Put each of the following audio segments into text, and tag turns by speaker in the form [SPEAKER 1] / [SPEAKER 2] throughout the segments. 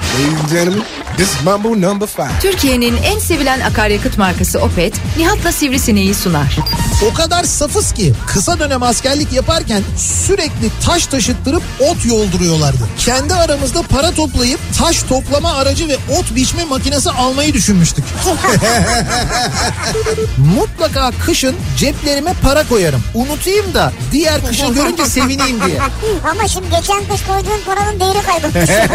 [SPEAKER 1] Ladies and gentlemen, this is Mambo number five.
[SPEAKER 2] Türkiye'nin en sevilen akaryakıt markası Opet, Nihat'la Sivrisineği sunar.
[SPEAKER 3] O kadar safız ki kısa dönem askerlik yaparken sürekli taş taşıttırıp ot yolduruyorlardı. Kendi aramızda para toplayıp taş toplama aracı ve ot biçme makinesi almayı düşünmüştük. Mutlaka kışın ceplerime para koyarım. Unutayım da diğer kışı görünce sevineyim diye.
[SPEAKER 4] Ama şimdi geçen kış koyduğun paranın değeri kaybolmuş.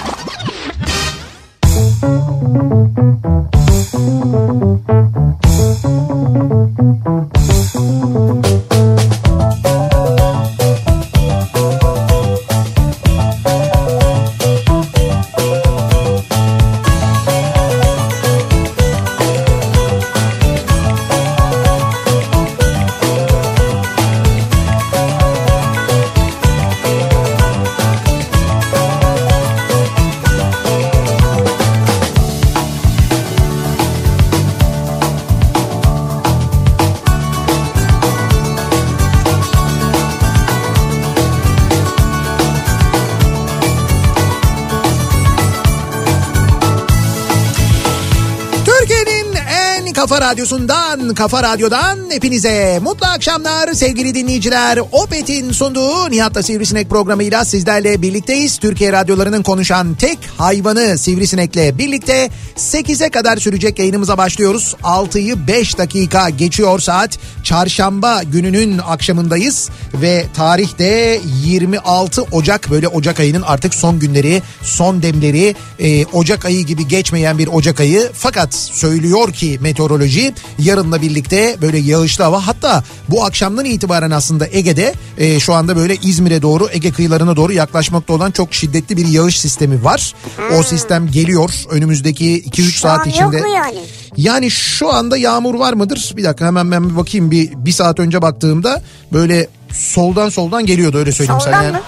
[SPEAKER 3] Türkiye'nin en kafa radyosundan, kafa radyodan hepinize mutlu akşamlar sevgili dinleyiciler. Opet'in sunduğu Nihat'la Sivrisinek programıyla sizlerle birlikteyiz. Türkiye radyolarının konuşan tek hayvanı Sivrisinek'le birlikte 8'e kadar sürecek yayınımıza başlıyoruz. 6'yı 5 dakika geçiyor saat. Çarşamba gününün akşamındayız ve tarih de 26 Ocak böyle Ocak ayının artık son günleri, son demleri e, Ocak ayı gibi geçmeyen bir Ocak ayı. Fakat söylüyor ki meteoroloji yarınla birlikte böyle yağışlı hava hatta bu akşamdan itibaren aslında Ege'de e, şu anda böyle İzmir'e doğru Ege kıyılarına doğru yaklaşmakta olan çok şiddetli bir yağış sistemi var. O sistem geliyor önümüzdeki 2-3 saat
[SPEAKER 4] Hmm. an yok
[SPEAKER 3] içinde.
[SPEAKER 4] mu yani?
[SPEAKER 3] Yani şu anda yağmur var mıdır? Bir dakika hemen ben bir bakayım bir, bir saat önce baktığımda böyle soldan soldan geliyordu öyle söyleyeyim sana.
[SPEAKER 4] Soldan
[SPEAKER 3] yani.
[SPEAKER 4] mı?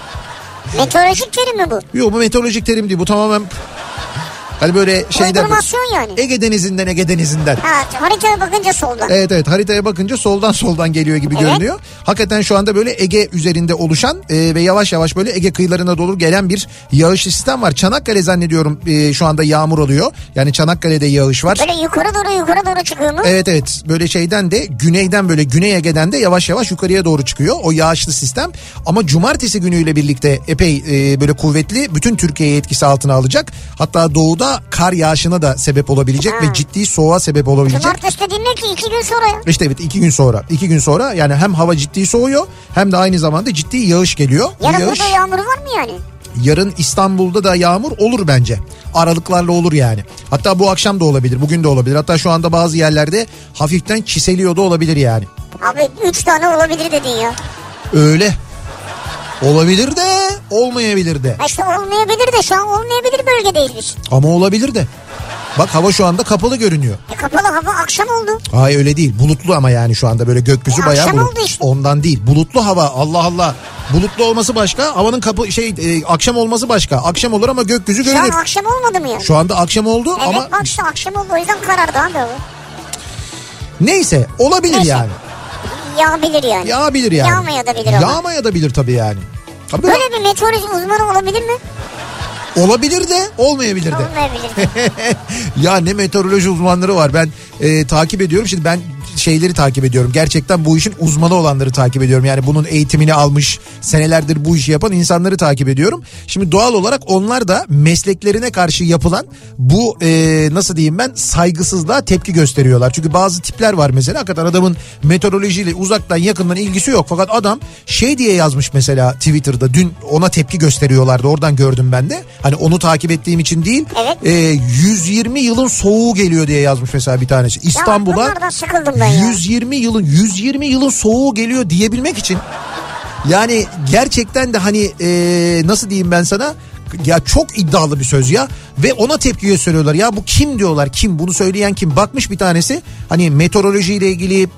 [SPEAKER 4] Meteorolojik terim mi bu?
[SPEAKER 3] Yok bu meteorolojik terim değil bu tamamen hani böyle şeyden
[SPEAKER 4] Uydurmasyon yani.
[SPEAKER 3] Ege denizinden Ege denizinden.
[SPEAKER 4] Ha, haritaya bakınca soldan.
[SPEAKER 3] Evet evet haritaya bakınca soldan soldan geliyor gibi
[SPEAKER 4] Evet.
[SPEAKER 3] görünüyor. Hakikaten şu anda böyle Ege üzerinde oluşan e, ve yavaş yavaş böyle Ege kıyılarına doğru gelen bir yağış sistem var. Çanakkale zannediyorum e, şu anda yağmur oluyor. Yani Çanakkale'de yağış var.
[SPEAKER 4] Böyle yukarı doğru yukarı doğru çıkıyor mu?
[SPEAKER 3] Evet evet böyle şeyden de güneyden böyle güney Ege'den de yavaş yavaş yukarıya doğru çıkıyor o yağışlı sistem. Ama cumartesi günüyle birlikte epey e, böyle kuvvetli bütün Türkiye'yi etkisi altına alacak. Hatta doğuda kar yağışına da sebep olabilecek ve ciddi soğuğa sebep olabilecek.
[SPEAKER 4] Cumartesi de dinle ki iki gün sonra ya.
[SPEAKER 3] İşte evet iki gün sonra. iki gün sonra yani hem hava ciddi soğuyor hem de aynı zamanda ciddi yağış geliyor. Bu
[SPEAKER 4] Yarın
[SPEAKER 3] yağış
[SPEAKER 4] burada yağmur var mı yani?
[SPEAKER 3] yarın İstanbul'da da yağmur olur bence. Aralıklarla olur yani. Hatta bu akşam da olabilir, bugün de olabilir. Hatta şu anda bazı yerlerde hafiften çiseliyor da olabilir yani.
[SPEAKER 4] Abi üç tane olabilir dedin ya.
[SPEAKER 3] Öyle. Olabilir de olmayabilir de.
[SPEAKER 4] Ha İşte olmayabilir de şu an olmayabilir bölgedeyiz biz.
[SPEAKER 3] Ama olabilir de. Bak hava şu anda kapalı görünüyor.
[SPEAKER 4] E, kapalı hava akşam oldu.
[SPEAKER 3] Hayır öyle değil. Bulutlu ama yani şu anda böyle gökyüzü
[SPEAKER 4] E,
[SPEAKER 3] bayağı
[SPEAKER 4] akşam
[SPEAKER 3] bulut.
[SPEAKER 4] oldu işte.
[SPEAKER 3] Ondan değil. Bulutlu hava. Allah Allah. Bulutlu olması başka. Havanın kapı şey e, akşam olması başka. Akşam olur ama gökyüzü
[SPEAKER 4] Şu an
[SPEAKER 3] görünür.
[SPEAKER 4] akşam olmadı mı ya?
[SPEAKER 3] Şu anda akşam oldu
[SPEAKER 4] Evet
[SPEAKER 3] ama
[SPEAKER 4] bak işte akşam oldu o yüzden karardı abi hava.
[SPEAKER 3] neyse olabilir
[SPEAKER 4] Neyse.
[SPEAKER 3] yani.
[SPEAKER 4] Yağabilir yani.
[SPEAKER 3] Yağabilir yani.
[SPEAKER 4] Yağmayabilir ama.
[SPEAKER 3] Yağmayabilir tabii yani. Tabii
[SPEAKER 4] Böyle bir meteoroloji uzmanı olabilir mi?
[SPEAKER 3] olabilir de olmayabilir de.
[SPEAKER 4] Olmayabilir. de.
[SPEAKER 3] ya ne meteoroloji uzmanları var ben e, takip ediyorum şimdi ben şeyleri takip ediyorum gerçekten bu işin uzmanı olanları takip ediyorum yani bunun eğitimini almış senelerdir bu işi yapan insanları takip ediyorum şimdi doğal olarak onlar da mesleklerine karşı yapılan bu e, nasıl diyeyim ben saygısızlığa tepki gösteriyorlar çünkü bazı tipler var mesela hakikaten adamın meteorolojiyle uzaktan yakından ilgisi yok fakat adam şey diye yazmış mesela Twitter'da dün ona tepki gösteriyorlardı oradan gördüm ben de hani onu takip ettiğim için değil
[SPEAKER 4] Evet.
[SPEAKER 3] e, 120 yılın soğuğu geliyor diye yazmış mesela bir tanesi.
[SPEAKER 4] Ya
[SPEAKER 3] İstanbul'a
[SPEAKER 4] bunlardan sıkıldım ben ya.
[SPEAKER 3] 120 yılın 120 yılın soğuğu geliyor diyebilmek için yani gerçekten de hani e, nasıl diyeyim ben sana ya çok iddialı bir söz ya ve ona tepki gösteriyorlar ya bu kim diyorlar kim bunu söyleyen kim bakmış bir tanesi hani meteorolojiyle ilgili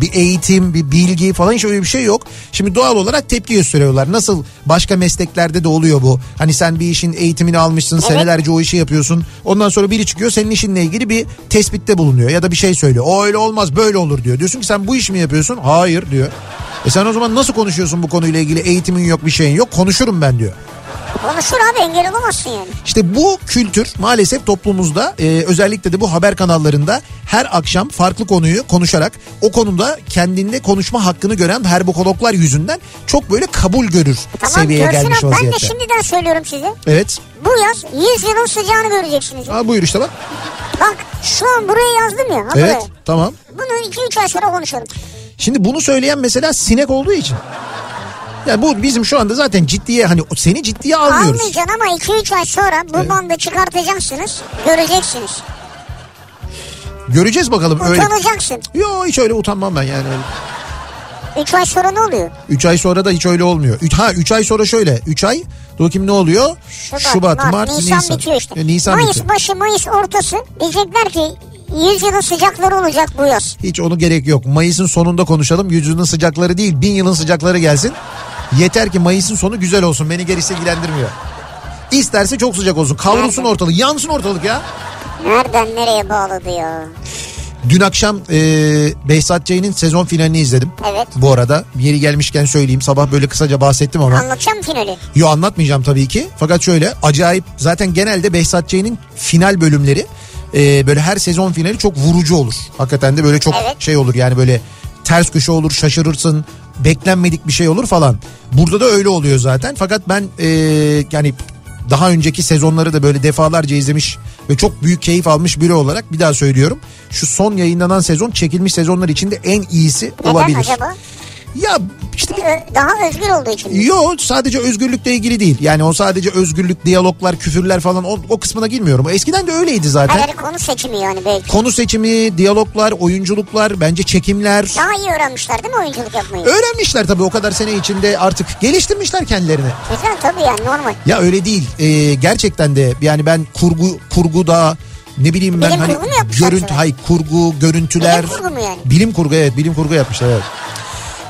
[SPEAKER 3] bir eğitim, bir bilgi falan hiç öyle bir şey yok. Şimdi doğal olarak tepki gösteriyorlar. Nasıl başka mesleklerde de oluyor bu. Hani sen bir işin eğitimini almışsın, senelerce o işi yapıyorsun. Ondan sonra biri çıkıyor senin işinle ilgili bir tespitte bulunuyor ya da bir şey söylüyor. O öyle olmaz, böyle olur diyor. Diyorsun ki sen bu işi mi yapıyorsun? Hayır diyor. E sen o zaman nasıl konuşuyorsun bu konuyla ilgili eğitimin yok bir şeyin yok konuşurum ben diyor.
[SPEAKER 4] Konuşur abi engel olamazsın yani.
[SPEAKER 3] İşte bu kültür maalesef toplumumuzda e, özellikle de bu haber kanallarında her akşam farklı konuyu konuşarak o konuda kendinde konuşma hakkını gören herbokologlar yüzünden çok böyle kabul görür
[SPEAKER 4] Tamam
[SPEAKER 3] seviyeye
[SPEAKER 4] görsün
[SPEAKER 3] gelmiş
[SPEAKER 4] abi. Ben de
[SPEAKER 3] vaziyette.
[SPEAKER 4] şimdiden söylüyorum size.
[SPEAKER 3] Evet.
[SPEAKER 4] Bu yaz 100 yılın sıcağını göreceksiniz.
[SPEAKER 3] Aa, buyur işte bak.
[SPEAKER 4] Bak şu an buraya yazdım ya. Ha
[SPEAKER 3] Evet tamam.
[SPEAKER 4] Buraya. Bunu 2-3 ay sonra konuşalım.
[SPEAKER 3] Şimdi bunu söyleyen mesela sinek olduğu için. Yani bu bizim şu anda zaten ciddiye hani seni ciddiye almıyoruz.
[SPEAKER 4] Almayacaksın ama 2-3 ay sonra bu bandı çıkartacaksınız. Göreceksiniz.
[SPEAKER 3] Göreceğiz bakalım öyle.
[SPEAKER 4] Utanacaksın.
[SPEAKER 3] Yo hiç öyle utanmam ben yani. Öyle.
[SPEAKER 4] 3 ay sonra ne oluyor?
[SPEAKER 3] 3 ay sonra da hiç öyle olmuyor. Üç- ha 3 ay sonra şöyle. 3 ay dur bakayım ne oluyor?
[SPEAKER 4] Şubat, Mart, Nisan, bitiyor işte.
[SPEAKER 3] E, Nisan
[SPEAKER 4] Mayıs
[SPEAKER 3] bitiyor.
[SPEAKER 4] başı, Mayıs ortası diyecekler ki 100 yılın sıcakları olacak bu yaz.
[SPEAKER 3] Hiç onu gerek yok. Mayıs'ın sonunda konuşalım. Yüzyılın sıcakları değil bin yılın sıcakları gelsin. Yeter ki Mayıs'ın sonu güzel olsun. Beni gerisi ilgilendirmiyor. İsterse çok sıcak olsun. Kavrulsun ortalık. Yansın ortalık ya.
[SPEAKER 4] Nereden nereye bağladı ya?
[SPEAKER 3] Dün akşam e, Behzat Ç'nin sezon finalini izledim.
[SPEAKER 4] Evet.
[SPEAKER 3] Bu arada yeri gelmişken söyleyeyim. Sabah böyle kısaca bahsettim ama.
[SPEAKER 4] Anlatacağım finali.
[SPEAKER 3] Yo anlatmayacağım tabii ki. Fakat şöyle acayip zaten genelde Behzat Ç'nin final bölümleri e, böyle her sezon finali çok vurucu olur. Hakikaten de böyle çok
[SPEAKER 4] Evet.
[SPEAKER 3] şey olur yani böyle ters köşe olur şaşırırsın beklenmedik bir şey olur falan. Burada da öyle oluyor zaten. Fakat ben e, yani daha önceki sezonları da böyle defalarca izlemiş ve çok büyük keyif almış biri olarak bir daha söylüyorum. Şu son yayınlanan sezon çekilmiş sezonlar içinde en iyisi
[SPEAKER 4] Neden
[SPEAKER 3] olabilir.
[SPEAKER 4] acaba?
[SPEAKER 3] Ya işte bir
[SPEAKER 4] Ö- Daha özgür olduğu için. mi?
[SPEAKER 3] Yo sadece özgürlükle ilgili değil. Yani o sadece özgürlük, diyaloglar, küfürler falan o, o kısmına girmiyorum. Eskiden de öyleydi zaten.
[SPEAKER 4] Hayır konu seçimi yani belki.
[SPEAKER 3] Konu seçimi, diyaloglar, oyunculuklar, bence çekimler.
[SPEAKER 4] Daha iyi öğrenmişler değil mi oyunculuk yapmayı?
[SPEAKER 3] Öğrenmişler tabii o kadar sene içinde artık geliştirmişler kendilerini.
[SPEAKER 4] Güzel tabii yani normal.
[SPEAKER 3] Ya öyle değil. Ee, gerçekten de yani ben kurgu kurguda ne bileyim ben
[SPEAKER 4] Bilim
[SPEAKER 3] hani
[SPEAKER 4] kurgu mu yapmışlar
[SPEAKER 3] görüntü
[SPEAKER 4] sana?
[SPEAKER 3] hayır kurgu, görüntüler.
[SPEAKER 4] Bilim kurgu mu yani?
[SPEAKER 3] Bilim kurgu evet, bilim kurgu yapmışlar evet.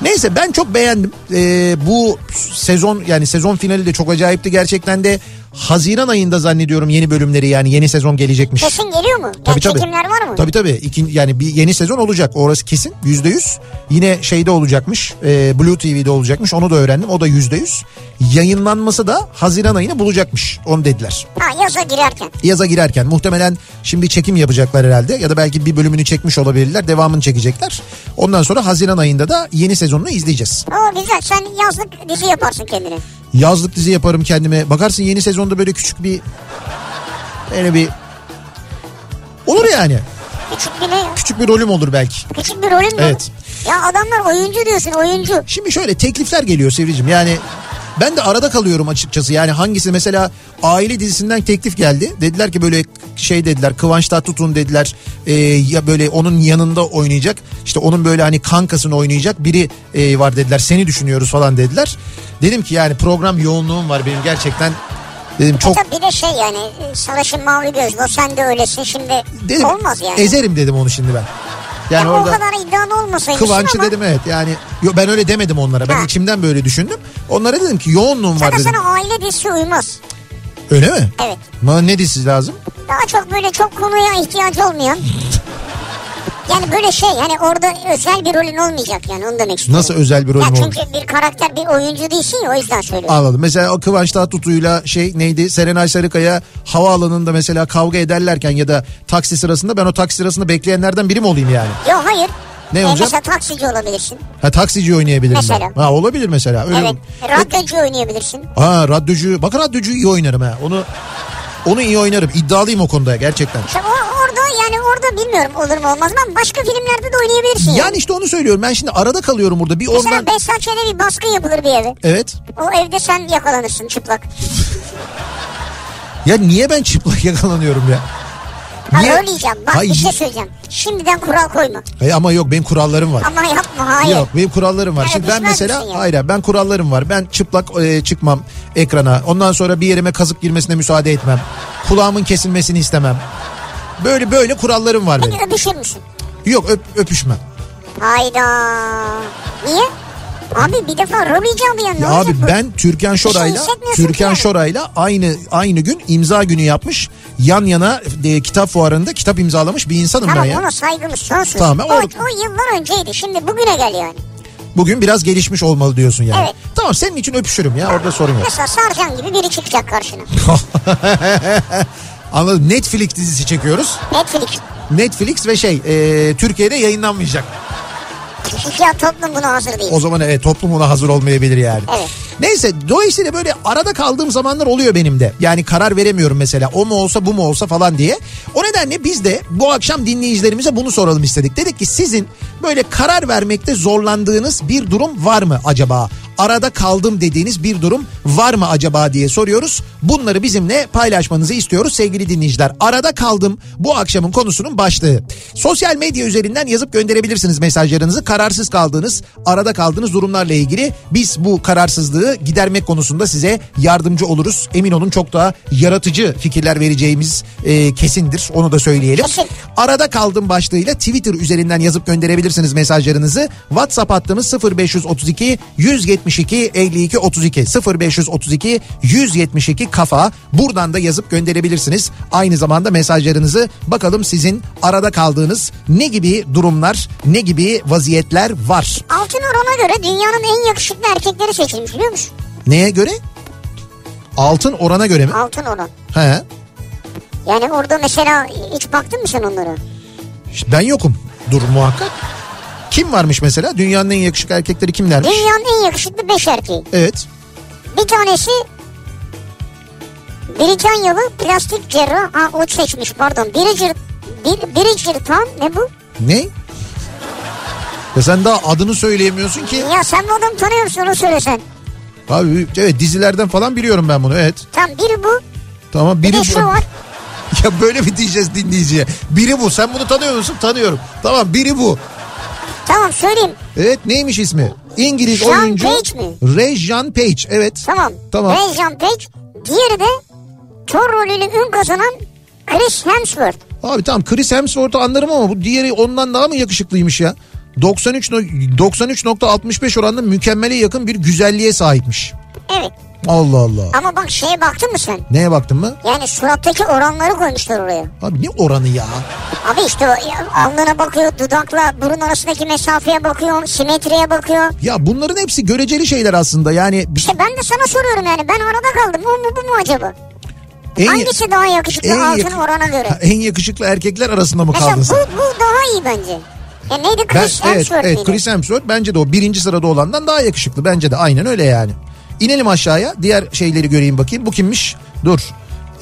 [SPEAKER 3] Neyse ben çok beğendim. Ee, bu sezon yani sezon finali de çok acayipti gerçekten de. Haziran ayında zannediyorum yeni bölümleri yani yeni sezon gelecekmiş.
[SPEAKER 4] Kesin geliyor mu? Yani
[SPEAKER 3] Tabii, tabii.
[SPEAKER 4] çekimler var mı?
[SPEAKER 3] Tabii tabii. İkin, yani bir yeni sezon olacak. Orası kesin. Yüzde yüz. Yine şeyde olacakmış. E, Blue TV'de olacakmış. Onu da öğrendim. O da yüzde yüz. Yayınlanması da Haziran ayını bulacakmış. Onu dediler.
[SPEAKER 4] Ha yaza girerken.
[SPEAKER 3] Yaza girerken muhtemelen şimdi çekim yapacaklar herhalde. Ya da belki bir bölümünü çekmiş olabilirler. Devamını çekecekler. Ondan sonra Haziran ayında da yeni sezonunu izleyeceğiz.
[SPEAKER 4] Oo güzel sen yazlık dizi yaparsın kendine.
[SPEAKER 3] Yazlık dizi yaparım kendime. Bakarsın yeni sezonda böyle küçük bir... Böyle bir... Olur yani.
[SPEAKER 4] Küçük bir ne ya?
[SPEAKER 3] Küçük bir rolüm olur belki.
[SPEAKER 4] Küçük bir rolün mü?
[SPEAKER 3] Evet.
[SPEAKER 4] Ya adamlar oyuncu diyorsun oyuncu.
[SPEAKER 3] Şimdi şöyle teklifler geliyor Sivricim yani ben de arada kalıyorum açıkçası yani hangisi mesela aile dizisinden teklif geldi dediler ki böyle şey dediler Kıvanç Tatlıtuğ'un dediler e, ya böyle onun yanında oynayacak işte onun böyle hani kankasını oynayacak biri e, var dediler seni düşünüyoruz falan dediler. Dedim ki yani program yoğunluğum var benim gerçekten dedim çok
[SPEAKER 4] Tabii bir de şey yani sarışın mavi gözlü o sen de öylesin şimdi
[SPEAKER 3] dedim,
[SPEAKER 4] olmaz yani.
[SPEAKER 3] ezerim dedim onu şimdi ben. Yani
[SPEAKER 4] Ya
[SPEAKER 3] orada
[SPEAKER 4] O kadar iddialı olmasaymışsın
[SPEAKER 3] Kıvanç'ı
[SPEAKER 4] ama
[SPEAKER 3] dedim evet yani yo, ben öyle demedim onlara ben
[SPEAKER 4] Ha.
[SPEAKER 3] içimden böyle düşündüm. Onlara dedim ki yoğunluğum var
[SPEAKER 4] sana,
[SPEAKER 3] dedim.
[SPEAKER 4] sana aile dizisi uymaz.
[SPEAKER 3] Öyle mi?
[SPEAKER 4] Evet.
[SPEAKER 3] Bana ne dizisi lazım?
[SPEAKER 4] Daha çok böyle çok konuya ihtiyacı olmayan. yani böyle şey yani orada özel bir rolün olmayacak yani onu demek istiyorum.
[SPEAKER 3] Nasıl özel bir
[SPEAKER 4] Ya
[SPEAKER 3] rolüm olur?
[SPEAKER 4] çünkü bir karakter bir oyuncu değilsin ya o yüzden söylüyorum.
[SPEAKER 3] Anladım. Mesela o Kıvanç Tatlıtuğ'yla şey neydi? Serenay Sarıkaya havaalanında mesela kavga ederlerken ya da taksi sırasında ben o taksi sırasında bekleyenlerden biri mi olayım yani?
[SPEAKER 4] Yok hayır.
[SPEAKER 3] Ne
[SPEAKER 4] Ee,
[SPEAKER 3] olacak?
[SPEAKER 4] Mesela taksici olabilirsin.
[SPEAKER 3] Ha taksici oynayabilirim
[SPEAKER 4] Mesela.
[SPEAKER 3] ben. Ha olabilir mesela. Öyle
[SPEAKER 4] Evet.
[SPEAKER 3] E,
[SPEAKER 4] Radyocu oynayabilirsin.
[SPEAKER 3] Ha radyocu. Bak radyocu iyi oynarım ha. Onu onu iyi oynarım. İddialıyım o konuda gerçekten.
[SPEAKER 4] İşte o, orada yani orada bilmiyorum olur mu olmaz mı ama başka filmlerde de oynayabilirsin.
[SPEAKER 3] Yani işte onu söylüyorum. Ben şimdi arada kalıyorum burada. Bir
[SPEAKER 4] Mesela
[SPEAKER 3] oradan...
[SPEAKER 4] beş saat şöyle bir baskın yapılır bir eve.
[SPEAKER 3] Evet.
[SPEAKER 4] O evde sen yakalanırsın çıplak.
[SPEAKER 3] Ya niye ben çıplak yakalanıyorum ya?
[SPEAKER 4] Hayır öyle diyeceğim. Bak
[SPEAKER 3] Hayır.
[SPEAKER 4] bir şey söyleyeceğim. Şimdiden kural koyma.
[SPEAKER 3] E ama yok benim kurallarım var.
[SPEAKER 4] Ama yapma hayır.
[SPEAKER 3] Yok benim kurallarım var.
[SPEAKER 4] Evet,
[SPEAKER 3] Şimdi ben
[SPEAKER 4] düşmez
[SPEAKER 3] mesela
[SPEAKER 4] misin yani?
[SPEAKER 3] hayır ben kurallarım var. Ben çıplak e, çıkmam ekrana. Ondan sonra bir yerime kazık girmesine müsaade etmem. Kulağımın kesilmesini istemem. Böyle böyle kurallarım var benim.
[SPEAKER 4] Peki öpüşür müsün?
[SPEAKER 3] Yok öp, öpüşmem.
[SPEAKER 4] Hayda. Niye? Abi bir defa rol icabı yani. ne
[SPEAKER 3] Ya
[SPEAKER 4] olacak
[SPEAKER 3] abi
[SPEAKER 4] bu?
[SPEAKER 3] ben Türkan Şoray'la
[SPEAKER 4] şey hissetmiyorsun ki
[SPEAKER 3] Türkan
[SPEAKER 4] yani.
[SPEAKER 3] Şoray'la aynı aynı gün imza günü yapmış. Yan yana e, kitap fuarında kitap imzalamış bir insanım ben
[SPEAKER 4] Tamam
[SPEAKER 3] ya.
[SPEAKER 4] ona saygımız sonsuz.
[SPEAKER 3] Tamam,
[SPEAKER 4] o,
[SPEAKER 3] o-
[SPEAKER 4] o yıllar önceydi şimdi bugüne gel yani.
[SPEAKER 3] Bugün biraz gelişmiş olmalı diyorsun yani.
[SPEAKER 4] Evet.
[SPEAKER 3] Tamam senin için öpüşürüm ya orada sorun yok.
[SPEAKER 4] Mesela sarcan gibi biri çıkacak karşına.
[SPEAKER 3] Anladım Netflix dizisi çekiyoruz.
[SPEAKER 4] Netflix.
[SPEAKER 3] Netflix ve şey e, Türkiye'de yayınlanmayacak.
[SPEAKER 4] Ya toplum buna hazır değil.
[SPEAKER 3] O zaman evet toplum ona hazır olmayabilir yani.
[SPEAKER 4] Evet.
[SPEAKER 3] Neyse dolayısıyla böyle arada kaldığım zamanlar oluyor benim de. Yani karar veremiyorum mesela o mu olsa bu mu olsa falan diye. O nedenle biz de bu akşam dinleyicilerimize bunu soralım istedik. Dedik ki sizin böyle karar vermekte zorlandığınız bir durum var mı acaba? Arada kaldım dediğiniz bir durum var mı acaba diye soruyoruz. Bunları bizimle paylaşmanızı istiyoruz sevgili dinleyiciler. Arada kaldım bu akşamın konusunun başlığı. Sosyal medya üzerinden yazıp gönderebilirsiniz mesajlarınızı. Kararsız kaldığınız, arada kaldığınız durumlarla ilgili biz bu kararsızlığı gidermek konusunda size yardımcı oluruz. Emin olun çok daha yaratıcı fikirler vereceğimiz e, kesindir. Onu da söyleyelim.
[SPEAKER 4] Kesin.
[SPEAKER 3] Arada kaldım başlığıyla Twitter üzerinden yazıp gönderebilirsiniz mesajlarınızı. WhatsApp hattımız 0532 172 52 32 0532 172 kafa. Buradan da yazıp gönderebilirsiniz. Aynı zamanda mesajlarınızı bakalım sizin arada kaldığınız ne gibi durumlar, ne gibi vaziyetler var.
[SPEAKER 4] Altınur ona göre dünyanın en yakışıklı erkekleri seçilmiş biliyor musun?
[SPEAKER 3] Neye göre? Altın orana göre mi?
[SPEAKER 4] Altınur'un.
[SPEAKER 3] He.
[SPEAKER 4] Yani orada mesela hiç baktın mı sen onlara?
[SPEAKER 3] İşte ben yokum. Dur muhakkak. Kim varmış mesela? Dünyanın en yakışıklı erkekleri kimlermiş?
[SPEAKER 4] Dünyanın en yakışıklı beş erkeği.
[SPEAKER 3] Evet.
[SPEAKER 4] Bir tanesi Biricanyalı plastik cerrah. Ha o seçmiş pardon. Biricer, bir, Biricertan ne bu?
[SPEAKER 3] Ne? Ya sen daha adını söyleyemiyorsun ki.
[SPEAKER 4] Ya sen bu adamı tanıyor musun onu söylesen.
[SPEAKER 3] Abi evet dizilerden falan biliyorum ben bunu evet.
[SPEAKER 4] Tam biri bu.
[SPEAKER 3] Tamam
[SPEAKER 4] Bir
[SPEAKER 3] biri
[SPEAKER 4] de şu var.
[SPEAKER 3] Ya böyle mi diyeceğiz dinleyiciye? Biri bu. Sen bunu tanıyor musun? Tanıyorum. Tamam biri bu.
[SPEAKER 4] Tamam söyleyeyim.
[SPEAKER 3] Evet neymiş ismi? İngiliz
[SPEAKER 4] Jean
[SPEAKER 3] oyuncu.
[SPEAKER 4] Page mi?
[SPEAKER 3] Rejan Page evet.
[SPEAKER 4] Tamam.
[SPEAKER 3] Tamam.
[SPEAKER 4] Rejjan Page. Diğeri de Thor rolüyle ün kazanan Chris Hemsworth.
[SPEAKER 3] Abi tamam Chris Hemsworth'u anlarım ama bu diğeri ondan daha mı yakışıklıymış ya? 93 no- 93.65 oranında mükemmele yakın bir güzelliğe sahipmiş.
[SPEAKER 4] Evet.
[SPEAKER 3] Allah Allah.
[SPEAKER 4] Ama bak şeye baktın mı sen?
[SPEAKER 3] Neye baktın mı?
[SPEAKER 4] Yani surattaki oranları koymuşlar oraya.
[SPEAKER 3] Abi ne oranı ya?
[SPEAKER 4] Abi işte o ya, alnına bakıyor, dudakla burun arasındaki mesafeye bakıyor, simetriye bakıyor.
[SPEAKER 3] Ya bunların hepsi göreceli şeyler aslında. Yani bir-
[SPEAKER 4] İşte ben de sana soruyorum yani ben arada kaldım. Bu mu bu mu acaba?
[SPEAKER 3] en,
[SPEAKER 4] Hangisi daha yakışıklı
[SPEAKER 3] en
[SPEAKER 4] altın
[SPEAKER 3] yakın-
[SPEAKER 4] orana göre?
[SPEAKER 3] Ha, en yakışıklı erkekler arasında mı
[SPEAKER 4] Mesela
[SPEAKER 3] kaldın sen?
[SPEAKER 4] bu, bu daha iyi bence. Ya neydi
[SPEAKER 3] Ben,
[SPEAKER 4] Chris
[SPEAKER 3] evet,
[SPEAKER 4] Hemsworth
[SPEAKER 3] evet
[SPEAKER 4] miydi?
[SPEAKER 3] Chris Hemsworth bence de o birinci sırada olandan daha yakışıklı. Bence de aynen öyle yani. İnelim aşağıya diğer şeyleri göreyim bakayım. Bu kimmiş? Dur.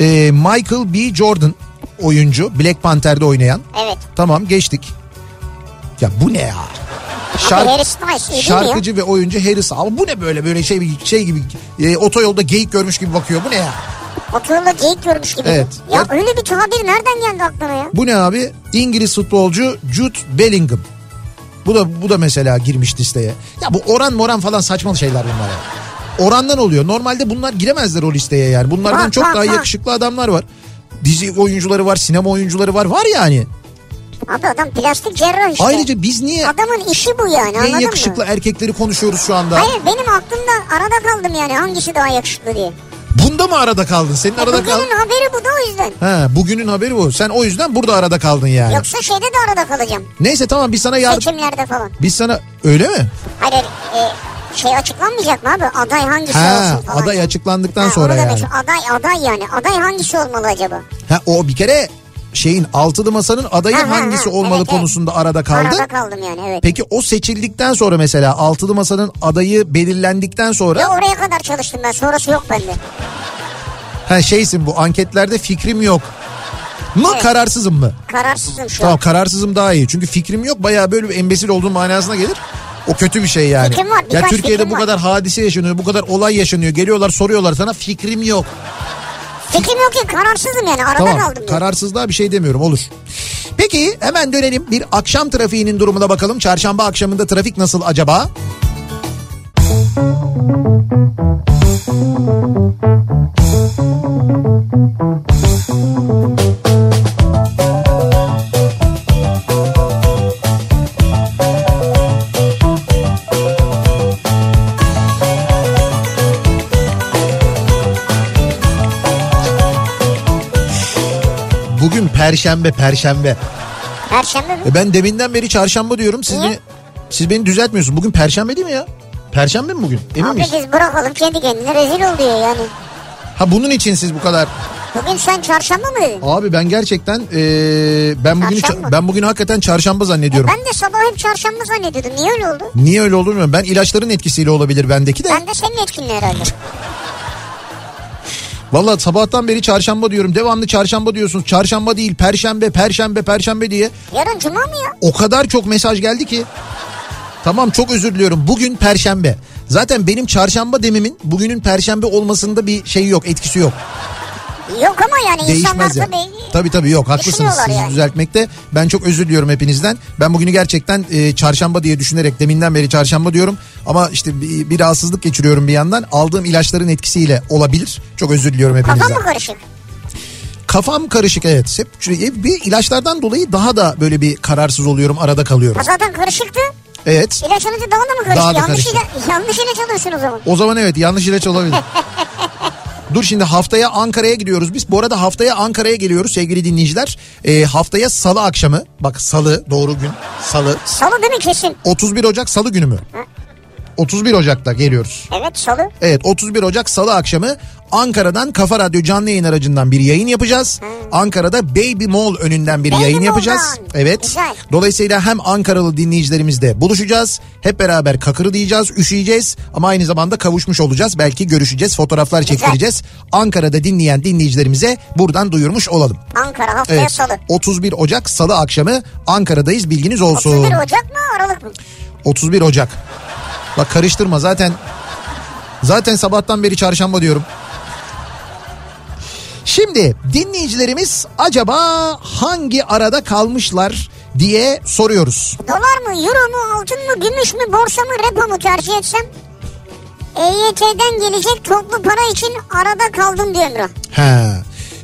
[SPEAKER 3] Ee, Michael B. Jordan oyuncu Black Panther'de oynayan.
[SPEAKER 4] Evet.
[SPEAKER 3] Tamam geçtik. Ya bu ne ya?
[SPEAKER 4] Abi Harry Styles iyi değil mi ya?
[SPEAKER 3] şarkıcı ve oyuncu Harris. Ama bu ne böyle böyle şey şey gibi e, otoyolda geyik görmüş gibi bakıyor. Bu ne ya?
[SPEAKER 4] Okulda geyik görmüş gibi.
[SPEAKER 3] Evet.
[SPEAKER 4] Ya
[SPEAKER 3] Evet.
[SPEAKER 4] öyle bir tabir nereden geldi aklına ya?
[SPEAKER 3] Bu ne abi? İngiliz futbolcu Jude Bellingham. Bu da bu da mesela girmiş listeye. Ya bu oran moran falan saçma şeyler bunlar. ya. Orandan oluyor. Normalde bunlar giremezler o listeye yani. Bunlardan
[SPEAKER 4] Bak,
[SPEAKER 3] çok
[SPEAKER 4] bak,
[SPEAKER 3] daha
[SPEAKER 4] bak.
[SPEAKER 3] yakışıklı adamlar var. Dizi oyuncuları var, sinema oyuncuları var. Var yani.
[SPEAKER 4] Abi adam plastik cerrah işte.
[SPEAKER 3] Ayrıca biz niye
[SPEAKER 4] Adamın işi bu yani
[SPEAKER 3] en
[SPEAKER 4] anladın
[SPEAKER 3] yakışıklı
[SPEAKER 4] mı?
[SPEAKER 3] erkekleri konuşuyoruz şu anda?
[SPEAKER 4] Hayır benim aklımda arada kaldım yani hangisi daha yakışıklı diye. E,
[SPEAKER 3] Bunda mı arada kaldın? Senin arada kal.
[SPEAKER 4] Bugünün haberi bu da o yüzden.
[SPEAKER 3] Ha, bugünün haberi bu. Sen o yüzden burada arada kaldın yani.
[SPEAKER 4] Yoksa şeyde de arada kalacağım.
[SPEAKER 3] Neyse tamam biz sana yardım
[SPEAKER 4] Seçimlerde falan.
[SPEAKER 3] biz sana öyle mi?
[SPEAKER 4] Hayır hayır, e, şey açıklanmayacak mı abi? Aday hangisi
[SPEAKER 3] Ha,
[SPEAKER 4] olsun falan.
[SPEAKER 3] aday
[SPEAKER 4] yani.
[SPEAKER 3] açıklandıktan
[SPEAKER 4] Ha,
[SPEAKER 3] sonra
[SPEAKER 4] onu demek
[SPEAKER 3] yani.
[SPEAKER 4] istiyorum. Aday aday yani. Aday hangisi olmalı acaba?
[SPEAKER 3] Ha o bir kere şeyin altılı masanın adayı
[SPEAKER 4] Ha, ha, ha.
[SPEAKER 3] hangisi olmalı
[SPEAKER 4] Evet, evet.
[SPEAKER 3] konusunda arada kaldı.
[SPEAKER 4] Arada kaldım yani evet.
[SPEAKER 3] Peki o seçildikten sonra mesela altılı masanın adayı belirlendikten sonra
[SPEAKER 4] Ya oraya kadar çalıştım ben sonrası yok bende.
[SPEAKER 3] ha şeysin bu anketlerde fikrim yok. Mı
[SPEAKER 4] Evet.
[SPEAKER 3] kararsızım mı?
[SPEAKER 4] Kararsızım şu
[SPEAKER 3] Tamam kararsızım daha iyi. Çünkü fikrim yok bayağı böyle bir embesil olduğum manasına gelir. O kötü bir şey yani.
[SPEAKER 4] Fikrim var,
[SPEAKER 3] ya
[SPEAKER 4] birkaç
[SPEAKER 3] Türkiye'de
[SPEAKER 4] fikrim
[SPEAKER 3] bu
[SPEAKER 4] var.
[SPEAKER 3] kadar hadise yaşanıyor, bu kadar olay yaşanıyor. Geliyorlar soruyorlar sana fikrim yok.
[SPEAKER 4] an. Fikrim yok ki kararsızım yani arada
[SPEAKER 3] Tamam
[SPEAKER 4] kaldım. ben.
[SPEAKER 3] kararsızlığa bir şey demiyorum olur. Peki hemen dönelim bir akşam trafiğinin durumuna bakalım. Çarşamba akşamında trafik nasıl acaba? Bugün perşembe perşembe.
[SPEAKER 4] Perşembe mi?
[SPEAKER 3] E ben deminden beri çarşamba diyorum siz
[SPEAKER 4] Niye?
[SPEAKER 3] E beni... Siz beni düzeltmiyorsunuz. Bugün perşembe değil mi ya? Perşembe mi bugün? Emin
[SPEAKER 4] Abi
[SPEAKER 3] miyiz?
[SPEAKER 4] biz bırakalım kendi kendine rezil oluyor yani.
[SPEAKER 3] Ha bunun için siz bu kadar.
[SPEAKER 4] Bugün sen çarşamba mı dedin?
[SPEAKER 3] Abi ben gerçekten ee, ben bugünü
[SPEAKER 4] Çarşamba.
[SPEAKER 3] ben bugün hakikaten çarşamba zannediyorum.
[SPEAKER 4] Ben de sabah hep çarşamba zannediyordum. Niye öyle oldu?
[SPEAKER 3] Niye öyle olur mu? Ben ilaçların etkisiyle olabilir bendeki de.
[SPEAKER 4] Ben de senin etkinliği herhalde.
[SPEAKER 3] Valla sabahtan beri çarşamba diyorum. Devamlı çarşamba diyorsunuz. Çarşamba değil, perşembe, perşembe, perşembe diye.
[SPEAKER 4] Yarın cuma mı ya?
[SPEAKER 3] O kadar çok mesaj geldi ki. Tamam çok özür diliyorum. Bugün perşembe. Zaten benim çarşamba demimin bugünün perşembe olmasında bir şey yok, etkisi yok.
[SPEAKER 4] Yok ama yani insanlar
[SPEAKER 3] Değişmez yani.
[SPEAKER 4] tabii.
[SPEAKER 3] Tabii tabii yok haklısınız
[SPEAKER 4] Düşünüyorlar
[SPEAKER 3] siz
[SPEAKER 4] yani.
[SPEAKER 3] düzeltmekte. Ben çok özür diliyorum hepinizden. Ben bugünü gerçekten e, çarşamba diye düşünerek deminden beri çarşamba diyorum. Ama işte bir, bir rahatsızlık geçiriyorum bir yandan. Aldığım ilaçların etkisiyle olabilir. Çok özür diliyorum hepinizden.
[SPEAKER 4] Kafam mı karışık?
[SPEAKER 3] Kafam karışık evet. Hep hep bir ilaçlardan dolayı daha da böyle bir kararsız oluyorum, arada kalıyorum.
[SPEAKER 4] Ha zaten karışıktı.
[SPEAKER 3] Evet.
[SPEAKER 4] İlaç alınca daha da mı karıştı?
[SPEAKER 3] Daha da
[SPEAKER 4] yanlış,
[SPEAKER 3] karıştı.
[SPEAKER 4] ila- yanlış ilaç alırsın o zaman.
[SPEAKER 3] O zaman evet yanlış ilaç olabilir. Dur şimdi haftaya Ankara'ya gidiyoruz biz. Bu arada haftaya Ankara'ya geliyoruz sevgili dinleyiciler. Ee, haftaya salı akşamı. Bak salı doğru gün. Salı.
[SPEAKER 4] Salı değil mi kesin?
[SPEAKER 3] 31 Ocak salı günü mü? 31 Ocak'ta geliyoruz.
[SPEAKER 4] Evet salı.
[SPEAKER 3] Evet 31 Ocak Salı akşamı Ankara'dan Kafa Radyo canlı yayın aracından bir yayın yapacağız. Ankara'da Baby Mall önünden bir
[SPEAKER 4] Baby
[SPEAKER 3] yayın yapacağız.
[SPEAKER 4] Mall'dan.
[SPEAKER 3] Evet.
[SPEAKER 4] Güzel.
[SPEAKER 3] Dolayısıyla hem Ankaralı dinleyicilerimizle buluşacağız. Hep beraber kakırı diyeceğiz, üşüyeceğiz ama aynı zamanda kavuşmuş olacağız. Belki görüşeceğiz, fotoğraflar çektireceğiz. Ankara'da dinleyen dinleyicilerimize buradan duyurmuş olalım.
[SPEAKER 4] Ankara haftaya
[SPEAKER 3] Evet.
[SPEAKER 4] salı.
[SPEAKER 3] 31 Ocak Salı akşamı Ankara'dayız bilginiz olsun.
[SPEAKER 4] 31 Ocak mı Aralık mı?
[SPEAKER 3] 31 Ocak. Bak karıştırma zaten. Zaten sabahtan beri çarşamba diyorum. Şimdi dinleyicilerimiz acaba hangi arada kalmışlar diye soruyoruz.
[SPEAKER 4] Dolar mı, euro mu, altın mı, gümüş mü, borsa mı, repo mu tercih etsem? EYT'den gelecek toplu para için arada kaldım diyor Emrah.
[SPEAKER 3] He.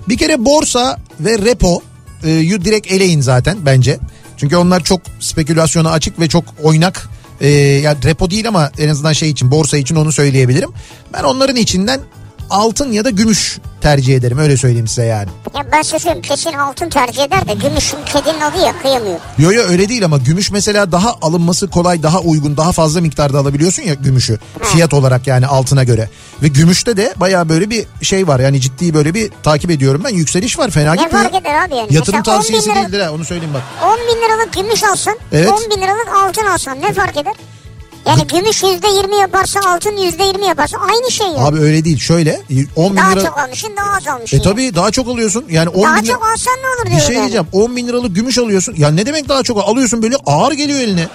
[SPEAKER 3] Bir kere borsa ve repo e, yu direkt eleyin zaten bence. Çünkü onlar çok spekülasyona açık ve çok oynak. E, ya repo değil ama en azından şey için borsa için onu söyleyebilirim. Ben onların içinden altın ya da gümüş tercih ederim öyle söyleyeyim size yani.
[SPEAKER 4] Ya ben size söyleyeyim kesin altın tercih eder de gümüşün kedinin adı ya kıyamıyor.
[SPEAKER 3] Yo yo öyle değil ama gümüş mesela daha alınması kolay, daha uygun, daha fazla miktarda alabiliyorsun ya gümüşü. Fiyat olarak yani altına göre. Ve gümüşte de baya böyle bir şey var yani ciddi böyle bir takip ediyorum ben. Yükseliş var fena
[SPEAKER 4] Ne
[SPEAKER 3] gitmiyor.
[SPEAKER 4] fark eder abi yani?
[SPEAKER 3] Yatırım
[SPEAKER 4] Mesela 10 bin
[SPEAKER 3] tavsiyesi
[SPEAKER 4] lira-
[SPEAKER 3] değildir ha onu söyleyeyim bak.
[SPEAKER 4] 10 bin liralık gümüş alsın,
[SPEAKER 3] Evet.
[SPEAKER 4] 10 bin liralık altın alsın ne fark eder? Yani gümüş %20 yaparsa altın %20 yaparsa aynı şey ya.
[SPEAKER 3] Abi öyle değil şöyle 10 bin
[SPEAKER 4] daha
[SPEAKER 3] lira...
[SPEAKER 4] çok almışsın daha az almışsın.
[SPEAKER 3] E
[SPEAKER 4] ya.
[SPEAKER 3] tabii daha çok alıyorsun yani 10
[SPEAKER 4] Daha
[SPEAKER 3] bin lira...
[SPEAKER 4] çok alsan ne olur
[SPEAKER 3] Bir
[SPEAKER 4] diyorum
[SPEAKER 3] şey
[SPEAKER 4] yani.
[SPEAKER 3] diyeceğim 10 bin liralık gümüş alıyorsun. Ya ne demek daha çok alıyorsun böyle ağır geliyor eline.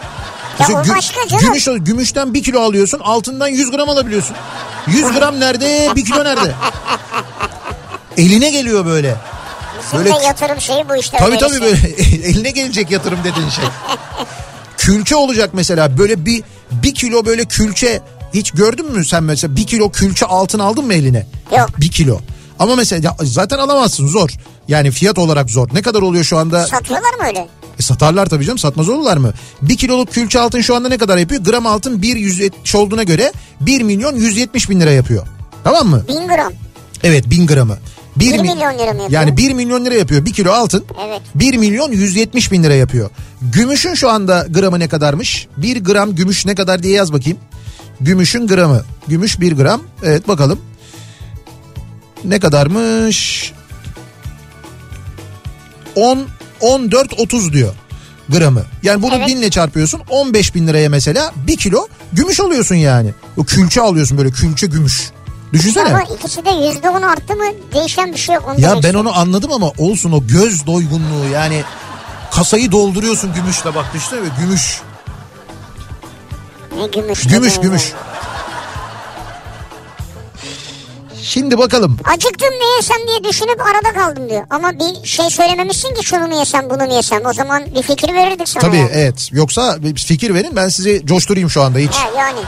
[SPEAKER 4] o başka canım.
[SPEAKER 3] gümüş, al- gümüşten 1 kilo alıyorsun altından 100 gram alabiliyorsun. 100 gram nerede 1 kilo nerede? Eline geliyor böyle.
[SPEAKER 4] Bizim
[SPEAKER 3] böyle-
[SPEAKER 4] de yatırım şeyi bu işte.
[SPEAKER 3] Tabii
[SPEAKER 4] öyleyse.
[SPEAKER 3] tabii böyle eline gelecek yatırım dediğin şey. külçe olacak mesela böyle bir, bir kilo böyle külçe hiç gördün mü sen mesela bir kilo külçe altın aldın mı eline?
[SPEAKER 4] Yok.
[SPEAKER 3] Bir kilo. Ama mesela ya zaten alamazsın zor. Yani fiyat olarak zor. Ne kadar oluyor şu anda?
[SPEAKER 4] Satıyorlar mı öyle?
[SPEAKER 3] E satarlar tabii canım satmaz olurlar mı? Bir kiloluk külçe altın şu anda ne kadar yapıyor? Gram altın 170 olduğuna göre 1 milyon 170 bin lira yapıyor. Tamam mı?
[SPEAKER 4] 1000 gram.
[SPEAKER 3] Evet 1000 gramı. 1,
[SPEAKER 4] Bir milyon lira mı yapıyor?
[SPEAKER 3] Yani 1 milyon lira yapıyor. 1 kilo altın.
[SPEAKER 4] Evet.
[SPEAKER 3] 1 milyon 170 bin lira yapıyor. Gümüşün şu anda gramı ne kadarmış? 1 gram gümüş ne kadar diye yaz bakayım. Gümüşün gramı. Gümüş 1 gram. Evet bakalım. Ne kadarmış? 10 14 30 diyor gramı. Yani bunu
[SPEAKER 4] Evet.
[SPEAKER 3] binle çarpıyorsun 15 bin liraya mesela 1 kilo gümüş alıyorsun yani. O külçe alıyorsun böyle külçe gümüş. Düşünsene.
[SPEAKER 4] Ama ikisi de %10 arttı mı değişen bir şey yok. Onu
[SPEAKER 3] Ya
[SPEAKER 4] demek
[SPEAKER 3] ben
[SPEAKER 4] istiyorum.
[SPEAKER 3] onu anladım ama olsun o göz doygunluğu yani kasayı dolduruyorsun gümüşle bak düşünsene böyle gümüş.
[SPEAKER 4] Ne gümüş.
[SPEAKER 3] Gümüş
[SPEAKER 4] ne demek
[SPEAKER 3] gümüş.
[SPEAKER 4] yani.
[SPEAKER 3] Şimdi bakalım.
[SPEAKER 4] Acıktım ne yesem diye düşünüp arada kaldım diyor. Ama bir şey söylememişsin ki şunu mu yesem bunu mu yesem. O zaman bir fikir verirdik sana.
[SPEAKER 3] Tabii
[SPEAKER 4] yani.
[SPEAKER 3] evet. Yoksa bir fikir verin ben sizi coşturayım şu anda hiç.
[SPEAKER 4] He, yani.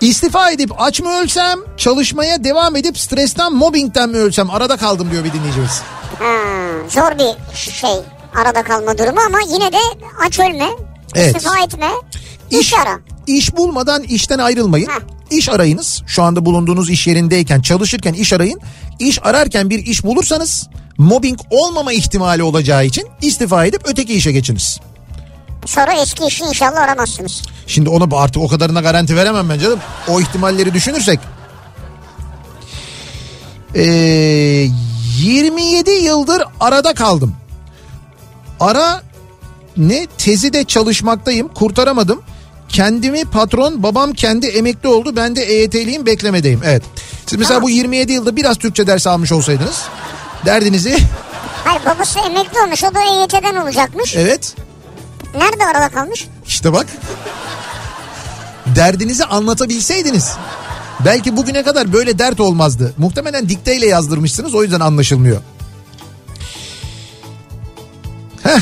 [SPEAKER 3] İstifa edip aç mı ölsem, çalışmaya devam edip stresten, mobbingden mi ölsem? Arada kaldım diyor bir dinleyicimiz.
[SPEAKER 4] Ha, zor bir şey arada kalma durumu ama yine de aç ölme.
[SPEAKER 3] Evet.
[SPEAKER 4] istifa etme. İş, ara.
[SPEAKER 3] İş bulmadan işten ayrılmayın.
[SPEAKER 4] Heh.
[SPEAKER 3] İş arayınız. Şu anda bulunduğunuz iş yerindeyken çalışırken iş arayın. İş ararken bir iş bulursanız mobbing olmama ihtimali olacağı için istifa edip öteki işe geçiniz.
[SPEAKER 4] Sonra eski işi inşallah aramazsınız.
[SPEAKER 3] Şimdi ona artık o kadarına garanti veremem ben canım. O ihtimalleri düşünürsek. Ee, 27 yıldır arada kaldım. Ara ne tezi de çalışmaktayım kurtaramadım. Kendimi patron babam kendi emekli oldu ben de EYT'liyim beklemedeyim. Evet. Siz mesela bu 27 yılda biraz Türkçe dersi almış olsaydınız derdinizi
[SPEAKER 4] Hayır babası emekli olmuş o da EYT'den olacakmış.
[SPEAKER 3] evet
[SPEAKER 4] Nerede arada kalmış?
[SPEAKER 3] İşte bak. Derdinizi anlatabilseydiniz. Belki bugüne kadar böyle dert olmazdı. Muhtemelen dikteyle yazdırmışsınız o yüzden anlaşılmıyor. Heh.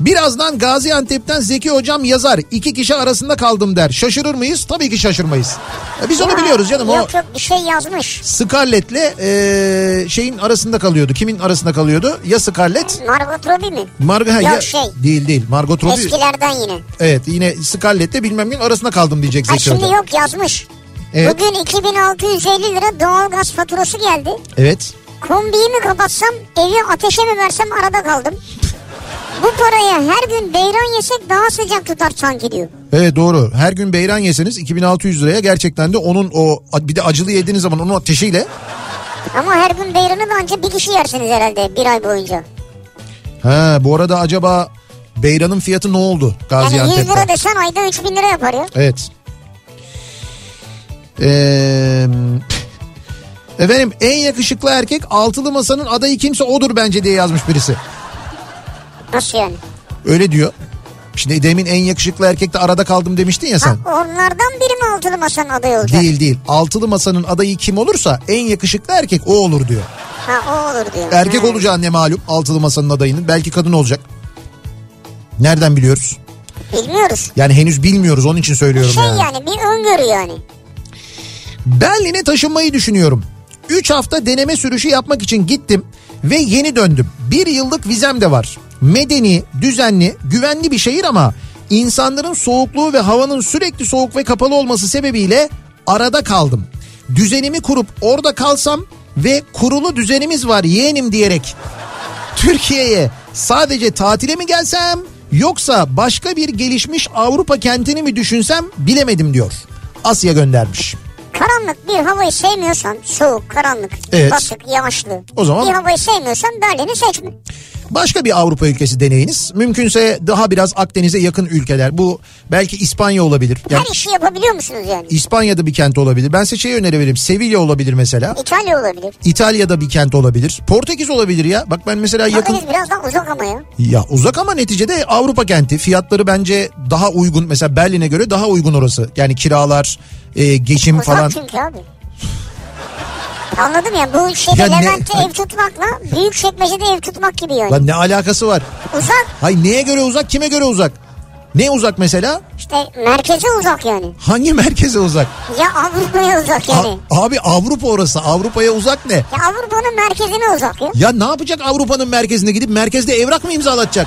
[SPEAKER 3] Birazdan Gaziantep'ten Zeki Hocam yazar. İki kişi arasında kaldım der. Şaşırır mıyız? Tabii ki şaşırmayız. Ya biz onu
[SPEAKER 4] Ha,
[SPEAKER 3] biliyoruz canım. O
[SPEAKER 4] Yok yok bir şey yazmış.
[SPEAKER 3] Scarlett'le eee, şeyin arasında kalıyordu. Kimin arasında kalıyordu? Ya Scarlett?
[SPEAKER 4] Margot Robbie mi?
[SPEAKER 3] Margot ha,
[SPEAKER 4] Yok
[SPEAKER 3] ya-
[SPEAKER 4] şey.
[SPEAKER 3] değil değil. Margot Robbie.
[SPEAKER 4] Eskilerden yine.
[SPEAKER 3] Evet yine Scarlett'le bilmem gün arasına kaldım diyecek
[SPEAKER 4] Ha,
[SPEAKER 3] Zeki
[SPEAKER 4] şimdi
[SPEAKER 3] Hoca. E?
[SPEAKER 4] yok yazmış.
[SPEAKER 3] Evet.
[SPEAKER 4] Bugün 2650 lira doğalgaz faturası geldi.
[SPEAKER 3] Evet.
[SPEAKER 4] Kombiyi mi kapatsam evi ateşe mi versem arada kaldım. Bu paraya her gün beyran yesek daha sıcak tutar sanki diyor.
[SPEAKER 3] Evet doğru. Her gün beyran yeseniz 2600 liraya gerçekten de onun o bir de acılı yediğiniz zaman onun ateşiyle
[SPEAKER 4] Ama her gün beyranı da ancak bir kişi yersiniz herhalde bir ay boyunca.
[SPEAKER 3] Ha bu arada acaba beyranın fiyatı ne oldu
[SPEAKER 4] Yani 100 lira
[SPEAKER 3] Gaziantep'te?
[SPEAKER 4] desen ayda 3000 lira yapar ya.
[SPEAKER 3] Evet. Ee, efendim en yakışıklı erkek altılı masanın adayı kimse odur bence diye yazmış birisi.
[SPEAKER 4] Nasıl yani?
[SPEAKER 3] Öyle diyor. Şimdi demin en yakışıklı erkekte arada kaldım demiştin ya
[SPEAKER 4] Ha,
[SPEAKER 3] sen.
[SPEAKER 4] onlardan biri mi altılı masanın adayı olacak?
[SPEAKER 3] Değil değil. Altılı masanın adayı kim olursa en yakışıklı erkek o olur diyor.
[SPEAKER 4] Ha o olur diyor.
[SPEAKER 3] Erkek
[SPEAKER 4] Ha.
[SPEAKER 3] olacağı ne malum altılı masanın adayının. Belki kadın olacak. Nereden biliyoruz?
[SPEAKER 4] Bilmiyoruz.
[SPEAKER 3] Yani henüz bilmiyoruz onun için söylüyorum
[SPEAKER 4] Şey
[SPEAKER 3] yani.
[SPEAKER 4] yani bir öngörü yani.
[SPEAKER 3] Berlin'e taşınmayı düşünüyorum. 3 hafta deneme sürüşü yapmak için gittim ve yeni döndüm. Bir yıllık vizem de var. Medeni, düzenli, güvenli bir şehir ama insanların soğukluğu ve havanın sürekli soğuk ve kapalı olması sebebiyle arada kaldım. Düzenimi kurup orada kalsam ve kurulu düzenimiz var yeğenim diyerek Türkiye'ye sadece tatile mi gelsem yoksa başka bir gelişmiş Avrupa kentini mi düşünsem bilemedim diyor. Asya göndermiş.
[SPEAKER 4] Karanlık bir havayı sevmiyorsan soğuk, karanlık,
[SPEAKER 3] Evet.
[SPEAKER 4] basık, yağışlı.
[SPEAKER 3] O zaman-
[SPEAKER 4] Bir havayı sevmiyorsan Berlin'i seçme.
[SPEAKER 3] Başka bir Avrupa ülkesi deneyiniz. Mümkünse daha biraz Akdeniz'e yakın ülkeler. Bu belki İspanya olabilir. Yani
[SPEAKER 4] Her işi yapabiliyor musunuz yani?
[SPEAKER 3] İspanya'da bir kent olabilir. Ben size şey önerebilirim. Sevilla olabilir mesela.
[SPEAKER 4] İtalya olabilir.
[SPEAKER 3] İtalya'da bir kent olabilir. Portekiz olabilir ya. Bak ben mesela yakın...
[SPEAKER 4] Akdeniz biraz daha uzak ama ya.
[SPEAKER 3] Ya uzak ama neticede Avrupa kenti. Fiyatları bence daha uygun. Mesela Berlin'e göre daha uygun orası. Yani kiralar, e, geçim
[SPEAKER 4] Uzak
[SPEAKER 3] falan.
[SPEAKER 4] çünkü abi. Anladım ya bu şeyde
[SPEAKER 3] Ya ne-
[SPEAKER 4] Levent'te
[SPEAKER 3] Ay-
[SPEAKER 4] ev tutmakla büyük çekmecede ev tutmak gibi yani.
[SPEAKER 3] Lan ne alakası var?
[SPEAKER 4] Uzak
[SPEAKER 3] Hay neye göre uzak, kime göre uzak? Ne uzak mesela?
[SPEAKER 4] işte merkeze uzak yani.
[SPEAKER 3] Hangi merkeze uzak?
[SPEAKER 4] Ya Avrupa'ya uzak
[SPEAKER 3] A-
[SPEAKER 4] yani.
[SPEAKER 3] abi Avrupa orası. Avrupa'ya uzak ne?
[SPEAKER 4] Ya Avrupa'nın merkezine uzak ya.
[SPEAKER 3] Ya ne yapacak Avrupa'nın merkezine gidip merkezde evrak mı imzalatacak?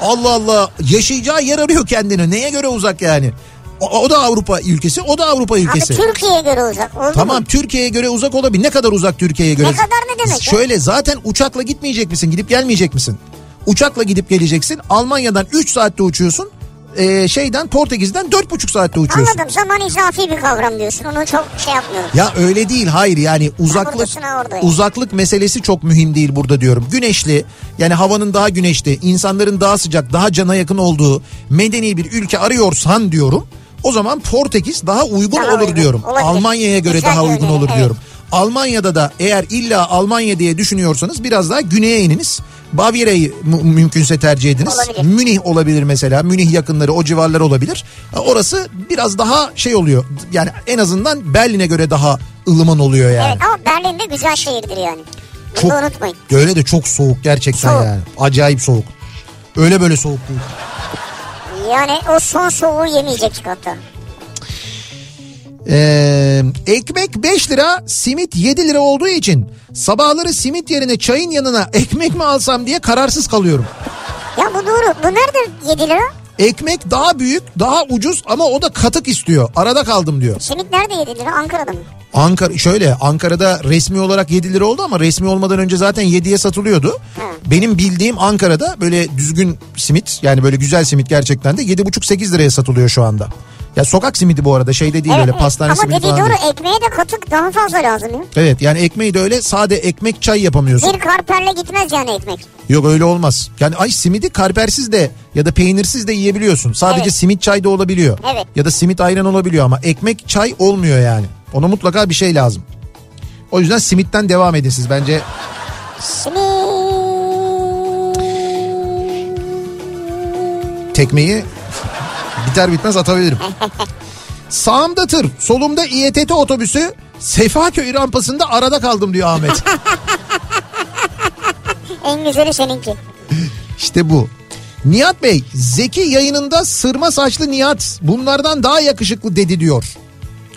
[SPEAKER 3] Allah Allah yaşayacağı yer arıyor kendine. Neye göre uzak yani? O, o da Avrupa ülkesi, o da Avrupa
[SPEAKER 4] Abi
[SPEAKER 3] ülkesi.
[SPEAKER 4] Türkiye'ye göre uzak. Oldu
[SPEAKER 3] Tamam
[SPEAKER 4] Mu?
[SPEAKER 3] Türkiye'ye göre uzak olabilir. Ne kadar uzak Türkiye'ye göre?
[SPEAKER 4] Ne kadar ne demek ya?
[SPEAKER 3] Şöyle zaten uçakla gitmeyecek misin? Gidip gelmeyecek misin? Uçakla gidip geleceksin. Almanya'dan 3 saatte uçuyorsun. Ee, şeyden Portekiz'den 4,5 saatte uçuyorsun.
[SPEAKER 4] Anladım zaman izafi bir kavram diyorsun. Onu çok şey yapmıyorum.
[SPEAKER 3] Ya öyle değil hayır yani uzaklık
[SPEAKER 4] buradasın, ha orada ya.
[SPEAKER 3] uzaklık meselesi çok mühim değil burada diyorum. Güneşli yani havanın daha güneşli, insanların daha sıcak, daha cana yakın olduğu medeni bir ülke arıyorsan diyorum. O zaman Portekiz daha uygun
[SPEAKER 4] Daha
[SPEAKER 3] olur
[SPEAKER 4] uygun,
[SPEAKER 3] diyorum.
[SPEAKER 4] olabilir.
[SPEAKER 3] Almanya'ya göre
[SPEAKER 4] Güzel
[SPEAKER 3] daha
[SPEAKER 4] bir
[SPEAKER 3] uygun
[SPEAKER 4] öneri,
[SPEAKER 3] olur
[SPEAKER 4] evet.
[SPEAKER 3] diyorum. Almanya'da da eğer illa Almanya diye düşünüyorsanız biraz daha güneye ininiz. Bavyera'yı mü- mümkünse tercih ediniz.
[SPEAKER 4] Olabilir.
[SPEAKER 3] Münih olabilir mesela. Münih yakınları o civarlar olabilir. Ha, Orası biraz daha şey oluyor. Yani en azından Berlin'e göre daha ılıman oluyor yani.
[SPEAKER 4] Evet ama Berlin de güzel şehirdir yani. Bunu
[SPEAKER 3] Çok-
[SPEAKER 4] da unutmayın.
[SPEAKER 3] Öyle de çok soğuk gerçekten
[SPEAKER 4] Soğuk.
[SPEAKER 3] yani. Acayip soğuk. Öyle böyle soğuk değil.
[SPEAKER 4] Yani o son soğuğu yemeyecek hatta.
[SPEAKER 3] Ee, ekmek 5 lira, simit 7 lira olduğu için sabahları simit yerine çayın yanına ekmek mi alsam diye kararsız kalıyorum.
[SPEAKER 4] Ya bu doğru. Bu nerede 7 lira?
[SPEAKER 3] Ekmek daha büyük, daha ucuz ama o da katık istiyor. Arada kaldım diyor.
[SPEAKER 4] Simit nerede 7 lira? Ankara'da mı?
[SPEAKER 3] Ankara şöyle Ankara'da resmi olarak 7 lira oldu ama resmi olmadan önce zaten 7'ye satılıyordu. Benim bildiğim Ankara'da böyle düzgün simit yani böyle güzel simit gerçekten de 7,5-8 liraya satılıyor şu anda. Ya sokak simidi bu arada şeyde değil öyle pastane
[SPEAKER 4] Ama
[SPEAKER 3] simidi
[SPEAKER 4] dediği
[SPEAKER 3] falan
[SPEAKER 4] doğru
[SPEAKER 3] değil.
[SPEAKER 4] ekmeğe de katık daha fazla lazım ya.
[SPEAKER 3] Evet yani ekmeği de öyle sade ekmek çay yapamıyorsun.
[SPEAKER 4] Bir karperle gitmez yani ekmek.
[SPEAKER 3] Yok öyle olmaz. Yani ay simidi karpersiz de ya da peynirsiz de yiyebiliyorsun. Sadece
[SPEAKER 4] Evet.
[SPEAKER 3] simit çay da olabiliyor.
[SPEAKER 4] Evet.
[SPEAKER 3] Ya da simit ayran olabiliyor ama ekmek çay olmuyor yani. Ona mutlaka bir şey lazım. O yüzden simitten devam edin siz bence. Tekmeyi biter bitmez atabilirim. Sağımda tır, solumda İETT otobüsü, Sefaköy rampasında arada kaldım diyor Ahmet.
[SPEAKER 4] En güzeli seninki.
[SPEAKER 3] İşte bu. Nihat Bey Zeki yayınında sırma saçlı Nihat bunlardan daha yakışıklı dedi diyor.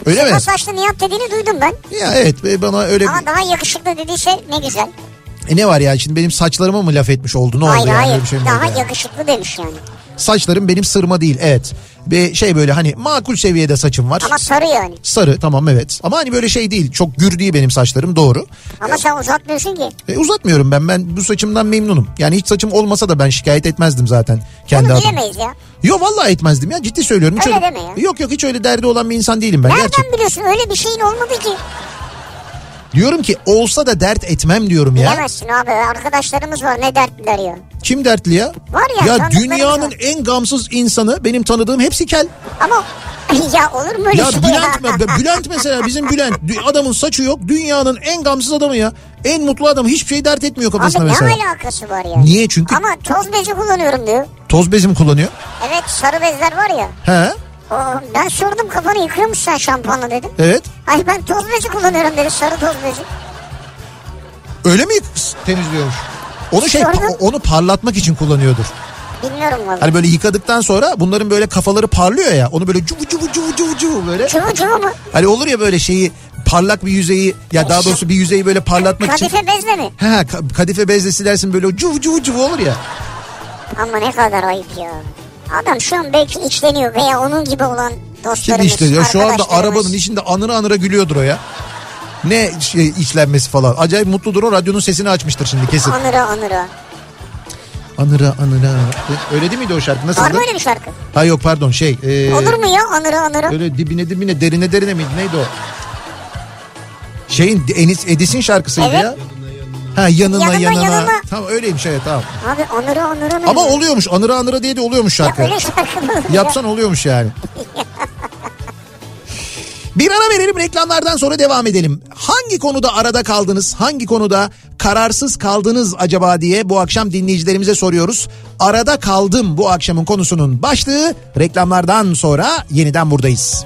[SPEAKER 3] Öyle mi?
[SPEAKER 4] Kısa saçlı Nihat dediğini duydum ben.
[SPEAKER 3] Ya evet e, bana öyle
[SPEAKER 4] Ama daha yakışıklı dediği şey ne güzel.
[SPEAKER 3] E, ne var ya şimdi benim saçlarıma mı laf etmiş oldu ne
[SPEAKER 4] hayır
[SPEAKER 3] oldu yani
[SPEAKER 4] hayır
[SPEAKER 3] Öyle bir şey mi oldu
[SPEAKER 4] daha
[SPEAKER 3] yani?
[SPEAKER 4] yakışıklı demiş yani.
[SPEAKER 3] Saçlarım benim sırma değil evet. Ve şey böyle hani makul seviyede saçım var.
[SPEAKER 4] Ama sarı yani.
[SPEAKER 3] Sarı tamam evet ama hani böyle şey değil çok gür değil benim saçlarım doğru.
[SPEAKER 4] Ama sen uzatmıyorsun ki.
[SPEAKER 3] E, uzatmıyorum ben ben bu saçımdan memnunum. Yani hiç saçım olmasa da ben şikayet etmezdim zaten kendi
[SPEAKER 4] Bunu
[SPEAKER 3] adıma.
[SPEAKER 4] bilemeyiz ya.
[SPEAKER 3] Yo vallahi etmezdim ya ciddi söylüyorum. Hiç
[SPEAKER 4] Öyle deme ya.
[SPEAKER 3] Yok yok hiç öyle derdi olan bir insan değilim ben
[SPEAKER 4] Nereden
[SPEAKER 3] gerçek.
[SPEAKER 4] biliyorsun öyle bir şeyin olmadı ki.
[SPEAKER 3] Diyorum ki olsa da dert etmem diyorum ya.
[SPEAKER 4] Bilemezsin abi arkadaşlarımız var ne dertliler ya.
[SPEAKER 3] Kim dertli ya?
[SPEAKER 4] Var ya,
[SPEAKER 3] Ya
[SPEAKER 4] tanıdıklarımız
[SPEAKER 3] dünyanın
[SPEAKER 4] var.
[SPEAKER 3] en gamsız insanı benim tanıdığım hepsi kel.
[SPEAKER 4] Ama ya olur mu öyle
[SPEAKER 3] Ya
[SPEAKER 4] şey
[SPEAKER 3] Bülent, me- Bülent mesela bizim Bülent dü- adamın saçı yok dünyanın en gamsız adamı ya. En mutlu adam hiçbir şey dert etmiyor kafasına
[SPEAKER 4] Abi ne
[SPEAKER 3] mesela.
[SPEAKER 4] alakası var ya?
[SPEAKER 3] Niye? Çünkü-
[SPEAKER 4] Ama toz bezi kullanıyorum diyor.
[SPEAKER 3] Toz bezim kullanıyor.
[SPEAKER 4] Evet sarı bezler var ya.
[SPEAKER 3] He
[SPEAKER 4] O, ben sordum kafanı yıkıyor musun sen şampuanla dedim.
[SPEAKER 3] evet.
[SPEAKER 4] Hayır ben toz bezi kullanıyorum dedi sarı toz bezi.
[SPEAKER 3] Öyle mi temizliyormuş? Onu şey
[SPEAKER 4] Sonra-
[SPEAKER 3] onu parlatmak için kullanıyordur.
[SPEAKER 4] Bilmiyorum valla.
[SPEAKER 3] Hani böyle yıkadıktan sonra bunların böyle kafaları parlıyor ya. Onu böyle cuvu cuvu cuvu cuvu cuvu böyle.
[SPEAKER 4] Çuvu çuvu mu?
[SPEAKER 3] Hani olur ya böyle şeyi parlak bir yüzeyi ya daha doğrusu bir yüzeyi böyle parlatmak için.
[SPEAKER 4] Kadife bezle mi?
[SPEAKER 3] Ha, ka- kadife bezle silersin böyle cuv cuv cuv olur ya.
[SPEAKER 4] Ama ne kadar ayıp ya. Adam şu an belki içleniyor veya onun gibi olan
[SPEAKER 3] Şimdi
[SPEAKER 4] dostlarımız,
[SPEAKER 3] işte ya şu anda
[SPEAKER 4] arkadaşlarımız.
[SPEAKER 3] arabanın içinde anıra anıra gülüyordur o ya. Ne şey, içlenmesi falan. Acayip mutludur o radyonun sesini açmıştır şimdi kesin.
[SPEAKER 4] Anıra anıra.
[SPEAKER 3] Anıra anıra. Öyle değil miydi o şarkı?
[SPEAKER 4] Var
[SPEAKER 3] Nasıldı?
[SPEAKER 4] mı öyle bir şarkı?
[SPEAKER 3] Ha yok pardon şey. e,
[SPEAKER 4] Olur mu ya anıra anıra?
[SPEAKER 3] Öyle dibine dibine derine derine miydi neydi o? Şeyin Enis Edis'in şarkısıydı
[SPEAKER 4] Evet.
[SPEAKER 3] ya. Ha yanına
[SPEAKER 4] Yanına,
[SPEAKER 3] yanına.
[SPEAKER 4] yanına.
[SPEAKER 3] Tamam öyleymiş evet tamam.
[SPEAKER 4] Abi anıra anıra ne?
[SPEAKER 3] Ama oluyormuş anıra anıra diye de oluyormuş
[SPEAKER 4] Ya
[SPEAKER 3] şarkı.
[SPEAKER 4] öyle şarkı mı? olur ya?
[SPEAKER 3] Yapsan oluyormuş yani. Bir ara verelim reklamlardan sonra devam edelim. Hangi konuda arada kaldınız, hangi konuda kararsız kaldınız acaba diye bu akşam dinleyicilerimize soruyoruz. Arada kaldım bu akşamın konusunun başlığı reklamlardan sonra yeniden buradayız.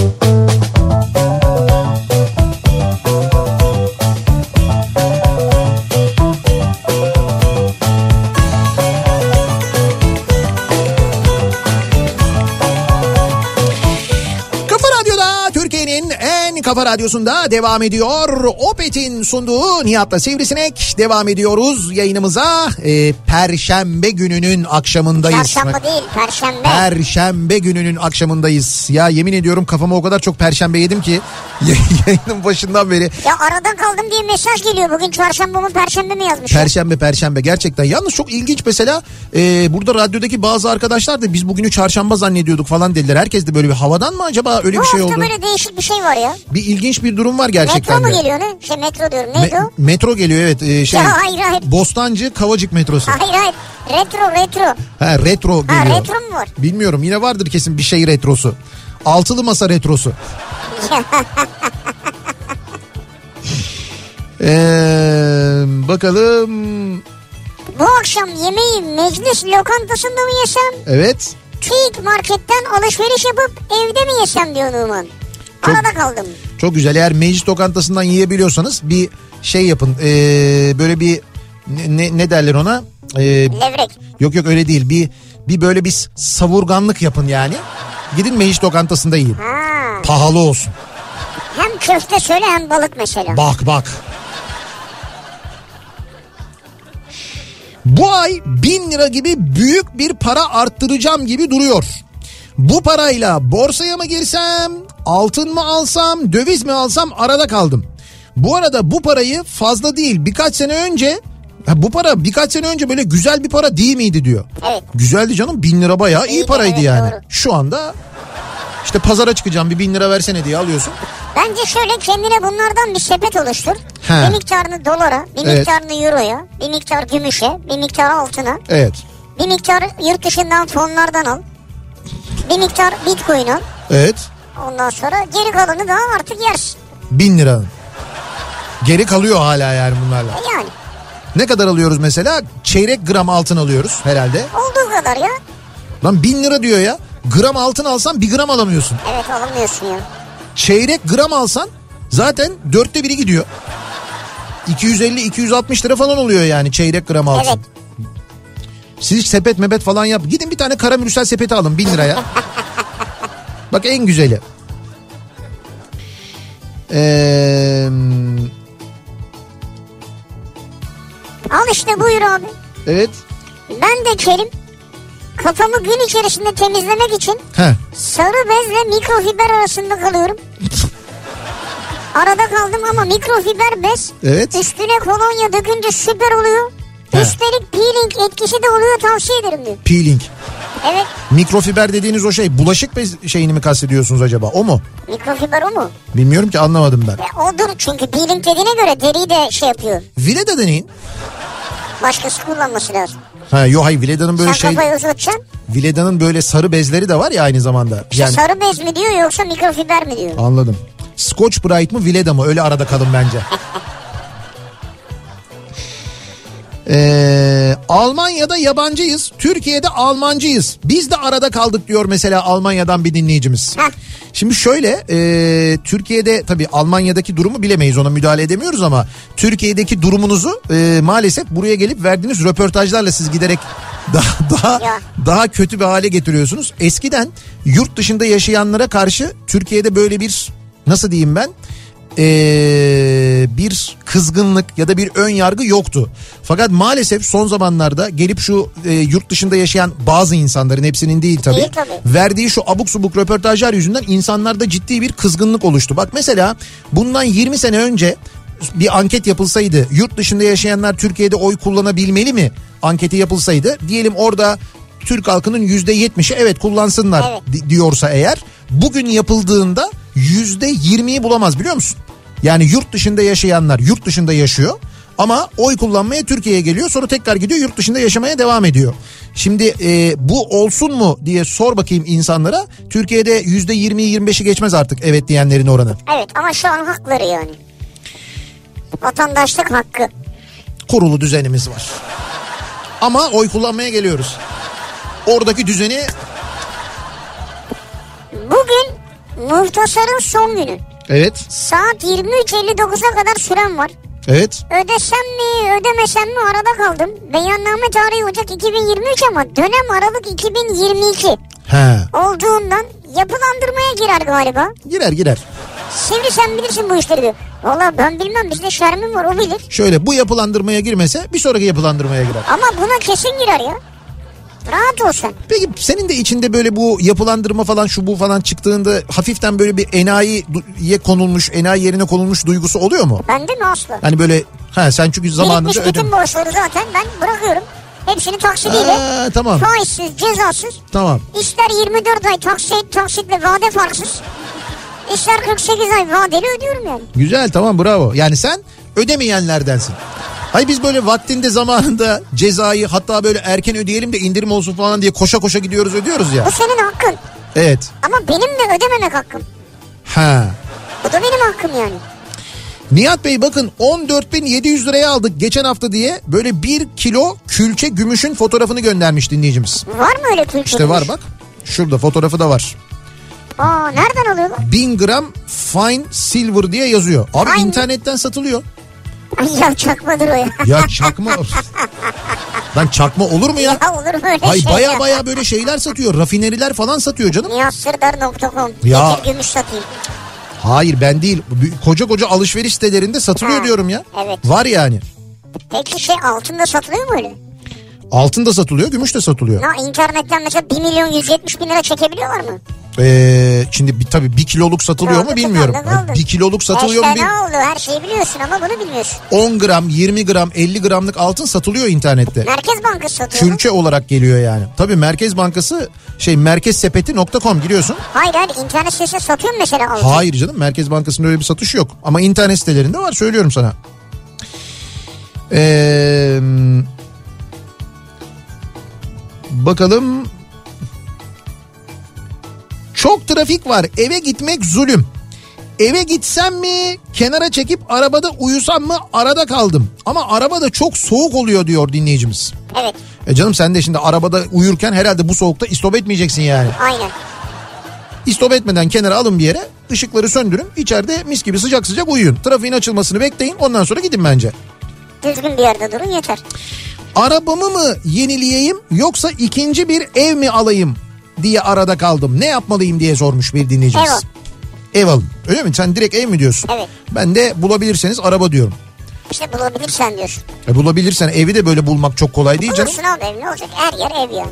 [SPEAKER 3] Kafa Radyo'da Türkiye'nin en kafa radyosunda devam ediyor. Opet'in sunduğu Nihat'la Sivrisinek devam ediyoruz yayınımıza. Ee, Perşembe gününün akşamındayız.
[SPEAKER 4] Çarşamba değil perşembe.
[SPEAKER 3] Perşembe gününün akşamındayız. Ya yemin ediyorum kafama o kadar çok perşembe yedim ki yayının başından beri
[SPEAKER 4] Ya arada kaldım diye mesaj geliyor. Bugün çarşamba mı perşembe mi yazmış?
[SPEAKER 3] Perşembe perşembe gerçekten. Yalnız çok ilginç mesela e, burada radyodaki bazı arkadaşlar da biz bugünü çarşamba zannediyorduk falan dediler. Herkes de böyle bir havadan mı acaba öyle
[SPEAKER 4] Bu
[SPEAKER 3] bir şey
[SPEAKER 4] hafta
[SPEAKER 3] oldu?
[SPEAKER 4] böyle değişik bir şey var ya.
[SPEAKER 3] Bir ilginç bir durum var
[SPEAKER 4] Metro
[SPEAKER 3] gerçekten
[SPEAKER 4] mu
[SPEAKER 3] de.
[SPEAKER 4] geliyor ne? Şey metro diyorum. Neydi
[SPEAKER 3] Me-
[SPEAKER 4] o?
[SPEAKER 3] metro geliyor evet. e, şey,
[SPEAKER 4] Ya hayır, hayır.
[SPEAKER 3] Bostancı Kavacık metrosu.
[SPEAKER 4] Hayır hayır. Retro retro.
[SPEAKER 3] Ha retro
[SPEAKER 4] Ha
[SPEAKER 3] geliyor.
[SPEAKER 4] retro mu var?
[SPEAKER 3] Bilmiyorum yine vardır kesin bir şey retrosu. Altılı masa retrosu. Ee, bakalım.
[SPEAKER 4] Bu akşam yemeği meclis lokantasında mı yesem?
[SPEAKER 3] Evet.
[SPEAKER 4] TÜİK marketten alışveriş yapıp evde mi yesem diyor Numan.
[SPEAKER 3] Çok-
[SPEAKER 4] Arada kaldım.
[SPEAKER 3] Çok güzel. Eğer meclis lokantasından yiyebiliyorsanız bir şey yapın. Ee, böyle bir ne, ne, ne derler ona? Ee,
[SPEAKER 4] Levrek.
[SPEAKER 3] yok yok öyle değil. Bir bir böyle bir savurganlık yapın yani. Gidin meclis lokantasında yiyin.
[SPEAKER 4] Ha.
[SPEAKER 3] Pahalı olsun.
[SPEAKER 4] Hem köfte söyle hem balık mesela.
[SPEAKER 3] Bak bak. Bu ay 1000 lira gibi büyük bir para arttıracağım gibi duruyor. Bu parayla borsaya mı girsem, altın mı alsam, döviz mi alsam arada kaldım. Bu arada bu parayı fazla değil birkaç sene önce Ha bu para birkaç sene önce böyle güzel bir para değil miydi diyor.
[SPEAKER 4] Evet.
[SPEAKER 3] Güzeldi canım bin lira bayağı iyi
[SPEAKER 4] İyiydi,
[SPEAKER 3] paraydı
[SPEAKER 4] evet,
[SPEAKER 3] yani.
[SPEAKER 4] doğru.
[SPEAKER 3] Şu anda işte pazara çıkacağım bir bin lira versene diye alıyorsun.
[SPEAKER 4] Bence şöyle kendine bunlardan bir sepet oluştur.
[SPEAKER 3] He.
[SPEAKER 4] Bir miktarını dolara, bir
[SPEAKER 3] Evet.
[SPEAKER 4] miktarını euroya, bir miktar gümüşe, bir miktar altına,
[SPEAKER 3] Evet.
[SPEAKER 4] bir miktar yurt dışından fonlardan al. Bir miktar bitcoin al.
[SPEAKER 3] Evet.
[SPEAKER 4] Ondan sonra geri kalanı da al artık yersin.
[SPEAKER 3] Bin lira. Geri kalıyor hala yani bunlarla.
[SPEAKER 4] E Yani
[SPEAKER 3] Ne kadar alıyoruz mesela? Çeyrek gram altın alıyoruz herhalde.
[SPEAKER 4] olduğu kadar ya.
[SPEAKER 3] Lan bin lira diyor ya. Gram altın alsan bir gram alamıyorsun.
[SPEAKER 4] Evet alınmıyorsun ya.
[SPEAKER 3] Çeyrek gram alsan zaten dörtte biri gidiyor. 250-260 lira falan oluyor yani çeyrek gram altın.
[SPEAKER 4] Evet.
[SPEAKER 3] Siz hiç sepet mebet falan yap. Gidin bir tane karamürsel sepeti alın bin liraya. Bak en güzeli. Eee...
[SPEAKER 4] Al işte buyur abi.
[SPEAKER 3] Evet.
[SPEAKER 4] Ben de Kerim kafamı gün içerisinde temizlemek için
[SPEAKER 3] Heh.
[SPEAKER 4] sarı bezle mikrofiber arasında kalıyorum. Arada kaldım ama mikrofiber bez
[SPEAKER 3] Evet.
[SPEAKER 4] üstüne kolonya dökünce süper oluyor.
[SPEAKER 3] He.
[SPEAKER 4] Üstelik peeling etkisi de oluyor tavsiye ederim diyor.
[SPEAKER 3] Peeling.
[SPEAKER 4] Evet
[SPEAKER 3] Mikrofiber dediğiniz o şey bulaşık bez şeyini mi kastediyorsunuz acaba? O mu?
[SPEAKER 4] mikrofiber o mu?
[SPEAKER 3] Bilmiyorum ki anlamadım ben.
[SPEAKER 4] E, odur çünkü peeling dediğine göre deriyi de şey yapıyor.
[SPEAKER 3] Vile de deneyin.
[SPEAKER 4] Başkası kullanması lazım.
[SPEAKER 3] Ha yo hayır Vileda'nın böyle
[SPEAKER 4] Sen
[SPEAKER 3] şey
[SPEAKER 4] kafayı uzatacaksın.
[SPEAKER 3] Vileda'nın böyle sarı bezleri de var ya aynı zamanda. Yani
[SPEAKER 4] Sarı bez mi diyor yoksa mikrofiber mi diyor?
[SPEAKER 3] anladım. Scotch Brite mı Vileda mı öyle arada kalın bence. Ee, Almanya'da yabancıyız, Türkiye'de Almancıyız. Biz de arada kaldık diyor mesela Almanya'dan bir dinleyicimiz.
[SPEAKER 4] Heh.
[SPEAKER 3] Şimdi şöyle e, Türkiye'de tabii Almanya'daki durumu bilemeyiz ona müdahale edemiyoruz ama Türkiye'deki durumunuzu e, maalesef buraya gelip verdiğiniz röportajlarla siz giderek daha daha
[SPEAKER 4] Ya.
[SPEAKER 3] daha kötü bir hale getiriyorsunuz. Eskiden yurt dışında yaşayanlara karşı Türkiye'de böyle bir nasıl diyeyim ben ee, bir kızgınlık ya da bir ön yargı yoktu. Fakat maalesef son zamanlarda gelip şu e, yurt dışında yaşayan bazı insanların hepsinin değil tabii,
[SPEAKER 4] Değil tabii.
[SPEAKER 3] verdiği şu abuk subuk röportajlar yüzünden insanlarda ciddi bir kızgınlık oluştu. Bak mesela bundan 20 sene önce bir anket yapılsaydı yurt dışında yaşayanlar Türkiye'de oy kullanabilmeli mi anketi yapılsaydı diyelim orada Türk halkının yüzde yetmişi evet kullansınlar
[SPEAKER 4] Evet.
[SPEAKER 3] di- diyorsa eğer bugün yapıldığında yüzde yirmiyi bulamaz biliyor musun? Yani yurt dışında yaşayanlar yurt dışında yaşıyor ama oy kullanmaya Türkiye'ye geliyor sonra tekrar gidiyor yurt dışında yaşamaya devam ediyor. Şimdi e, bu olsun mu diye sor bakayım insanlara Türkiye'de yüzde yirmiyi yirmi beşi geçmez artık evet diyenlerin oranı.
[SPEAKER 4] Evet ama şu an hakları yani. Vatandaşlık hakkı.
[SPEAKER 3] kurulu düzenimiz var. Ama oy kullanmaya geliyoruz. Oradaki düzeni
[SPEAKER 4] Bugün muhtasarın son günü.
[SPEAKER 3] evet
[SPEAKER 4] Saat 23.59'a kadar sürem var.
[SPEAKER 3] evet
[SPEAKER 4] Ödesem mi ödemesem mi arada kaldım. Beyanname tarihi Ocak 2023 ama dönem Aralık 2022
[SPEAKER 3] he
[SPEAKER 4] olduğundan yapılandırmaya girer galiba.
[SPEAKER 3] girer girer.
[SPEAKER 4] Sivri sen bilirsin bu işleri diyor. Valla ben bilmem bizde Şermin var o bilir.
[SPEAKER 3] Şöyle bu yapılandırmaya girmese bir sonraki yapılandırmaya girer.
[SPEAKER 4] Ama buna kesin girer ya. Rahat ol sen.
[SPEAKER 3] Peki senin de içinde böyle bu yapılandırma falan şu bu falan çıktığında hafiften böyle bir enayiye konulmuş enayi yerine konulmuş duygusu oluyor mu?
[SPEAKER 4] Bende mi aslı?
[SPEAKER 3] Hani böyle ha sen çünkü
[SPEAKER 4] Birikmiş
[SPEAKER 3] zamanında
[SPEAKER 4] bütün
[SPEAKER 3] ödem.
[SPEAKER 4] borçları zaten ben bırakıyorum. Hepsini taksidiyle.
[SPEAKER 3] Aa, Ee, tamam
[SPEAKER 4] Faizsiz, cezasız.
[SPEAKER 3] tamam.
[SPEAKER 4] İster 24 ay taksit, taksitle vade farksız. İster 48 ay vadeli ödüyorum yani.
[SPEAKER 3] Güzel tamam bravo. Yani sen ödemeyenlerdensin. Hayır biz böyle vaktinde zamanında cezayı hatta böyle erken ödeyelim de indirim olsun falan diye koşa koşa gidiyoruz ödüyoruz ya.
[SPEAKER 4] Bu senin hakkın.
[SPEAKER 3] Evet.
[SPEAKER 4] Ama benim de ödememek hakkım.
[SPEAKER 3] Ha.
[SPEAKER 4] Bu da benim hakkım yani.
[SPEAKER 3] Nihat Bey bakın 14.700 liraya aldık geçen hafta diye böyle bir kilo külçe gümüşün fotoğrafını göndermiş dinleyicimiz.
[SPEAKER 4] Var mı öyle Türkiye'de?
[SPEAKER 3] İşte var bak şurada fotoğrafı da var.
[SPEAKER 4] Aa nereden alıyorlar?
[SPEAKER 3] 1000 gram fine silver diye yazıyor. Abi
[SPEAKER 4] Fine.
[SPEAKER 3] internetten satılıyor.
[SPEAKER 4] Ay ya çakmadır o ya.
[SPEAKER 3] Ya çakma. Lan çakma olur mu ya?
[SPEAKER 4] Ha olur mu öyle
[SPEAKER 3] Ay
[SPEAKER 4] şey
[SPEAKER 3] baya
[SPEAKER 4] ya?
[SPEAKER 3] baya böyle şeyler satıyor. Rafineriler falan satıyor canım.
[SPEAKER 4] Niyatsırdar.com
[SPEAKER 3] Ya.
[SPEAKER 4] Getir gümüş satayım.
[SPEAKER 3] Hayır ben değil. Bu- Koca koca alışveriş sitelerinde satılıyor
[SPEAKER 4] Ha,
[SPEAKER 3] diyorum ya.
[SPEAKER 4] evet.
[SPEAKER 3] Var yani.
[SPEAKER 4] Peki şey altında satılıyor mu öyle?
[SPEAKER 3] Altın da satılıyor, gümüş de satılıyor.
[SPEAKER 4] Ya internetten mesela 1 milyon 170 bin lira çekebiliyorlar mı?
[SPEAKER 3] Ee, şimdi bir, tabii bir kiloluk satılıyor mu
[SPEAKER 4] Oldu,
[SPEAKER 3] bilmiyorum.
[SPEAKER 4] tıkandı, oldu.
[SPEAKER 3] Bir kiloluk satılıyor mu
[SPEAKER 4] İşte ne
[SPEAKER 3] bilmiyorum.
[SPEAKER 4] oldu her şeyi biliyorsun ama bunu bilmiyorsun.
[SPEAKER 3] 10 gram, 20 gram, 50 gramlık altın satılıyor internette.
[SPEAKER 4] Merkez Bankası satıyor. mu?
[SPEAKER 3] Külçe olarak geliyor yani. Tabii Merkez Bankası şey merkezsepeti.com giriyorsun.
[SPEAKER 4] Hayır hayır internet sitesinde satıyor mu mesela altın?
[SPEAKER 3] Hayır canım Merkez Bankası'nda öyle bir satış yok. Ama internet sitelerinde var söylüyorum sana. Ee, bakalım. Çok trafik var eve gitmek zulüm. Eve gitsem mi kenara çekip arabada uyusam mı arada kaldım. Ama arabada çok soğuk oluyor diyor dinleyicimiz.
[SPEAKER 4] Evet
[SPEAKER 3] E canım sen de şimdi arabada uyurken herhalde bu soğukta istop etmeyeceksin yani.
[SPEAKER 4] aynen.
[SPEAKER 3] İstop etmeden kenara alın bir yere. ışıkları söndürün. içeride mis gibi sıcak sıcak uyuyun. Trafiğin açılmasını bekleyin. Ondan sonra gidin bence.
[SPEAKER 4] Düzgün bir yerde durun yeter.
[SPEAKER 3] Arabamı mı yenileyeyim yoksa ikinci bir ev mi alayım diye arada kaldım. Ne yapmalıyım diye sormuş bir dinleyicimiz.
[SPEAKER 4] Ev al.
[SPEAKER 3] Ev alın. Öyle mi? Sen direkt ev mi diyorsun?
[SPEAKER 4] Evet.
[SPEAKER 3] Ben de bulabilirseniz araba diyorum.
[SPEAKER 4] İşte bulabilirsen diyorsun.
[SPEAKER 3] E bulabilirsen evi de böyle bulmak çok kolay değil canım.
[SPEAKER 4] Bulursun abi ev ne olacak her yer ev yani.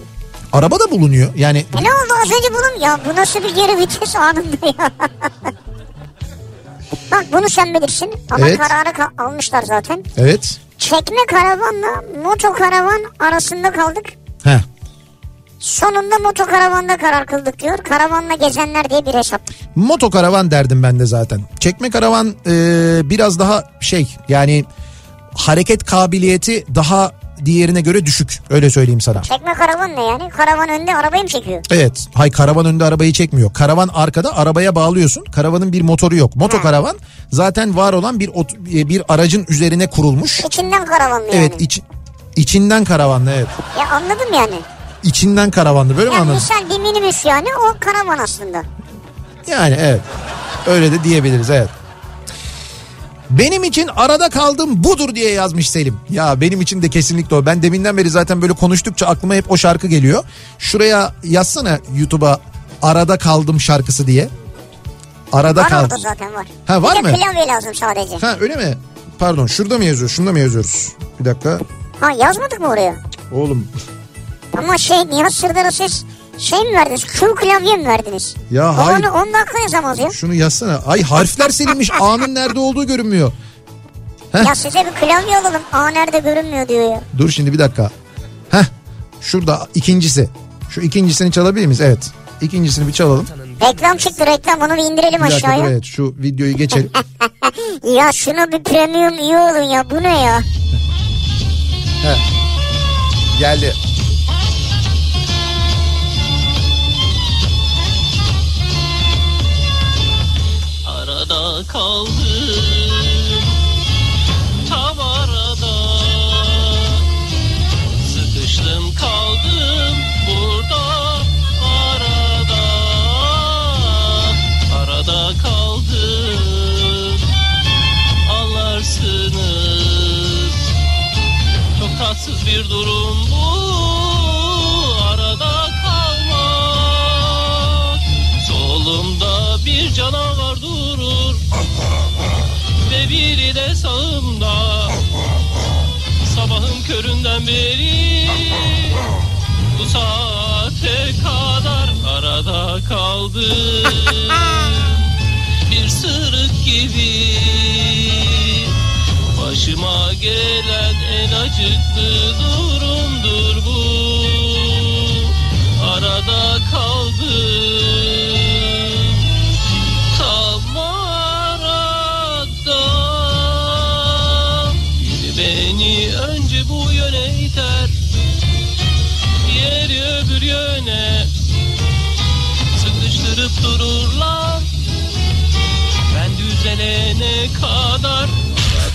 [SPEAKER 3] Araba da bulunuyor. Yani
[SPEAKER 4] E ne oldu az önce bunun ya bu nasıl bir geri vites anında ya. Bak bunu sen bilirsin ama
[SPEAKER 3] Evet.
[SPEAKER 4] kararı ka- almışlar zaten.
[SPEAKER 3] evet.
[SPEAKER 4] Çekme karavanla motokaravan arasında kaldık.
[SPEAKER 3] Heh.
[SPEAKER 4] Sonunda motokaravanda karar kıldık diyor. Karavanla gezenler diye bir hesap.
[SPEAKER 3] Motokaravan derdim ben de zaten. Çekme karavan e, biraz daha şey yani hareket kabiliyeti daha diğerine göre düşük. Öyle söyleyeyim sana.
[SPEAKER 4] Çekme karavan ne yani? Karavan önde arabayı mı çekiyor?
[SPEAKER 3] Evet. Hay karavan önde arabayı çekmiyor. Karavan arkada arabaya bağlıyorsun. Karavanın bir motoru yok. Motokaravan zaten var olan bir ot- e, bir aracın üzerine kurulmuş.
[SPEAKER 4] İçinden karavanlı yani.
[SPEAKER 3] Evet iç, içinden karavanlı evet.
[SPEAKER 4] Ya anladım yani.
[SPEAKER 3] İçinden karavanlı böyle mi
[SPEAKER 4] Yani
[SPEAKER 3] anladın?
[SPEAKER 4] misal bir minibüs yani o karavan aslında.
[SPEAKER 3] Yani evet. Öyle de diyebiliriz evet. Benim için arada kaldım budur diye yazmış Selim. Ya benim için de kesinlikle o. Ben deminden beri zaten böyle konuştukça aklıma hep o şarkı geliyor. Şuraya yazsana YouTube'a arada kaldım şarkısı diye. Arada
[SPEAKER 4] Var orada
[SPEAKER 3] kaldım.
[SPEAKER 4] zaten var.
[SPEAKER 3] Ha, var
[SPEAKER 4] bir
[SPEAKER 3] mı?
[SPEAKER 4] de klavye lazım sadece. Ha.
[SPEAKER 3] Ha öyle mi? Pardon şurada mı yazıyoruz? Şunda mı yazıyoruz? Bir dakika.
[SPEAKER 4] yazmadık mı oraya?
[SPEAKER 3] Oğlum
[SPEAKER 4] Ama şey Nihat Sırdar'a siz şey mi verdiniz? Q klavye mi verdiniz?
[SPEAKER 3] Ya
[SPEAKER 4] Baba
[SPEAKER 3] hayır.
[SPEAKER 4] Onu 10 dakika yazamaz ya.
[SPEAKER 3] şunu yazsana. Ay harfler silinmiş. A'nın nerede olduğu görünmüyor.
[SPEAKER 4] Ya size bir klavye alalım. Aa nerede görünmüyor diyor ya.
[SPEAKER 3] Dur şimdi bir dakika. Heh. Şurada ikincisi. Şu ikincisini çalabilir miyiz? Evet. İkincisini bir çalalım.
[SPEAKER 4] Reklam çıktı reklam onu bir indirelim
[SPEAKER 3] Bir dakika dur,
[SPEAKER 4] aşağıya.
[SPEAKER 3] evet. Şu videoyu geçelim.
[SPEAKER 4] Ya şuna bir premium iyi olun ya bu ne ya?
[SPEAKER 3] Heh. Geldi.
[SPEAKER 5] Arada kaldım Tam arada Sıkıştım kaldım Burada Arada Arada kaldım Anlarsınız Çok tatsız bir durum bu Arada kalmak Solumda bir canavar durur Ve biri de sağımda Sabahın köründen beri Bu saate kadar arada kaldım Bir sırık gibi Başıma gelen en acıklı durumdur bu Arada kaldım Tam arada Biri beni önce bu yöne iter Diğeri öbür yöne Sıkıştırıp dururlar Ben düzelene kadar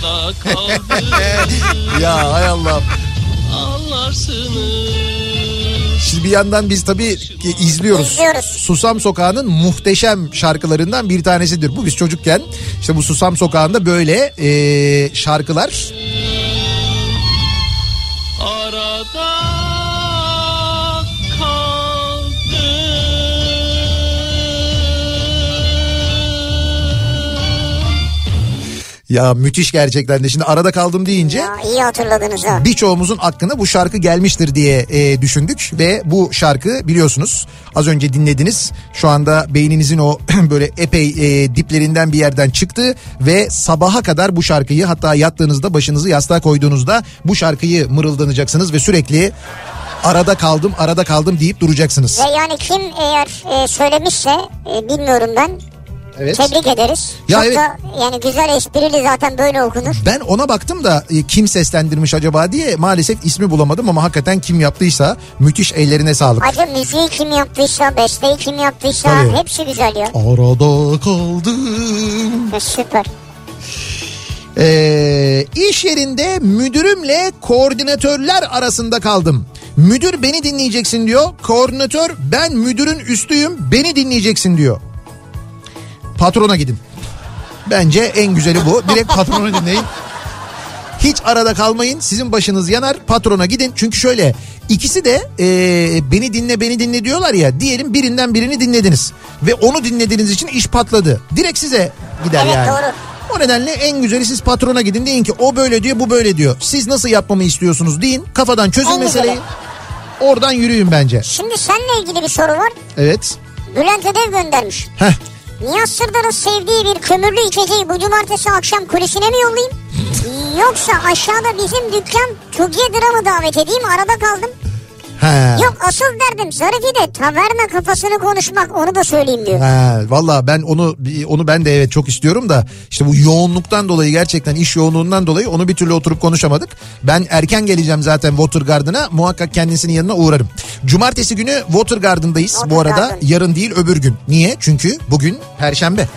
[SPEAKER 5] Arada kaldım
[SPEAKER 3] Ya hay Allah.
[SPEAKER 5] Anlarsınız
[SPEAKER 3] Şimdi bir yandan biz tabii ki izliyoruz.
[SPEAKER 4] İzliyoruz.
[SPEAKER 3] Susam Sokağı'nın muhteşem şarkılarından bir tanesidir. Bu biz çocukken işte bu Susam Sokağı'nda böyle eee, şarkılar
[SPEAKER 5] Arada kaldım
[SPEAKER 3] Ya müthiş gerçekten de şimdi arada kaldım deyince
[SPEAKER 4] Ya, iyi hatırladınız ha.
[SPEAKER 3] birçoğumuzun aklına bu şarkı gelmiştir diye e, düşündük ve bu şarkı biliyorsunuz az önce dinlediniz şu anda beyninizin o böyle epey e, diplerinden bir yerden çıktı ve sabaha kadar bu şarkıyı hatta yattığınızda başınızı yastığa koyduğunuzda bu şarkıyı mırıldanacaksınız ve sürekli arada kaldım arada kaldım deyip duracaksınız.
[SPEAKER 4] Ve yani kim eğer e, söylemişse e, bilmiyorum ben.
[SPEAKER 3] Evet.
[SPEAKER 4] Tebrik ederiz.
[SPEAKER 3] Ya
[SPEAKER 4] Çok
[SPEAKER 3] evet.
[SPEAKER 4] da yani güzel esprili zaten böyle okunur.
[SPEAKER 3] Ben ona baktım da e, kim seslendirmiş acaba diye maalesef ismi bulamadım ama hakikaten kim yaptıysa müthiş ellerine sağlık.
[SPEAKER 4] Acı müziği kim yaptıysa, besteyi kim yaptıysa
[SPEAKER 3] Tabii.
[SPEAKER 4] hepsi güzel ya.
[SPEAKER 3] Arada kaldım.
[SPEAKER 4] Ya Süper.
[SPEAKER 3] Ee, iş yerinde müdürümle koordinatörler arasında kaldım. Müdür beni dinleyeceksin diyor. Koordinatör ben müdürün üstüyüm beni dinleyeceksin diyor. Patrona gidin. Bence en güzeli bu. Direkt patronu dinleyin. Hiç arada kalmayın. Sizin başınız yanar. Patrona gidin. Çünkü şöyle ikisi de e, beni dinle beni dinle diyorlar ya. Diyelim birinden birini dinlediniz. Ve onu dinlediğiniz için iş patladı. Direkt size gider
[SPEAKER 4] Evet,
[SPEAKER 3] yani.
[SPEAKER 4] doğru.
[SPEAKER 3] O nedenle en güzeli siz patrona gidin deyin ki o böyle diyor bu böyle diyor. Siz nasıl yapmamı istiyorsunuz deyin. Kafadan çözün
[SPEAKER 4] En güzeli.
[SPEAKER 3] meseleyi. Oradan yürüyün bence.
[SPEAKER 4] Şimdi seninle ilgili bir soru var.
[SPEAKER 3] Evet.
[SPEAKER 4] Bülent Ödev göndermiş.
[SPEAKER 3] Heh.
[SPEAKER 4] Nihat Sırdar'ın sevdiği bir kömürlü içeceği bu cumartesi akşam kulesine mi yollayayım? Yoksa aşağıda bizim dükkan Together'a mı davet edeyim arada kaldım.
[SPEAKER 3] Ha.
[SPEAKER 4] Yok asıl derdim Zarifi de taverna kafasını konuşmak onu da söyleyeyim diyor.
[SPEAKER 3] Ha, valla ben onu onu ben de evet çok istiyorum da işte bu yoğunluktan dolayı gerçekten iş yoğunluğundan dolayı onu bir türlü oturup konuşamadık. Ben erken geleceğim zaten Water Garden'a muhakkak kendisinin yanına uğrarım. Cumartesi günü Water Garden'dayız bu
[SPEAKER 4] Water
[SPEAKER 3] arada
[SPEAKER 4] Garden.
[SPEAKER 3] yarın değil öbür gün. Niye? Çünkü bugün Perşembe.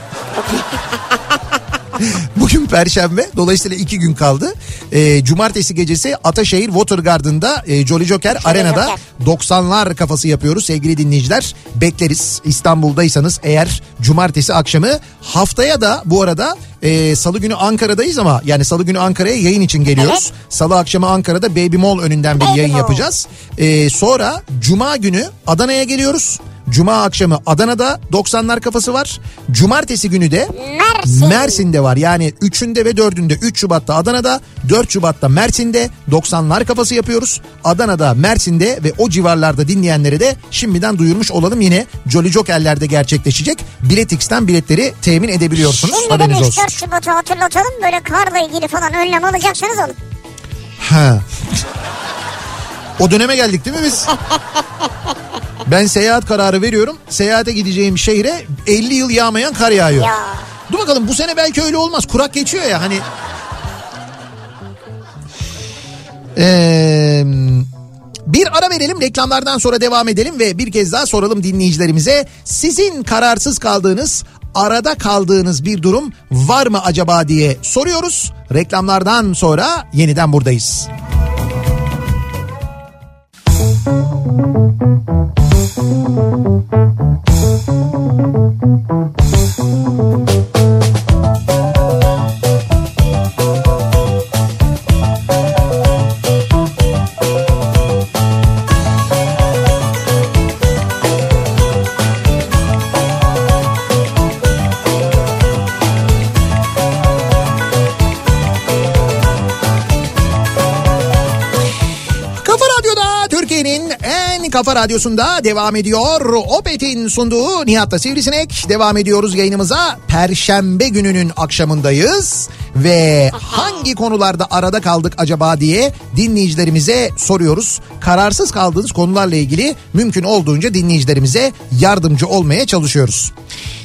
[SPEAKER 3] Bugün Perşembe. Dolayısıyla iki gün kaldı. Ee, Cumartesi gecesi Ataşehir Water Garden'da e, Jolly Joker Arena'da
[SPEAKER 4] Joker.
[SPEAKER 3] 90'lar kafası yapıyoruz sevgili dinleyiciler. Bekleriz İstanbul'daysanız eğer cumartesi akşamı haftaya da bu arada e, salı günü Ankara'dayız ama yani salı günü Ankara'ya yayın için geliyoruz.
[SPEAKER 4] Evet.
[SPEAKER 3] Salı akşamı Ankara'da Baby Mall önünden bir
[SPEAKER 4] Baby
[SPEAKER 3] yayın
[SPEAKER 4] Mall.
[SPEAKER 3] yapacağız. E, sonra cuma günü Adana'ya geliyoruz. Cuma akşamı Adana'da 90'lar kafası var. Cumartesi günü de
[SPEAKER 4] Mersin.
[SPEAKER 3] Mersin'de var. Yani 3'ünde ve 4'ünde 3 Şubat'ta Adana'da, 4 Şubat'ta Mersin'de 90'lar kafası yapıyoruz. Adana'da, Mersin'de ve o civarlarda dinleyenlere de şimdiden duyurmuş olalım yine Jolly Joker'lerde gerçekleşecek. Biletix'ten biletleri temin edebiliyorsunuz.
[SPEAKER 4] Şimdi de
[SPEAKER 3] Haberiniz
[SPEAKER 4] biz
[SPEAKER 3] olsun.
[SPEAKER 4] 4 Şubat'ı hatırlatalım böyle karla ilgili falan önlem alacaksanız alın.
[SPEAKER 3] Ha. O döneme geldik değil mi biz? Ben seyahat kararı veriyorum. Seyahate gideceğim şehre 50 yıl yağmayan kar yağıyor.
[SPEAKER 4] Ya.
[SPEAKER 3] Dur bakalım bu sene belki öyle olmaz. Kurak geçiyor ya hani. Ee, bir ara verelim reklamlardan sonra devam edelim ve bir kez daha soralım dinleyicilerimize. Sizin kararsız kaldığınız arada kaldığınız bir durum var mı acaba diye soruyoruz. Reklamlardan sonra yeniden buradayız. Kafa Radyo'da Türkiye'nin en kafa radyosunda devam ediyor. Opet'in sunduğu Nihat'la Sivrisinek. Devam ediyoruz yayınımıza. Perşembe gününün akşamındayız. Ve hangi konularda arada kaldık acaba diye dinleyicilerimize soruyoruz. Kararsız kaldığınız konularla ilgili mümkün olduğunca dinleyicilerimize yardımcı olmaya çalışıyoruz.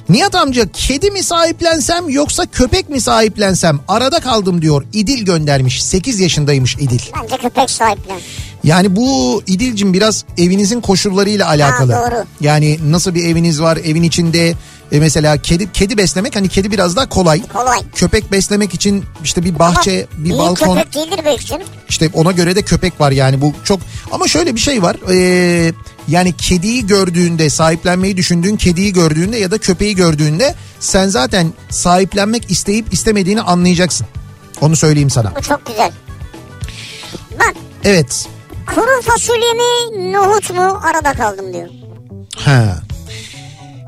[SPEAKER 3] Nihat amca kedi mi sahiplensem yoksa köpek mi sahiplensem arada kaldım diyor. İdil göndermiş 8 yaşındaymış İdil.
[SPEAKER 4] Bence köpek sahiplen.
[SPEAKER 3] Yani bu İdil'cim biraz evinizin koşullarıyla alakalı.
[SPEAKER 4] doğru.
[SPEAKER 3] Yani nasıl bir eviniz var, evin içinde e, mesela kedi kedi beslemek hani kedi biraz daha kolay.
[SPEAKER 4] Kolay.
[SPEAKER 3] Köpek beslemek için işte bir bahçe,
[SPEAKER 4] Ama
[SPEAKER 3] bir
[SPEAKER 4] iyi
[SPEAKER 3] balkon
[SPEAKER 4] köpek değildir belki canım.
[SPEAKER 3] işte ona göre de köpek var yani bu çok ama şöyle bir şey var. Ee, yani kediyi gördüğünde, sahiplenmeyi düşündüğün kediyi gördüğünde ya da köpeği gördüğünde sen zaten sahiplenmek isteyip istemediğini anlayacaksın. Onu söyleyeyim sana.
[SPEAKER 4] Bu çok güzel. Bak
[SPEAKER 3] Evet.
[SPEAKER 4] kuru fasulye mi nohut mu arada kaldım diyor.
[SPEAKER 3] Ha.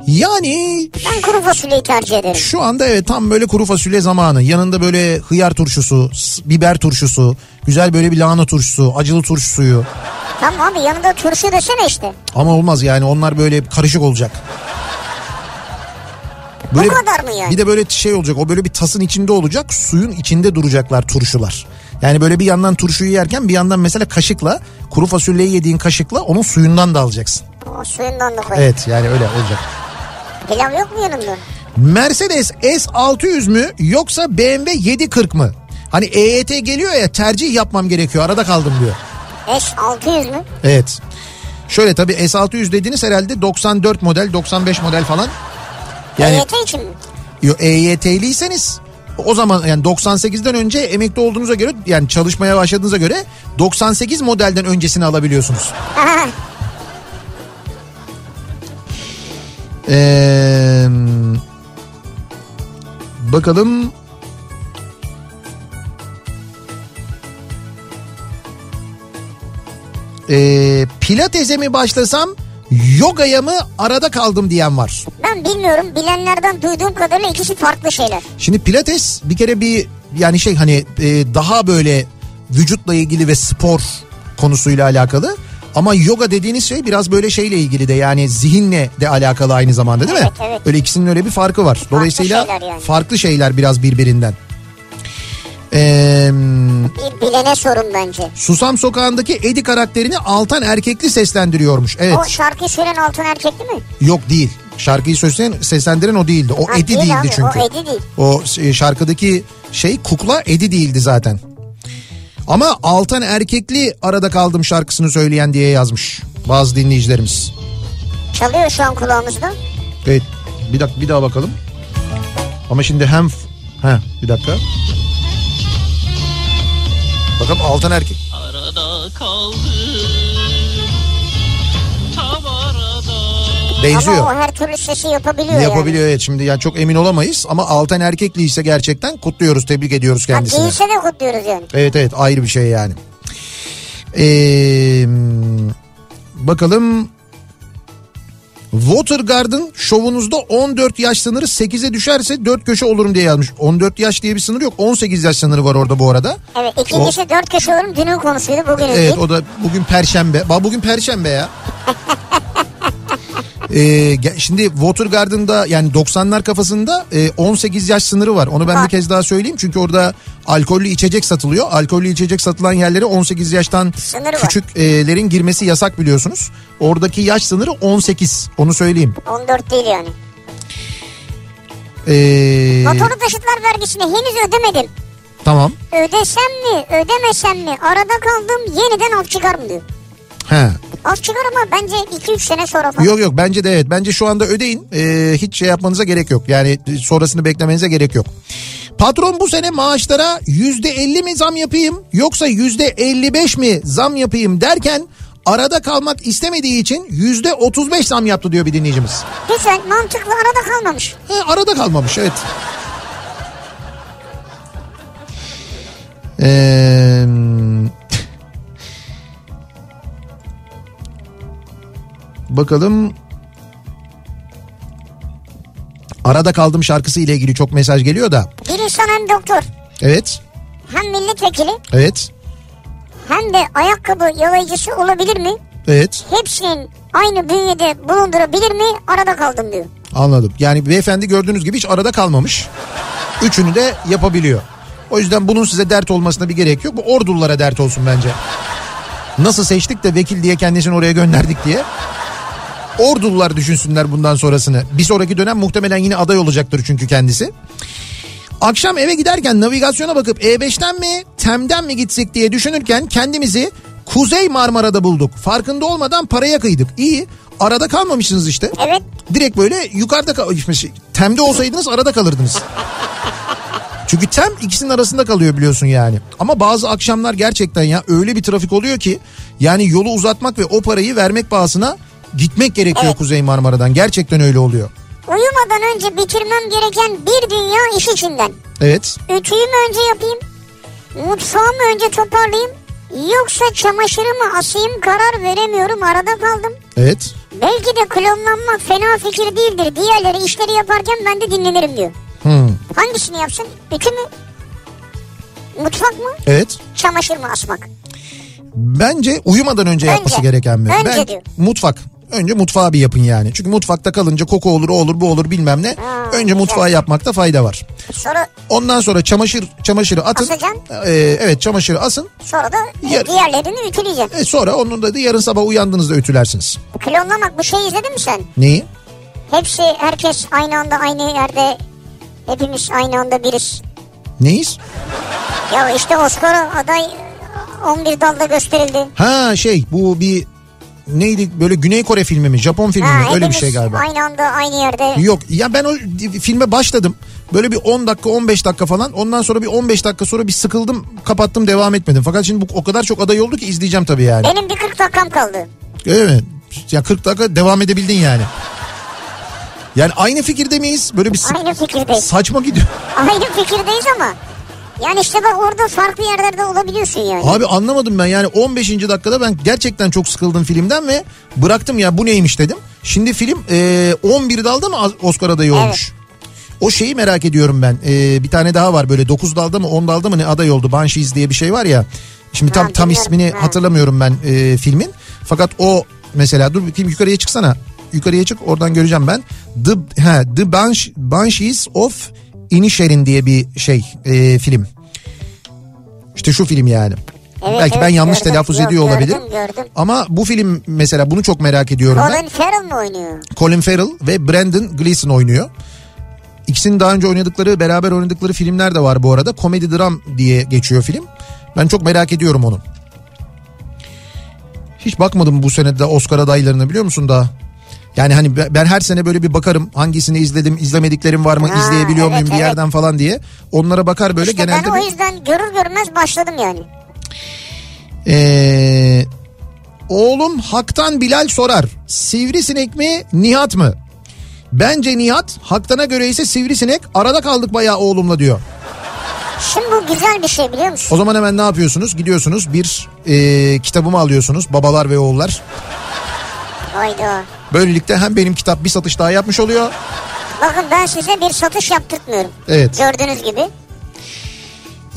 [SPEAKER 3] Yani
[SPEAKER 4] Ben kuru fasulyeyi tercih ederim.
[SPEAKER 3] şu anda evet tam böyle kuru fasulye zamanı. Yanında böyle hıyar turşusu, s- biber turşusu, güzel böyle bir lahana turşusu, acılı turşu suyu.
[SPEAKER 4] Tamam abi yanında turşu desene işte.
[SPEAKER 3] Ama olmaz yani onlar böyle karışık olacak. Böyle-
[SPEAKER 4] kadar mı yani?
[SPEAKER 3] Bir de böyle şey olacak o böyle bir tasın içinde olacak suyun içinde duracaklar turşular. Yani böyle bir yandan turşuyu yerken bir yandan mesela kaşıkla kuru fasulyeyi yediğin kaşıkla onun suyundan da alacaksın.
[SPEAKER 4] O suyundan da koy.
[SPEAKER 3] Evet yani öyle olacak.
[SPEAKER 4] Pilav yok mu yanında?
[SPEAKER 3] Mercedes S600 mü yoksa BMW 740 mı? Hani EYT geliyor ya tercih yapmam gerekiyor arada kaldım diyor.
[SPEAKER 4] Eş 600 mü?
[SPEAKER 3] Evet. Şöyle tabii S600 dediniz herhalde 94 model 95 model falan. Yani
[SPEAKER 4] EYT E, için mi?
[SPEAKER 3] yo- EYT'liyseniz o zaman yani 98'den önce emekli olduğunuza göre yani çalışmaya başladığınıza göre 98 modelden öncesini alabiliyorsunuz. Ee, bakalım. Ee, pilatese mi başlasam yogaya mı arada kaldım diyen var.
[SPEAKER 4] ben bilmiyorum. Bilenlerden duyduğum kadarıyla ikisi farklı şeyler.
[SPEAKER 3] Şimdi pilates bir kere bir yani şey hani e, daha böyle vücutla ilgili ve spor konusuyla alakalı. Ama yoga dediğiniz şey biraz böyle şeyle ilgili de yani zihinle de alakalı aynı zamanda değil mi?
[SPEAKER 4] Evet, evet.
[SPEAKER 3] Öyle ikisinin öyle bir farkı var. Dolayısıyla
[SPEAKER 4] şeyler yani.
[SPEAKER 3] farklı şeyler biraz birbirinden. Ee,
[SPEAKER 4] Bir bilene sorun bence.
[SPEAKER 3] Susam Sokağı'ndaki Edi karakterini Altan Erkekli seslendiriyormuş. Evet.
[SPEAKER 4] O şarkı söyleyen altın erkekli mi?
[SPEAKER 3] Yok değil. Şarkıyı sözleyen, seslendiren o değildi. O
[SPEAKER 4] Ha,
[SPEAKER 3] Edi
[SPEAKER 4] değil
[SPEAKER 3] değildi
[SPEAKER 4] abi,
[SPEAKER 3] çünkü.
[SPEAKER 4] o Eddie değil.
[SPEAKER 3] O e, şarkıdaki şey kukla Edi değildi zaten. Ama Altan Erkekli arada kaldım şarkısını söyleyen diye yazmış bazı dinleyicilerimiz.
[SPEAKER 4] Çalıyor şu an kulağımızda.
[SPEAKER 3] Evet bir dakika bir daha bakalım. Ama şimdi hem ha bir dakika. Bakalım Altan Erkek.
[SPEAKER 5] Arada kaldım. Tam arada.
[SPEAKER 3] Benziyor.
[SPEAKER 4] Ama o her türlü sesi yapabiliyor, yani.
[SPEAKER 3] Yapabiliyor evet şimdi yani çok emin olamayız ama Altan Erkekli ise gerçekten kutluyoruz tebrik ediyoruz
[SPEAKER 4] Ha,
[SPEAKER 3] kendisini.
[SPEAKER 4] Değilse de kutluyoruz yani.
[SPEAKER 3] Evet evet ayrı bir şey yani. Ee, bakalım. Water Garden şovunuzda 14 yaş sınırı 8'e düşerse 4 köşe olurum diye yazmış. 14 yaş diye bir sınır yok. 18 yaş sınırı var orada bu arada.
[SPEAKER 4] Evet ikincisi dört kişi olurum dünün konusuydu bugün
[SPEAKER 3] Evet
[SPEAKER 4] değil.
[SPEAKER 3] o da bugün perşembe. Bak bugün perşembe ya. Ee, ge- şimdi Water Garden'da yani 90'lar kafasında e, 18 yaş sınırı var. Onu ben
[SPEAKER 4] Var.
[SPEAKER 3] bir kez daha söyleyeyim. Çünkü orada alkollü içecek satılıyor. Alkollü içecek satılan yerlere 18 yaştan
[SPEAKER 4] Sınırı var.
[SPEAKER 3] küçüklerin girmesi yasak biliyorsunuz. Oradaki yaş sınırı 18. Onu söyleyeyim.
[SPEAKER 4] 14 değil yani.
[SPEAKER 3] Ee,
[SPEAKER 4] Motorlu taşıtlar vergisini henüz ödemedim.
[SPEAKER 3] Tamam.
[SPEAKER 4] Ödesem mi ödemesem mi arada kaldım yeniden af çıkar mı diyor.
[SPEAKER 3] He.
[SPEAKER 4] Af çıkar ama bence 2-3 sene sonra falan.
[SPEAKER 3] Yok yok bence de evet. Bence şu anda ödeyin. Ee, hiç şey yapmanıza gerek yok. Yani sonrasını beklemenize gerek yok. Patron bu sene maaşlara yüzde elli mi zam yapayım yoksa yüzde elli beş mi zam yapayım derken arada kalmak istemediği için yüzde otuz beş zam yaptı diyor bir dinleyicimiz.
[SPEAKER 4] Güzel mantıklı arada kalmamış.
[SPEAKER 3] He, arada kalmamış evet. Ee, bakalım. Arada kaldım şarkısı ile ilgili çok mesaj geliyor da.
[SPEAKER 4] Bir insan hem doktor
[SPEAKER 3] Evet.
[SPEAKER 4] hem milletvekili
[SPEAKER 3] Evet.
[SPEAKER 4] hem de ayakkabı yalayıcısı olabilir mi?
[SPEAKER 3] Evet.
[SPEAKER 4] Hepsinin aynı bünyede bulundurabilir mi? Arada kaldım diyor.
[SPEAKER 3] Anladım. Yani beyefendi gördüğünüz gibi hiç arada kalmamış. Üçünü de yapabiliyor. O yüzden bunun size dert olmasına bir gerek yok. Bu ordulara dert olsun bence. Nasıl seçtik de vekil diye kendisini oraya gönderdik diye. Ordulular düşünsünler bundan sonrasını. Bir sonraki dönem muhtemelen yine aday olacaktır çünkü kendisi. Akşam eve giderken navigasyona bakıp E5'ten mi Tem'den mi gitsek diye düşünürken kendimizi Kuzey Marmara'da bulduk. Farkında olmadan paraya kıydık. İyi arada kalmamışsınız işte.
[SPEAKER 4] Evet
[SPEAKER 3] Direkt böyle yukarıda kalmış. Temde olsaydınız arada kalırdınız. Çünkü tem ikisinin arasında kalıyor biliyorsun yani. Ama bazı akşamlar gerçekten ya öyle bir trafik oluyor ki yani yolu uzatmak ve o parayı vermek pahasına gitmek gerekiyor
[SPEAKER 4] Evet.
[SPEAKER 3] Kuzey Marmara'dan. Gerçekten öyle oluyor.
[SPEAKER 4] uyumadan önce bitirmem gereken bir dünya iş içinden.
[SPEAKER 3] Evet.
[SPEAKER 4] Ütüyü mü önce yapayım? Mutfağı mı önce toparlayayım? Yoksa çamaşırı mı asayım karar veremiyorum arada kaldım.
[SPEAKER 3] Evet.
[SPEAKER 4] Belki de klonlanmak fena fikir değildir. Diğerleri işleri yaparken ben de dinlenirim diyor.
[SPEAKER 3] Hmm,
[SPEAKER 4] Hangisini yapsın? Ütü mü? Mutfak mı?
[SPEAKER 3] Evet.
[SPEAKER 4] Çamaşır mı asmak?
[SPEAKER 3] Bence uyumadan önce yapması
[SPEAKER 4] Önce.
[SPEAKER 3] gereken bir.
[SPEAKER 4] Önce
[SPEAKER 3] Ben-
[SPEAKER 4] diyor.
[SPEAKER 3] mutfak. Önce mutfağı bir yapın yani. Çünkü mutfakta kalınca koku olur, o olur, bu olur bilmem ne. önce mutfağı yapmakta fayda var.
[SPEAKER 4] Sonra
[SPEAKER 3] Ondan sonra çamaşır çamaşırı atın.
[SPEAKER 4] Asacaksın.
[SPEAKER 3] Ee, evet, çamaşırı asın.
[SPEAKER 4] sonra da e,
[SPEAKER 3] Yer-
[SPEAKER 4] diğerlerini ütüleyeceksin.
[SPEAKER 3] E, sonra onun da yarın sabah uyandığınızda ütülersiniz.
[SPEAKER 4] Klonlamak bu şeyi izledin mi sen?
[SPEAKER 3] Neyi?
[SPEAKER 4] Hepsi herkes aynı anda aynı yerde hepimiz aynı anda biriz.
[SPEAKER 3] Neyiz?
[SPEAKER 4] Ya işte Oscar'a aday 11 dalda gösterildi.
[SPEAKER 3] Ha şey bu bir neydi böyle Güney Kore filmi mi? Japon filmi mi? Öyle bir
[SPEAKER 4] hepimiz
[SPEAKER 3] şey galiba.
[SPEAKER 4] Aynı anda aynı yerde.
[SPEAKER 3] Yok ya ben o filme başladım. Böyle bir 10 dakika 15 dakika falan. Ondan sonra bir 15 dakika sonra bir sıkıldım. Kapattım devam etmedim. Fakat şimdi bu o kadar çok aday oldu ki izleyeceğim tabii yani.
[SPEAKER 4] Benim bir 40 dakikam kaldı.
[SPEAKER 3] Öyle mi? Ya 40 dakika devam edebildin yani. Yani aynı fikirde miyiz? Böyle bir sık-
[SPEAKER 4] Aynı fikirdeyiz.
[SPEAKER 3] saçma gidiyor.
[SPEAKER 4] Aynı fikirdeyiz ama. Yani işte bak orada farklı yerlerde olabiliyorsun yani.
[SPEAKER 3] Abi anlamadım ben yani 15. dakikada ben gerçekten çok sıkıldım filmden ve bıraktım ya bu neymiş dedim. Şimdi film e, 11 dalda mı Oscar adayı olmuş? O şeyi merak ediyorum ben. E, bir tane daha var böyle 9 dalda mı 10 dalda mı ne aday oldu Banshees diye bir şey var ya. Şimdi tam
[SPEAKER 4] Ha,
[SPEAKER 3] tam
[SPEAKER 4] biliyorum.
[SPEAKER 3] ismini
[SPEAKER 4] Ha.
[SPEAKER 3] hatırlamıyorum ben e, filmin. Fakat o mesela dur bakayım yukarıya çıksana. Yukarıya çık oradan göreceğim ben. The, he, The Bansh, Banshees of Inisherin diye bir şey e, film. İşte şu film yani.
[SPEAKER 4] Evet,
[SPEAKER 3] Belki ben
[SPEAKER 4] evet,
[SPEAKER 3] yanlış
[SPEAKER 4] gördüm.
[SPEAKER 3] telaffuz
[SPEAKER 4] Yok,
[SPEAKER 3] ediyor olabilirim.
[SPEAKER 4] Gördüm gördüm.
[SPEAKER 3] Ama bu film mesela bunu çok merak ediyorum ben.
[SPEAKER 4] Colin Farrell mı oynuyor?
[SPEAKER 3] Colin Farrell ve Brandon Gleeson oynuyor. İkisinin daha önce oynadıkları, beraber oynadıkları filmler de var bu arada. Komedi dram diye geçiyor film. Ben çok merak ediyorum onu. Hiç bakmadım bu sene de Oscar adaylarını biliyor musun daha? Yani hani be- ben her sene böyle bir bakarım hangisini izledim, izlemediklerim var mı,
[SPEAKER 4] Ha,
[SPEAKER 3] izleyebiliyor
[SPEAKER 4] evet,
[SPEAKER 3] muyum bir
[SPEAKER 4] evet.
[SPEAKER 3] yerden falan diye. Onlara bakar böyle
[SPEAKER 4] İşte
[SPEAKER 3] genelde.
[SPEAKER 4] ben o
[SPEAKER 3] bir-
[SPEAKER 4] yüzden görür görmez başladım yani.
[SPEAKER 3] Ee, oğlum Hak'tan Bilal sorar. Sivrisinek mi Nihat mı? Bence Nihat Hak'tana göre ise sivrisinek arada kaldık bayağı oğlumla diyor.
[SPEAKER 4] Şimdi bu güzel bir şey biliyor musun?
[SPEAKER 3] O zaman hemen ne yapıyorsunuz? Gidiyorsunuz bir e, kitabımı alıyorsunuz babalar ve oğullar.
[SPEAKER 4] Hayda.
[SPEAKER 3] Böylelikle hem benim kitap bir satış daha yapmış oluyor.
[SPEAKER 4] Bakın ben size bir satış yaptırtmıyorum.
[SPEAKER 3] Evet.
[SPEAKER 4] Gördüğünüz gibi.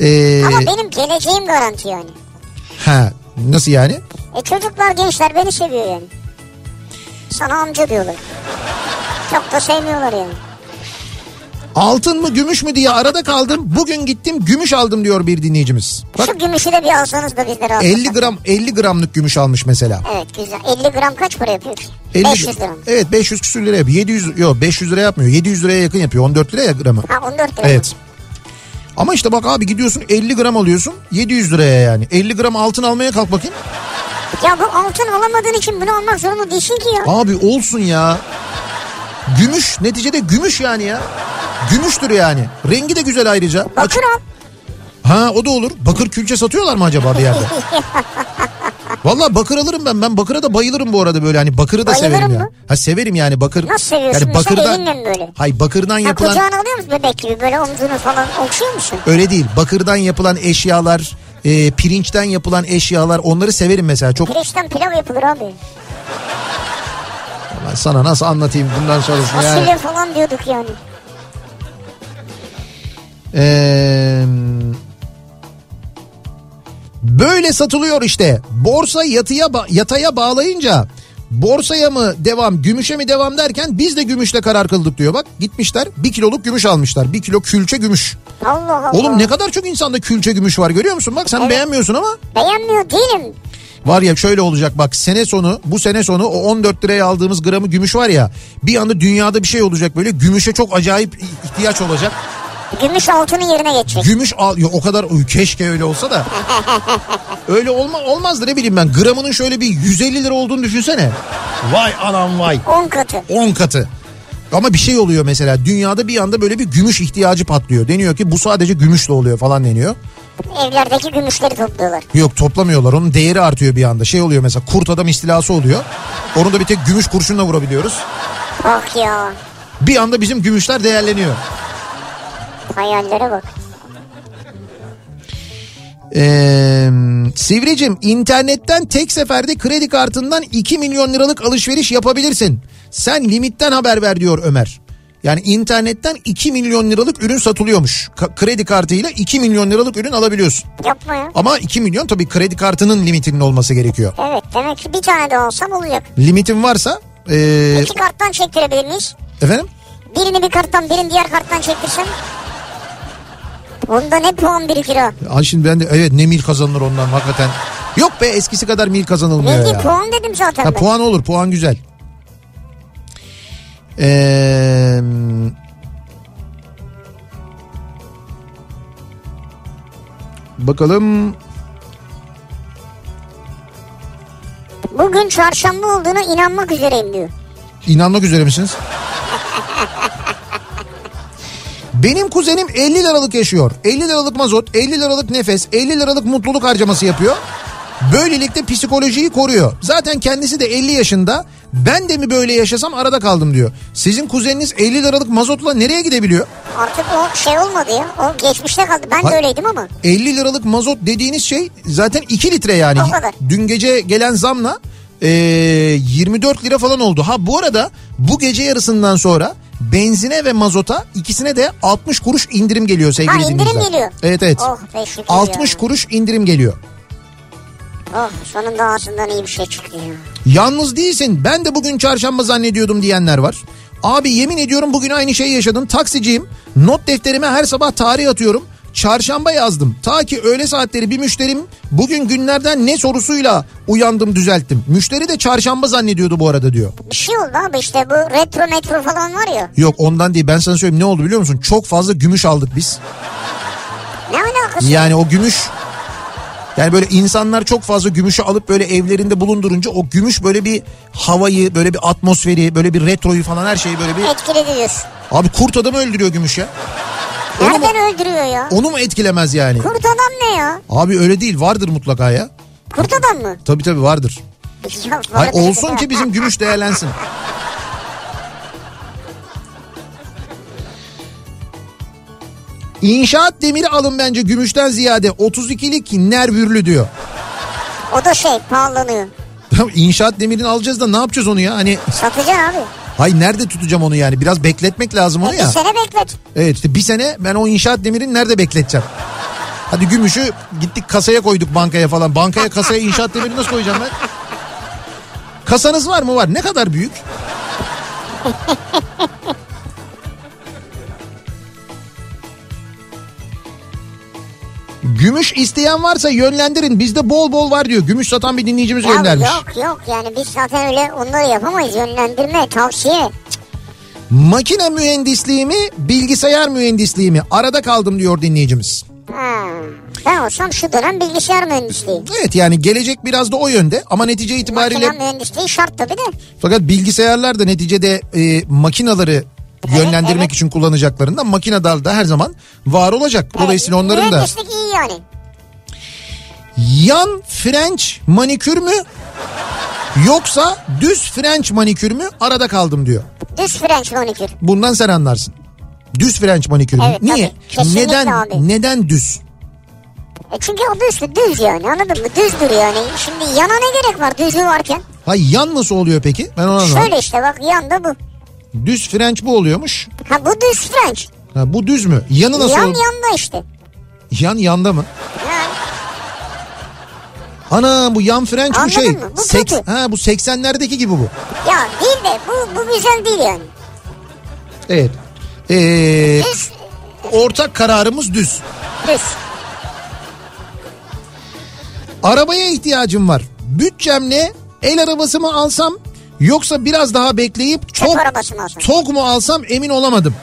[SPEAKER 3] Ee,
[SPEAKER 4] Ama benim geleceğim garanti yani.
[SPEAKER 3] ha, nasıl yani?
[SPEAKER 4] E çocuklar gençler beni seviyor yani. Sana amca diyorlar. Çok da sevmiyorlar yani.
[SPEAKER 3] Altın mı gümüş mü diye arada kaldım. Bugün gittim gümüş aldım diyor bir dinleyicimiz. Bak
[SPEAKER 4] Şu gümüşü de bir alsanız da bizlere alsak.
[SPEAKER 3] 50 gram 50 gramlık gümüş almış mesela.
[SPEAKER 4] Evet güzel. 50 gram kaç para yapıyor ki?
[SPEAKER 3] 50
[SPEAKER 4] 500 gram.
[SPEAKER 3] Evet 500 küsür lira yapıyor. 700 yok 500 lira yapmıyor. 700 liraya yakın yapıyor. 14 liraya gramı.
[SPEAKER 4] Ha 14 lira.
[SPEAKER 3] Evet. Ama işte bak abi gidiyorsun 50 gram alıyorsun 700 liraya yani. 50 gram altın almaya kalk bakayım.
[SPEAKER 4] Ya bu altın alamadığın için bunu almak zorunda değilsin ki ya.
[SPEAKER 3] Abi olsun ya. Gümüş neticede gümüş yani ya. Gümüştür yani. Rengi de güzel ayrıca.
[SPEAKER 4] Bakır al.
[SPEAKER 3] Ha o da olur. Bakır külçe satıyorlar mı acaba bir yerde? Valla bakır alırım ben. Ben bakıra da bayılırım bu arada böyle. Hani bakırı da
[SPEAKER 4] Bayılırım
[SPEAKER 3] severim ya.
[SPEAKER 4] mı?
[SPEAKER 3] Ha severim yani bakır.
[SPEAKER 4] Nasıl seviyorsun?
[SPEAKER 3] Yani
[SPEAKER 4] Mesela
[SPEAKER 3] bakırdan.
[SPEAKER 4] elinle mi böyle?
[SPEAKER 3] Hay bakırdan
[SPEAKER 4] Ha,
[SPEAKER 3] yapılan.
[SPEAKER 4] kucağına alıyor musun bebek gibi böyle omzunu falan okşuyor musun?
[SPEAKER 3] Öyle değil. Bakırdan yapılan eşyalar, e, pirinçten yapılan eşyalar onları severim mesela. Çok
[SPEAKER 4] Pirinçten pilav yapılır abi.
[SPEAKER 3] Ulan sana nasıl anlatayım bundan sonrasını
[SPEAKER 4] Fasulye
[SPEAKER 3] yani.
[SPEAKER 4] falan diyorduk yani.
[SPEAKER 3] Ee, böyle satılıyor işte. Borsa yatıya ba- yataya bağlayınca borsaya mı devam, gümüşe mi devam derken biz de gümüşle karar kıldık diyor. Bak gitmişler bir kiloluk gümüş almışlar. Bir kilo külçe gümüş.
[SPEAKER 4] Allah Allah.
[SPEAKER 3] Oğlum ne kadar çok insanda külçe gümüş var görüyor musun? Bak sen beğenmiyorsun ama
[SPEAKER 4] Beğenmiyor değilim.
[SPEAKER 3] Var ya şöyle olacak bak sene sonu bu sene sonu o 14 liraya aldığımız gramı gümüş var ya bir anda dünyada bir şey olacak böyle gümüşe çok acayip ihtiyaç olacak.
[SPEAKER 4] Gümüş altının yerine geçecek.
[SPEAKER 3] Gümüş al ya o kadar uy, keşke öyle olsa da. Öyle olma olmazdı ne bileyim ben gramının şöyle bir 150 lira olduğunu düşünsene. Vay anam vay
[SPEAKER 4] 10 katı.
[SPEAKER 3] 10 katı. Ama bir şey oluyor mesela dünyada bir anda böyle bir gümüş ihtiyacı patlıyor. Deniyor ki bu sadece gümüşle oluyor falan deniyor.
[SPEAKER 4] Evlerdeki gümüşleri topluyorlar.
[SPEAKER 3] Yok toplamıyorlar. Onun değeri artıyor bir anda. Şey oluyor mesela kurt adam istilası oluyor. Onu da bir tek gümüş kurşunla vurabiliyoruz.
[SPEAKER 4] Bak Ah ya.
[SPEAKER 3] Bir anda bizim gümüşler değerleniyor.
[SPEAKER 4] Hayallere bak.
[SPEAKER 3] Ee, Sivricim internetten tek seferde kredi kartından 2 milyon liralık alışveriş yapabilirsin. Sen limitten haber ver diyor Ömer. Yani internetten 2 milyon liralık ürün satılıyormuş. Ka- kredi kartıyla 2 milyon liralık ürün alabiliyorsun.
[SPEAKER 4] Yapma ya.
[SPEAKER 3] Ama 2 milyon tabii kredi kartının limitinin olması gerekiyor.
[SPEAKER 4] Evet demek ki bir tane de olsam olacak.
[SPEAKER 3] Limitin varsa ee,
[SPEAKER 4] İki karttan çektirebilir miyiz?
[SPEAKER 3] efendim
[SPEAKER 4] Birini bir karttan birini diğer karttan çektirsem. Bunda ne puan birikir ha?
[SPEAKER 3] Ay şimdi ben de evet ne mil kazanılır ondan hakikaten. Yok be eskisi kadar mil kazanılmıyor
[SPEAKER 4] Ne
[SPEAKER 3] ya.
[SPEAKER 4] diyeyim puan dedim zaten
[SPEAKER 3] Ha,
[SPEAKER 4] ben.
[SPEAKER 3] puan olur puan güzel. Ee, bakalım
[SPEAKER 4] Bugün çarşamba olduğuna inanmak üzereyim diyor.
[SPEAKER 3] inanmak üzere misiniz? Benim kuzenim 50 liralık yaşıyor. 50 liralık mazot, 50 liralık nefes, 50 liralık mutluluk harcaması yapıyor. Böylelikle psikolojiyi koruyor. Zaten kendisi de 50 yaşında. Ben de mi böyle yaşasam arada kaldım diyor. Sizin kuzeniniz 50 liralık mazotla nereye gidebiliyor?
[SPEAKER 4] Artık o şey olmadı ya. O geçmişte kaldı. Ben
[SPEAKER 3] Hayır.
[SPEAKER 4] de öyleydim ama.
[SPEAKER 3] 50 liralık mazot dediğiniz şey zaten 2 litre yani.
[SPEAKER 4] O kadar.
[SPEAKER 3] Dün gece gelen zamla e, 24 lira falan oldu. Ha bu arada bu gece yarısından sonra benzine ve mazota ikisine de 60 kuruş indirim geliyor sevgili
[SPEAKER 4] Ha, indirim
[SPEAKER 3] dinleyiciler.
[SPEAKER 4] geliyor.
[SPEAKER 3] Evet evet.
[SPEAKER 4] Oh be şükür
[SPEAKER 3] 60
[SPEAKER 4] ya.
[SPEAKER 3] kuruş indirim geliyor.
[SPEAKER 4] Oh sonunda ağzından iyi bir şey çıktı ya.
[SPEAKER 3] Yalnız değilsin ben de bugün çarşamba zannediyordum diyenler var. Abi yemin ediyorum bugün aynı şeyi yaşadım. Taksiciyim. Not defterime her sabah tarih atıyorum. Çarşamba yazdım. Ta ki öğle saatleri bir müşterim bugün günlerden ne sorusuyla uyandım düzelttim. Müşteri de çarşamba zannediyordu bu arada diyor.
[SPEAKER 4] Bir şey oldu abi işte bu retro metro falan var ya.
[SPEAKER 3] Yok ondan değil ben sana söyleyeyim ne oldu biliyor musun? Çok fazla gümüş aldık biz.
[SPEAKER 4] Ne alakası?
[SPEAKER 3] Yani o gümüş yani böyle insanlar çok fazla gümüşü alıp böyle evlerinde bulundurunca o gümüş böyle bir havayı, böyle bir atmosferi, böyle bir retroyu falan her şeyi böyle bir
[SPEAKER 4] Etkiledi diyorsun.
[SPEAKER 3] Abi kurt adamı öldürüyor gümüş ya. Onu mu,
[SPEAKER 4] Nereden öldürüyor ya?
[SPEAKER 3] onu mu etkilemez yani?
[SPEAKER 4] Kurt adam ne ya?
[SPEAKER 3] Abi öyle değil vardır mutlaka ya.
[SPEAKER 4] Kurt adam mı?
[SPEAKER 3] Tabii tabii vardır.
[SPEAKER 4] Ya
[SPEAKER 3] Hayır,
[SPEAKER 4] vardır
[SPEAKER 3] olsun
[SPEAKER 4] ya.
[SPEAKER 3] ki bizim gümüş değerlensin. İnşaat demiri alın bence gümüşten ziyade 32'lik nervürlü diyor.
[SPEAKER 4] O da şey pahalanıyor.
[SPEAKER 3] Tamam inşaat demirini alacağız da ne yapacağız onu ya? Hani
[SPEAKER 4] Satacaksın abi.
[SPEAKER 3] hay nerede tutacağım onu yani? Biraz bekletmek lazım onu
[SPEAKER 4] E, bir
[SPEAKER 3] ya.
[SPEAKER 4] sene beklet.
[SPEAKER 3] Evet işte bir sene ben o inşaat demirini nerede bekleteceğim? Hadi gümüşü gittik kasaya koyduk bankaya falan. Bankaya kasaya inşaat demiri nasıl koyacağım ben? Kasanız var mı? Var. Ne kadar büyük? Gümüş isteyen varsa yönlendirin. Bizde bol bol var diyor. Gümüş satan bir dinleyicimiz
[SPEAKER 4] Ya
[SPEAKER 3] göndermiş.
[SPEAKER 4] yok yok yani biz zaten öyle onları yapamayız. Yönlendirme, tavsiye.
[SPEAKER 3] Makine mühendisliği mi, bilgisayar mühendisliği mi? Arada kaldım diyor dinleyicimiz.
[SPEAKER 4] Ha. Ben olsam şu dönem bilgisayar mühendisliği.
[SPEAKER 3] Evet yani gelecek biraz da o yönde ama netice itibariyle
[SPEAKER 4] Makine mühendisliği şart tabii de.
[SPEAKER 3] fakat bilgisayarlar da neticede e, makinaları yönlendirmek
[SPEAKER 4] evet.
[SPEAKER 3] için kullanacaklarından makineler de her zaman var olacak. Dolayısıyla
[SPEAKER 4] Evet,
[SPEAKER 3] onların da
[SPEAKER 4] Mühendislik iyi yani.
[SPEAKER 3] yan French manikür mü yoksa düz French manikür mü arada kaldım diyor.
[SPEAKER 4] Düz French manikür.
[SPEAKER 3] Bundan sen anlarsın. Düz French manikür mü?
[SPEAKER 4] Evet,
[SPEAKER 3] Niye?
[SPEAKER 4] tabii. Kesinlikle
[SPEAKER 3] Neden
[SPEAKER 4] abi.
[SPEAKER 3] neden düz?
[SPEAKER 4] E çünkü o düz, düz yani anladın mı? Düzdür yani. Şimdi yana ne gerek var düzü varken?
[SPEAKER 3] Hay yan nasıl oluyor peki? Ben onu anlamadım.
[SPEAKER 4] Şöyle işte bak yanda bu.
[SPEAKER 3] Düz French bu oluyormuş.
[SPEAKER 4] Ha bu düz French.
[SPEAKER 3] Ha, bu düz mü? Yanı nasıl?
[SPEAKER 4] Yan
[SPEAKER 3] ol-
[SPEAKER 4] yanda işte.
[SPEAKER 3] Yan yanda mı?
[SPEAKER 4] Yani
[SPEAKER 3] Ana bu yan French bu
[SPEAKER 4] Anladın
[SPEAKER 3] şey.
[SPEAKER 4] mı? Bu
[SPEAKER 3] Seks-
[SPEAKER 4] kötü.
[SPEAKER 3] ha bu 80'lerdeki gibi bu.
[SPEAKER 4] ya değil de bu, bu güzel değil yani.
[SPEAKER 3] Evet. Ee,
[SPEAKER 4] Düz,
[SPEAKER 3] ortak kararımız düz.
[SPEAKER 4] düz.
[SPEAKER 3] Arabaya ihtiyacım var. Bütçemle el arabası mı alsam yoksa biraz daha bekleyip
[SPEAKER 4] Çöp
[SPEAKER 3] tok,
[SPEAKER 4] arabası mı alsın?
[SPEAKER 3] tok mu alsam emin olamadım.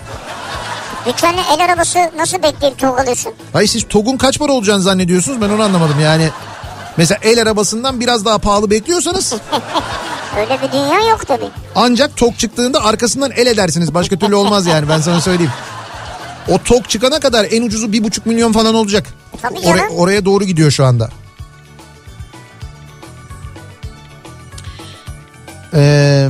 [SPEAKER 4] Dükkanla el arabası nasıl bekleyip tok alıyorsun?
[SPEAKER 3] Hayır siz TOG'un kaç para olacağını zannediyorsunuz ben onu anlamadım yani. Mesela el arabasından biraz daha pahalı bekliyorsanız
[SPEAKER 4] Öyle bir dünya yok tabii.
[SPEAKER 3] ancak tok çıktığında arkasından el edersiniz. Başka türlü olmaz yani ben sana söyleyeyim. O tok çıkana kadar en ucuzu bir buçuk milyon falan olacak.
[SPEAKER 4] Tabii
[SPEAKER 3] Oraya-
[SPEAKER 4] canım.
[SPEAKER 3] oraya doğru gidiyor şu anda. Ee,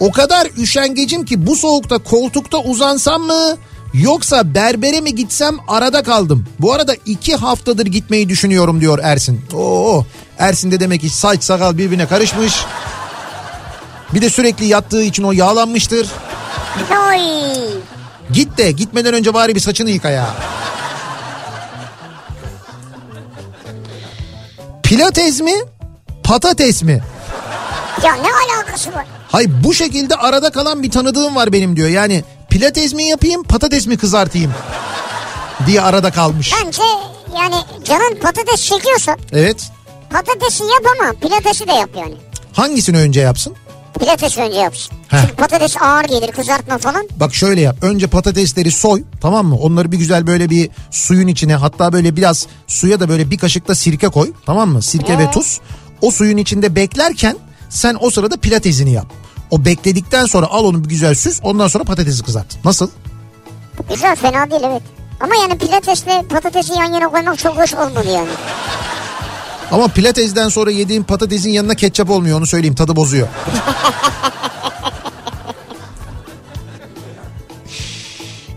[SPEAKER 3] o kadar üşengecim ki bu soğukta koltukta uzansam mı Yoksa berbere mi gitsem arada kaldım. Bu arada iki haftadır gitmeyi düşünüyorum diyor Ersin. Oo Ersin de demek ki saç sakal birbirine karışmış. Bir de sürekli yattığı için o yağlanmıştır.
[SPEAKER 4] Oy.
[SPEAKER 3] Git de gitmeden önce bari bir saçını yıka ya. Pilates mi? Patates mi?
[SPEAKER 4] Ya ne alakası var?
[SPEAKER 3] Hay bu şekilde arada kalan bir tanıdığım var benim diyor. Yani pilates mi yapayım patates mi kızartayım diye arada kalmış.
[SPEAKER 4] Bence yani canın patates çekiyorsa
[SPEAKER 3] Evet.
[SPEAKER 4] patatesi yap ama pilatesi de yap yani.
[SPEAKER 3] Hangisini önce yapsın?
[SPEAKER 4] Pilates önce yapsın.
[SPEAKER 3] Heh.
[SPEAKER 4] Çünkü patates ağır gelir kızartma falan.
[SPEAKER 3] Bak şöyle yap. Önce patatesleri soy tamam mı? Onları bir güzel böyle bir suyun içine hatta böyle biraz suya da böyle bir kaşık da sirke koy tamam mı? Sirke ve tuz. O suyun içinde beklerken sen o sırada pilatesini yap. O bekledikten sonra al onu bir güzel süz ondan sonra patatesi kızart. Nasıl?
[SPEAKER 4] Güzel fena değil evet. Ama yani pilatesle patatesi yan yana koymak çok hoş olmadı yani.
[SPEAKER 3] Ama pilatesden sonra yediğim patatesin yanına ketçap olmuyor onu söyleyeyim tadı bozuyor.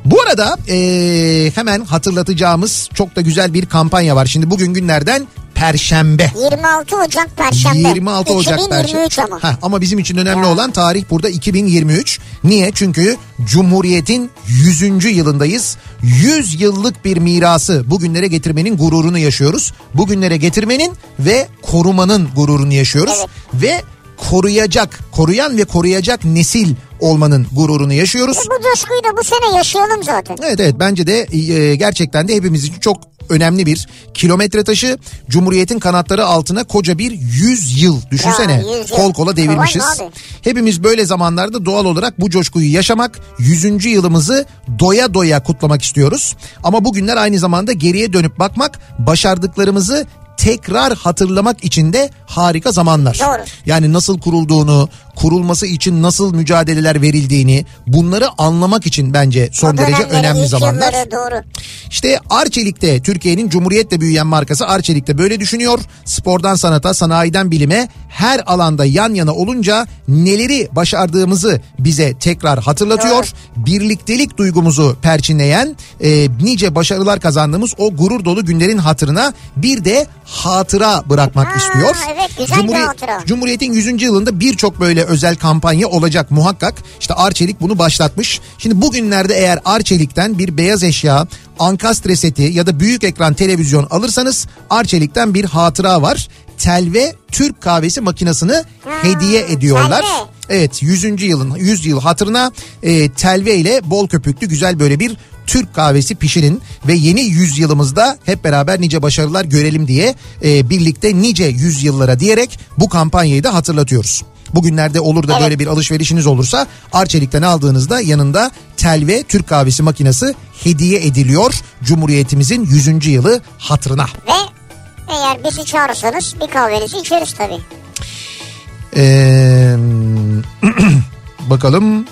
[SPEAKER 3] Bu arada eee, hemen hatırlatacağımız çok da güzel bir kampanya var. Şimdi bugün günlerden Perşembe.
[SPEAKER 4] 26 Ocak Perşembe.
[SPEAKER 3] 26 Ocak
[SPEAKER 4] 2023
[SPEAKER 3] Perşembe.
[SPEAKER 4] ama.
[SPEAKER 3] Heh, ama bizim için önemli olan tarih burada 2023. Niye? Çünkü Cumhuriyet'in 100. yılındayız. 100 yıllık bir mirası bugünlere getirmenin gururunu yaşıyoruz. Bugünlere getirmenin ve korumanın gururunu yaşıyoruz. Ve koruyacak, koruyan ve koruyacak nesil olmanın gururunu yaşıyoruz.
[SPEAKER 4] E, Bu coşkuyu da bu sene yaşayalım zaten.
[SPEAKER 3] Evet evet bence de e, gerçekten de hepimiz için çok önemli bir kilometre taşı. Cumhuriyet'in kanatları altına koca bir 100 yıl düşünsene
[SPEAKER 4] Ya, 100 yıl.
[SPEAKER 3] kol kola devirmişiz.
[SPEAKER 4] Kolay mı abi?
[SPEAKER 3] Hepimiz böyle zamanlarda doğal olarak bu coşkuyu yaşamak 100. yılımızı doya doya kutlamak istiyoruz. Ama bugünler aynı zamanda geriye dönüp bakmak başardıklarımızı tekrar hatırlamak için de harika zamanlar.
[SPEAKER 4] Doğru.
[SPEAKER 3] Yani nasıl kurulduğunu, kurulması için nasıl mücadeleler verildiğini bunları anlamak için bence son
[SPEAKER 4] O
[SPEAKER 3] derece
[SPEAKER 4] dönemlerin
[SPEAKER 3] önemli
[SPEAKER 4] ilk
[SPEAKER 3] zamanlar.
[SPEAKER 4] yılları doğru.
[SPEAKER 3] İşte Arçelik'te Türkiye'nin Cumhuriyet'le büyüyen markası Arçelik'te böyle düşünüyor. Spordan sanata, sanayiden bilime her alanda yan yana olunca neleri başardığımızı bize tekrar hatırlatıyor. Birliktelik duygumuzu perçinleyen e, nice başarılar kazandığımız o gurur dolu günlerin hatırına bir de hatıra bırakmak
[SPEAKER 4] Aa,
[SPEAKER 3] istiyor.
[SPEAKER 4] evet, güzel bir hatıra.
[SPEAKER 3] Cumhuriyet'in 100. yılında birçok böyle özel kampanya olacak muhakkak. İşte Arçelik bunu başlatmış. Şimdi bugünlerde eğer Arçelik'ten bir beyaz eşya, ankastre seti ya da büyük ekran televizyon alırsanız Arçelik'ten bir hatıra var. Tel ve Türk kahvesi makinesini hediye ediyorlar.
[SPEAKER 4] telve.
[SPEAKER 3] Evet 100. yılın 100 yıl hatırına e, telve ile bol köpüklü güzel böyle bir Türk kahvesi pişirin ve yeni yüzyılımızda hep beraber nice başarılar görelim diye e, birlikte nice yüzyıllara diyerek bu kampanyayı da hatırlatıyoruz. Bugünlerde olur da böyle bir alışverişiniz olursa Arçelik'ten aldığınızda yanında tel ve Türk kahvesi makinesi hediye ediliyor Cumhuriyetimizin 100. yılı hatırına.
[SPEAKER 4] Ve eğer bizi çağırırsanız bir kahvenizi içeriz tabii.
[SPEAKER 3] Ee, bakalım.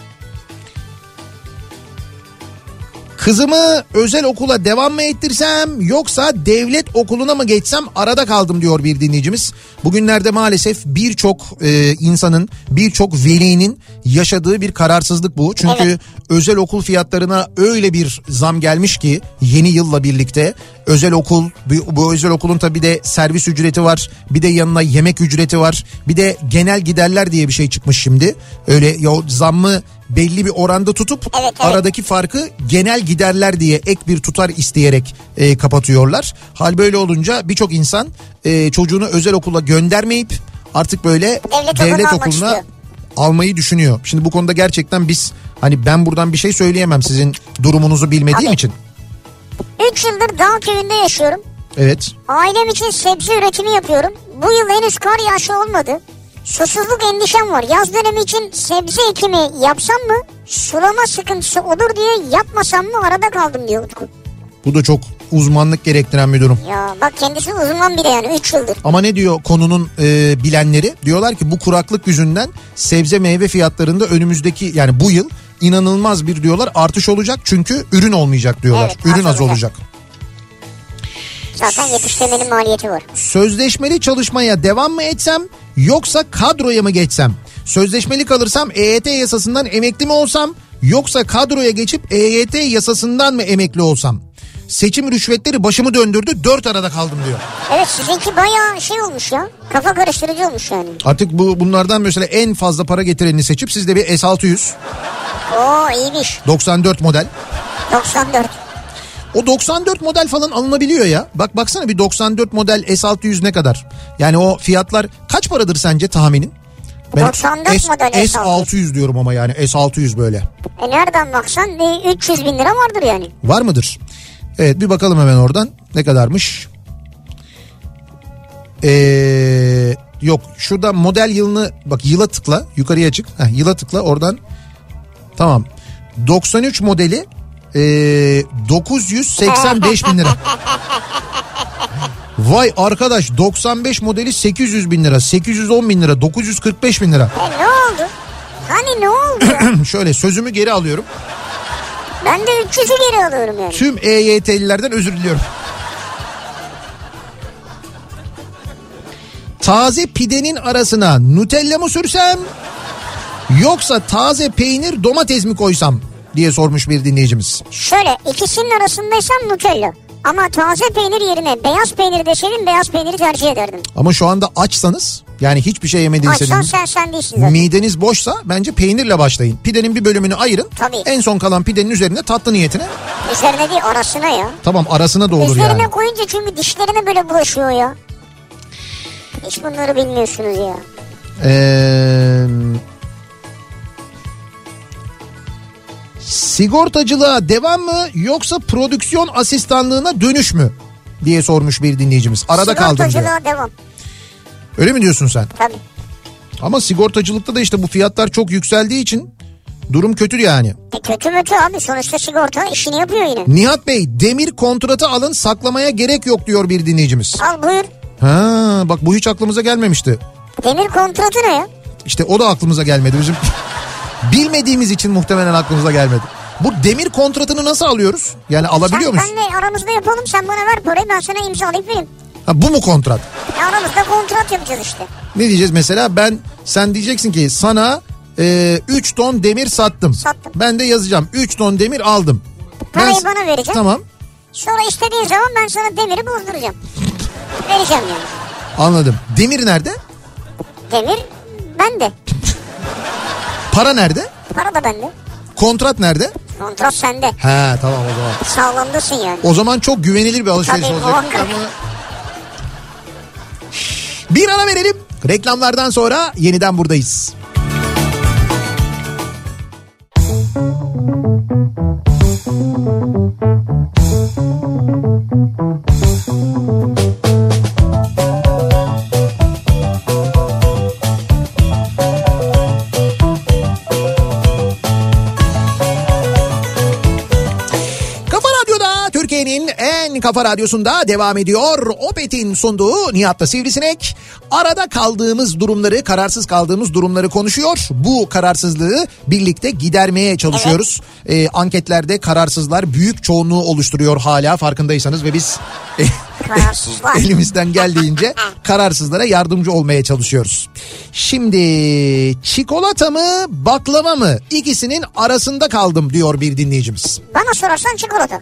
[SPEAKER 3] Kızımı özel okula devam mı ettirsem yoksa devlet okuluna mı geçsem arada kaldım diyor bir dinleyicimiz. Bugünlerde maalesef birçok e, insanın birçok velinin yaşadığı bir kararsızlık bu. Çünkü
[SPEAKER 4] Evet.
[SPEAKER 3] özel okul fiyatlarına öyle bir zam gelmiş ki yeni yılla birlikte özel okul bu, bu özel okulun tabi de servis ücreti var bir de yanına yemek ücreti var bir de genel giderler diye bir şey çıkmış şimdi öyle ya o zammı belli bir oranda tutup
[SPEAKER 4] Evet, evet.
[SPEAKER 3] aradaki farkı genel giderler diye ek bir tutar isteyerek e, kapatıyorlar. Hal böyle olunca birçok insan e, çocuğunu özel okula göndermeyip artık böyle
[SPEAKER 4] Devlet okuluna
[SPEAKER 3] devlet
[SPEAKER 4] almak
[SPEAKER 3] okuluna
[SPEAKER 4] istiyor.
[SPEAKER 3] almayı düşünüyor. Şimdi bu konuda gerçekten biz hani ben buradan bir şey söyleyemem sizin durumunuzu bilmediğim
[SPEAKER 4] Abi.
[SPEAKER 3] için.
[SPEAKER 4] 3 yıldır dağ köyünde yaşıyorum.
[SPEAKER 3] Evet.
[SPEAKER 4] Ailem için sebze üretimi yapıyorum. Bu yıl henüz kar yağışı olmadı. Susuzluk endişem var. Yaz dönemi için sebze ekimi yapsam mı? Sulama sıkıntısı olur diye yapmasam mı arada kaldım diyor Utku.
[SPEAKER 3] Bu da çok uzmanlık gerektiren bir durum.
[SPEAKER 4] Ya bak kendisi uzman bile yani 3 yıldır.
[SPEAKER 3] Ama ne diyor konunun e, bilenleri? Diyorlar ki bu kuraklık yüzünden sebze meyve fiyatlarında önümüzdeki yani bu yıl inanılmaz bir diyorlar artış olacak çünkü ürün olmayacak diyorlar.
[SPEAKER 4] Evet, az
[SPEAKER 3] ürün az
[SPEAKER 4] olacak.
[SPEAKER 3] olacak.
[SPEAKER 4] Zaten yetiştirmenin maliyeti var.
[SPEAKER 3] Sözleşmeli çalışmaya devam mı etsem E yoksa kadroya mı geçsem? Sözleşmeli kalırsam EYT yasasından emekli mi olsam Yoksa kadroya geçip EYT yasasından mı emekli olsam? Seçim rüşvetleri başımı döndürdü dört arada kaldım diyor.
[SPEAKER 4] Evet sizinki bayağı şey olmuş ya. Kafa karıştırıcı olmuş yani.
[SPEAKER 3] Artık bu bunlardan mesela en fazla para getireni seçip siz de bir S600
[SPEAKER 4] Oo iyiymiş.
[SPEAKER 3] 94 model.
[SPEAKER 4] 94.
[SPEAKER 3] O 94 model falan alınabiliyor ya. Bak baksana bir 94 model S600 ne kadar? Yani o fiyatlar kaç paradır sence tahminin?
[SPEAKER 4] 94 model
[SPEAKER 3] S600 diyorum ama yani S600 böyle.
[SPEAKER 4] E nereden baksan bir 300 bin lira vardır yani.
[SPEAKER 3] Var mıdır? Evet bir bakalım hemen oradan. Ne kadarmış? Ee, yok şurada model yılını bak yıla tıkla yukarıya çık. Heh, yıla tıkla oradan. Tamam. 93 modeli ee, 985 bin lira. Vay arkadaş 95 modeli 800 bin lira 810 bin lira 945 bin lira.
[SPEAKER 4] E ne oldu? Hani ne oldu? ya?
[SPEAKER 3] Şöyle sözümü geri alıyorum.
[SPEAKER 4] ben de 300'ü geri alıyorum yani.
[SPEAKER 3] Tüm EYT'lilerden özür diliyorum. Taze pidenin arasına Nutella mı sürsem yoksa taze peynir domates mi koysam diye sormuş bir dinleyicimiz.
[SPEAKER 4] Şöyle ikisinin arasındaysam Nutella. Ama taze peynir yerine beyaz peynir deseydin beyaz peyniri tercih ederdim.
[SPEAKER 3] Ama şu anda açsanız yani hiçbir şey
[SPEAKER 4] Açsan
[SPEAKER 3] yemediyseniz
[SPEAKER 4] sen sen değilsin zaten.
[SPEAKER 3] mideniz boşsa bence peynirle başlayın. Pidenin bir bölümünü ayırın.
[SPEAKER 4] Tabii.
[SPEAKER 3] En son kalan pidenin üzerine tatlı niyetine
[SPEAKER 4] Üzerine değil arasına ya.
[SPEAKER 3] tamam arasına da olur
[SPEAKER 4] Üzerine
[SPEAKER 3] yani.
[SPEAKER 4] koyunca çünkü dişlerine böyle bulaşıyor ya. Hiç bunları bilmiyorsunuz ya.
[SPEAKER 3] Ee, sigortacılığa devam mı yoksa prodüksiyon asistanlığına dönüş mü diye sormuş bir dinleyicimiz. Arada kaldım diyor.
[SPEAKER 4] Sigortacılığa devam.
[SPEAKER 3] Öyle mi diyorsun sen?
[SPEAKER 4] Tabii.
[SPEAKER 3] Ama sigortacılıkta da işte bu fiyatlar çok yükseldiği için durum kötü yani.
[SPEAKER 4] E kötü mötü abi sonuçta sigorta işini yapıyor yine.
[SPEAKER 3] Nihat Bey demir kontratı alın saklamaya gerek yok diyor bir dinleyicimiz.
[SPEAKER 4] Al buyur.
[SPEAKER 3] Ha bak bu hiç aklımıza gelmemişti.
[SPEAKER 4] Demir kontratı ne ya?
[SPEAKER 3] İşte o da aklımıza gelmedi bizim. Bilmediğimiz için muhtemelen aklımıza gelmedi. Bu demir kontratını nasıl alıyoruz? Yani alabiliyor
[SPEAKER 4] Sen,
[SPEAKER 3] muyuz?
[SPEAKER 4] benle aramızda yapalım sen bana ver parayı ben sana imzalayıp vereyim.
[SPEAKER 3] Ha, bu mu kontrat?
[SPEAKER 4] E aramızda kontrat yapacağız işte.
[SPEAKER 3] Ne diyeceğiz mesela ben sen diyeceksin ki sana 3 ton demir sattım.
[SPEAKER 4] Sattım.
[SPEAKER 3] Ben de yazacağım 3 ton demir aldım.
[SPEAKER 4] Parayı
[SPEAKER 3] Ben-
[SPEAKER 4] bana vereceksin.
[SPEAKER 3] Tamam
[SPEAKER 4] Sonra istediğin zaman ben sana demiri bozduracağım. Vereceğim yani.
[SPEAKER 3] anladım. Demir nerede?
[SPEAKER 4] Demir bende.
[SPEAKER 3] Para nerede?
[SPEAKER 4] Para da bende.
[SPEAKER 3] Kontrat nerede?
[SPEAKER 4] Kontrat sende.
[SPEAKER 3] Ha tamam o zaman.
[SPEAKER 4] Sağlamdasın yani.
[SPEAKER 3] O zaman çok güvenilir bir alışveriş
[SPEAKER 4] Tabii,
[SPEAKER 3] olacak.
[SPEAKER 4] muhakkak.
[SPEAKER 3] Ama- Bir ara verelim. Reklamlardan sonra yeniden buradayız. Kafa Radyo'da Türkiye'nin en kafa radyosunda devam ediyor. Opet'in sunduğu Nihat'la Sivrisinek. Arada kaldığımız durumları, kararsız kaldığımız durumları konuşuyor. Bu kararsızlığı birlikte gidermeye çalışıyoruz. Ee, anketlerde kararsızlar büyük çoğunluğu oluşturuyor hala farkındaysanız ve biz
[SPEAKER 4] Kararsızlar.
[SPEAKER 3] elimizden geldiğince kararsızlara yardımcı olmaya çalışıyoruz. Şimdi çikolata mı baklava mı ikisinin arasında kaldım diyor bir dinleyicimiz.
[SPEAKER 4] Bana sorarsan çikolata.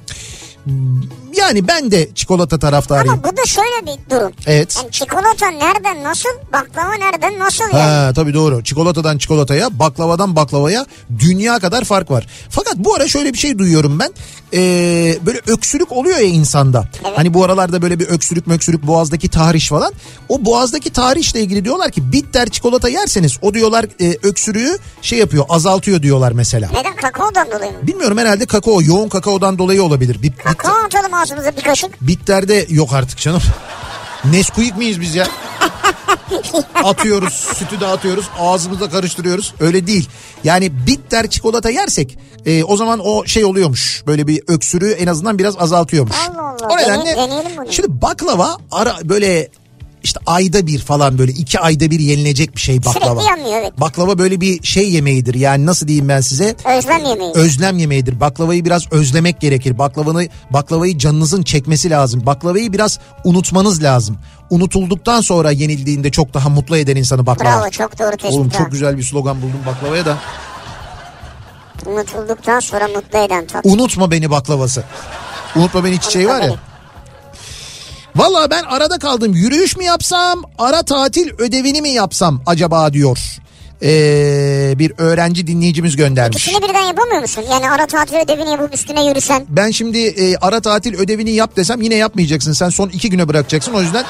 [SPEAKER 3] Yani ben de çikolata taraftarıyım.
[SPEAKER 4] Ama bu da şöyle bir durum.
[SPEAKER 3] Evet.
[SPEAKER 4] Yani çikolata nereden nasıl, baklava nereden nasıl yani.
[SPEAKER 3] Ha, tabii doğru. Çikolatadan çikolataya, baklavadan baklavaya dünya kadar fark var. Fakat bu ara şöyle bir şey duyuyorum ben. Ee, böyle öksürük oluyor ya insanda. Hani bu aralarda böyle bir öksürük möksürük boğazdaki tahriş falan. O boğazdaki tahrişle ilgili diyorlar ki bitter çikolata yerseniz o diyorlar e, öksürüğü şey yapıyor azaltıyor diyorlar mesela.
[SPEAKER 4] Neden kakaodan dolayı mı?
[SPEAKER 3] Bilmiyorum herhalde kakao yoğun kakaodan dolayı olabilir. Bit, bit-
[SPEAKER 4] Kakao atalım ağzımıza bir kaşık.
[SPEAKER 3] Bitlerde yok artık canım. Nesquik miyiz biz ya? atıyoruz, sütü de atıyoruz, ağzımızda karıştırıyoruz. Öyle değil. Yani bitter çikolata yersek e, o zaman o şey oluyormuş. Böyle bir öksürüğü en azından biraz azaltıyormuş.
[SPEAKER 4] Allah Allah,
[SPEAKER 3] O nedenle
[SPEAKER 4] deney- deneyelim bunu.
[SPEAKER 3] şimdi baklava ara böyle işte ayda bir falan böyle iki ayda bir yenilecek bir şey baklava.
[SPEAKER 4] Sürekli yanmıyor, evet.
[SPEAKER 3] Baklava böyle bir şey yemeğidir yani nasıl diyeyim ben size?
[SPEAKER 4] Özlem yemeği.
[SPEAKER 3] özlem yemeğidir. Baklavayı biraz özlemek gerekir. Baklavanı baklavayı canınızın çekmesi lazım. Baklavayı biraz unutmanız lazım. Unutulduktan sonra yenildiğinde çok daha mutlu eden insanı baklava.
[SPEAKER 4] Bravo çok doğru tespit.
[SPEAKER 3] Oğlum
[SPEAKER 4] ha.
[SPEAKER 3] çok güzel bir slogan buldum baklavaya da.
[SPEAKER 4] Unutulduktan sonra mutlu eden tat.
[SPEAKER 3] Unutma beni baklavası. Unutma beni çiçeği şey var ya. Valla ben arada kaldım. Yürüyüş mü yapsam, ara tatil ödevini mi yapsam acaba diyor. Ee, bir öğrenci dinleyicimiz göndermiş.
[SPEAKER 4] İkisini birden yapamıyor musun? Yani ara tatil ödevini yapıp üstüne yürüsen.
[SPEAKER 3] Ben şimdi e, ara tatil ödevini yap desem yine yapmayacaksın. Sen son iki güne bırakacaksın. O yüzden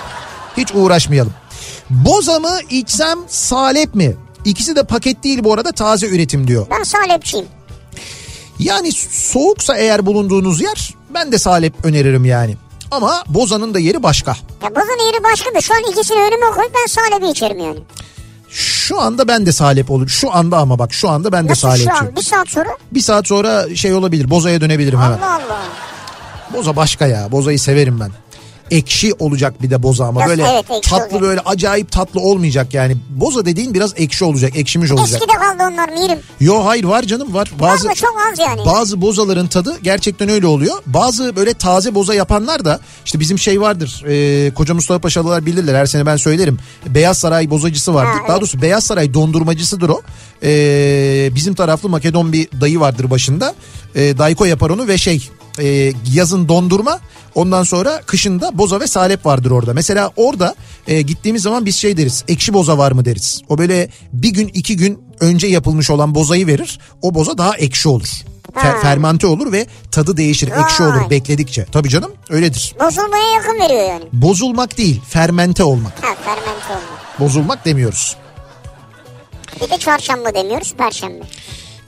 [SPEAKER 3] hiç uğraşmayalım. Boza mı içsem salep mi? İkisi de paket değil bu arada taze üretim diyor.
[SPEAKER 4] Ben salepçiyim.
[SPEAKER 3] Yani soğuksa eğer bulunduğunuz yer ben de salep öneririm yani. Ama bozanın da yeri başka.
[SPEAKER 4] Ya bazının yeri başka da şu an ikisini önüme koy ben salebi içerim yani.
[SPEAKER 3] Şu anda ben de salep olur. Şu anda ama bak şu anda ben de
[SPEAKER 4] Nasıl şu
[SPEAKER 3] salepçiyim.
[SPEAKER 4] an? Bir saat sonra?
[SPEAKER 3] Bir saat sonra şey olabilir. Bozaya dönebilirim hemen.
[SPEAKER 4] Allah Allah.
[SPEAKER 3] Boza başka ya. Bozayı severim ben. Ekşi olacak bir de boza ama
[SPEAKER 4] Biraz-
[SPEAKER 3] böyle
[SPEAKER 4] evet, ekşi
[SPEAKER 3] tatlı
[SPEAKER 4] olacak.
[SPEAKER 3] böyle acayip tatlı olmayacak yani. Boza dediğin biraz ekşi olacak, ekşimiş olacak.
[SPEAKER 4] Eskide kaldı onlar mirim.
[SPEAKER 3] Yo hayır var canım var. Bazı
[SPEAKER 4] Ama çok az yani.
[SPEAKER 3] bazı bozaların tadı gerçekten öyle oluyor. Bazı böyle taze boza yapanlar da işte bizim şey vardır. E, Koca Mustafa Paşalılar bilirler her sene ben söylerim. Beyaz Saray bozacısı vardır.
[SPEAKER 4] Ha, evet.
[SPEAKER 3] Daha doğrusu Beyaz Saray dondurmacısıdır o. E, bizim taraflı Makedon bir dayı vardır başında. E, dayko yapar onu ve şey e, yazın dondurma ondan sonra kışında boza ve salep vardır orada. Mesela orada e, gittiğimiz zaman biz şey deriz ekşi boza var mı deriz. O böyle bir gün iki gün önce yapılmış olan bozayı verir. O boza daha ekşi olur. Fer-
[SPEAKER 4] Ha.
[SPEAKER 3] fermente olur ve tadı değişir. Ekşi
[SPEAKER 4] Vay.
[SPEAKER 3] olur bekledikçe. Tabii canım öyledir.
[SPEAKER 4] Bozulmaya yakın veriyor yani.
[SPEAKER 3] Bozulmak değil, fermente olmak.
[SPEAKER 4] Ha fermente olmuyor.
[SPEAKER 3] Bozulmak demiyoruz.
[SPEAKER 4] Bir de çarşamba demiyoruz perşembe.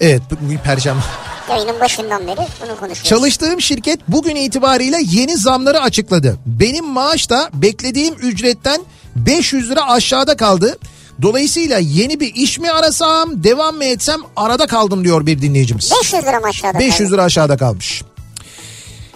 [SPEAKER 3] Evet bugün perşembe.
[SPEAKER 4] Yayının başından beri bunu konuşuyoruz.
[SPEAKER 3] Çalıştığım şirket bugün itibariyle yeni zamları açıkladı. Benim maaş da beklediğim ücretten 500 lira aşağıda kaldı. Dolayısıyla yeni bir iş mi arasam, devam mı etsem arada kaldım diyor bir dinleyicimiz.
[SPEAKER 4] 500 lira mı aşağıda?
[SPEAKER 3] 500 lira aşağıda kalmış.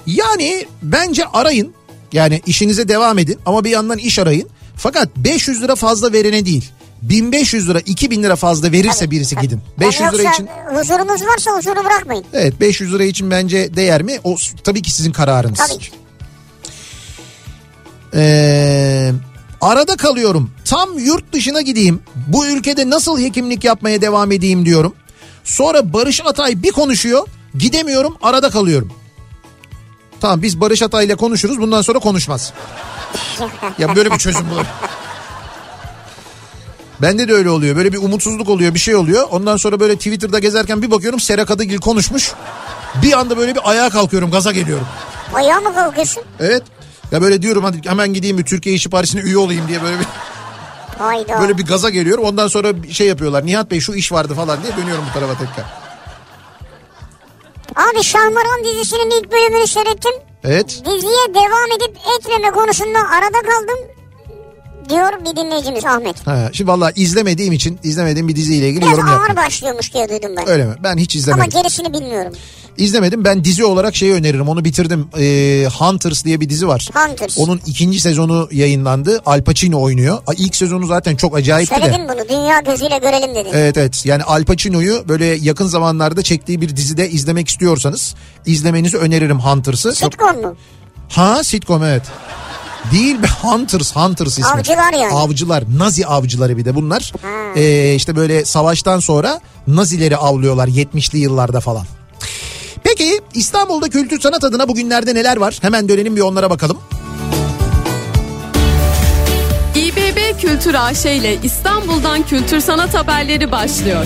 [SPEAKER 3] Yani bence arayın. Yani işinize devam edin ama bir yandan iş arayın. Fakat 500 lira fazla verene değil. 1500 lira 2000 lira fazla verirse
[SPEAKER 4] Tabii,
[SPEAKER 3] birisi
[SPEAKER 4] tabii.
[SPEAKER 3] gidin.
[SPEAKER 4] Yani
[SPEAKER 3] 500 lira
[SPEAKER 4] yoksa
[SPEAKER 3] için
[SPEAKER 4] Huzurunuz varsa huzuru bırakmayın.
[SPEAKER 3] evet 500 lira için bence değer mi? O s- tabii ki sizin kararınız.
[SPEAKER 4] Tabii ki.
[SPEAKER 3] Ee, arada kalıyorum. Tam yurt dışına gideyim. Bu ülkede nasıl hekimlik yapmaya devam edeyim diyorum. Sonra Barış Atay bir konuşuyor. Gidemiyorum arada kalıyorum. Tamam biz Barış Atay'la konuşuruz bundan sonra konuşmaz. ya böyle bir çözüm bulur. Bende de öyle oluyor. Böyle bir umutsuzluk oluyor bir şey oluyor. Ondan sonra böyle Twitter'da gezerken bir bakıyorum Sera Kadıgil konuşmuş. Bir anda böyle bir ayağa kalkıyorum gaza geliyorum.
[SPEAKER 4] Ayağa mı kalkıyorsun?
[SPEAKER 3] Evet. Ya böyle diyorum hadi hemen gideyim bir Türkiye İşi Partisi'ne üye olayım diye böyle bir
[SPEAKER 4] Hayda.
[SPEAKER 3] böyle bir gaza geliyorum. Ondan sonra bir şey yapıyorlar. Nihat Bey şu iş vardı falan diye dönüyorum bu tarafa tekrar.
[SPEAKER 4] Abi Şahmaran dizisinin ilk bölümünü seyrettim.
[SPEAKER 3] Evet.
[SPEAKER 4] Diziye devam edip etmeme konusunda arada kaldım diyor bir dinleyicimiz Ahmet.
[SPEAKER 3] Ha, şimdi vallahi izlemediğim için izlemediğim bir diziyle ilgili
[SPEAKER 4] Biraz
[SPEAKER 3] yorum
[SPEAKER 4] ağır
[SPEAKER 3] yaptım.
[SPEAKER 4] başlıyormuş diye duydum ben.
[SPEAKER 3] Öyle mi? Ben hiç
[SPEAKER 4] Ama
[SPEAKER 3] izlemedim.
[SPEAKER 4] gerisini bilmiyorum.
[SPEAKER 3] İzlemedim. Ben dizi olarak şeyi öneririm. Onu bitirdim. Ee, Hunters diye bir dizi var.
[SPEAKER 4] Hunters.
[SPEAKER 3] Onun ikinci sezonu yayınlandı. Al Pacino oynuyor. Aa, İlk sezonu zaten çok acayipti de.
[SPEAKER 4] Söyledin bunu dünya gözüyle görelim dedin.
[SPEAKER 3] Evet evet yani Al Pacino'yu böyle yakın zamanlarda çektiği bir dizide izlemek istiyorsanız izlemenizi öneririm Hunters'ı.
[SPEAKER 4] Sitcom mu?
[SPEAKER 3] Ha sitcom evet. Değil be Hunters Hunters ismi.
[SPEAKER 4] Avcılar yani.
[SPEAKER 3] Avcılar Nazi avcıları bir de bunlar. Ee, işte böyle savaştan sonra Nazileri avlıyorlar 70'li yıllarda falan. Peki İstanbul'da kültür sanat adına bugünlerde neler var? Hemen dönelim bir onlara bakalım.
[SPEAKER 6] İBB Kültür AŞ ile İstanbul'dan kültür sanat haberleri başlıyor.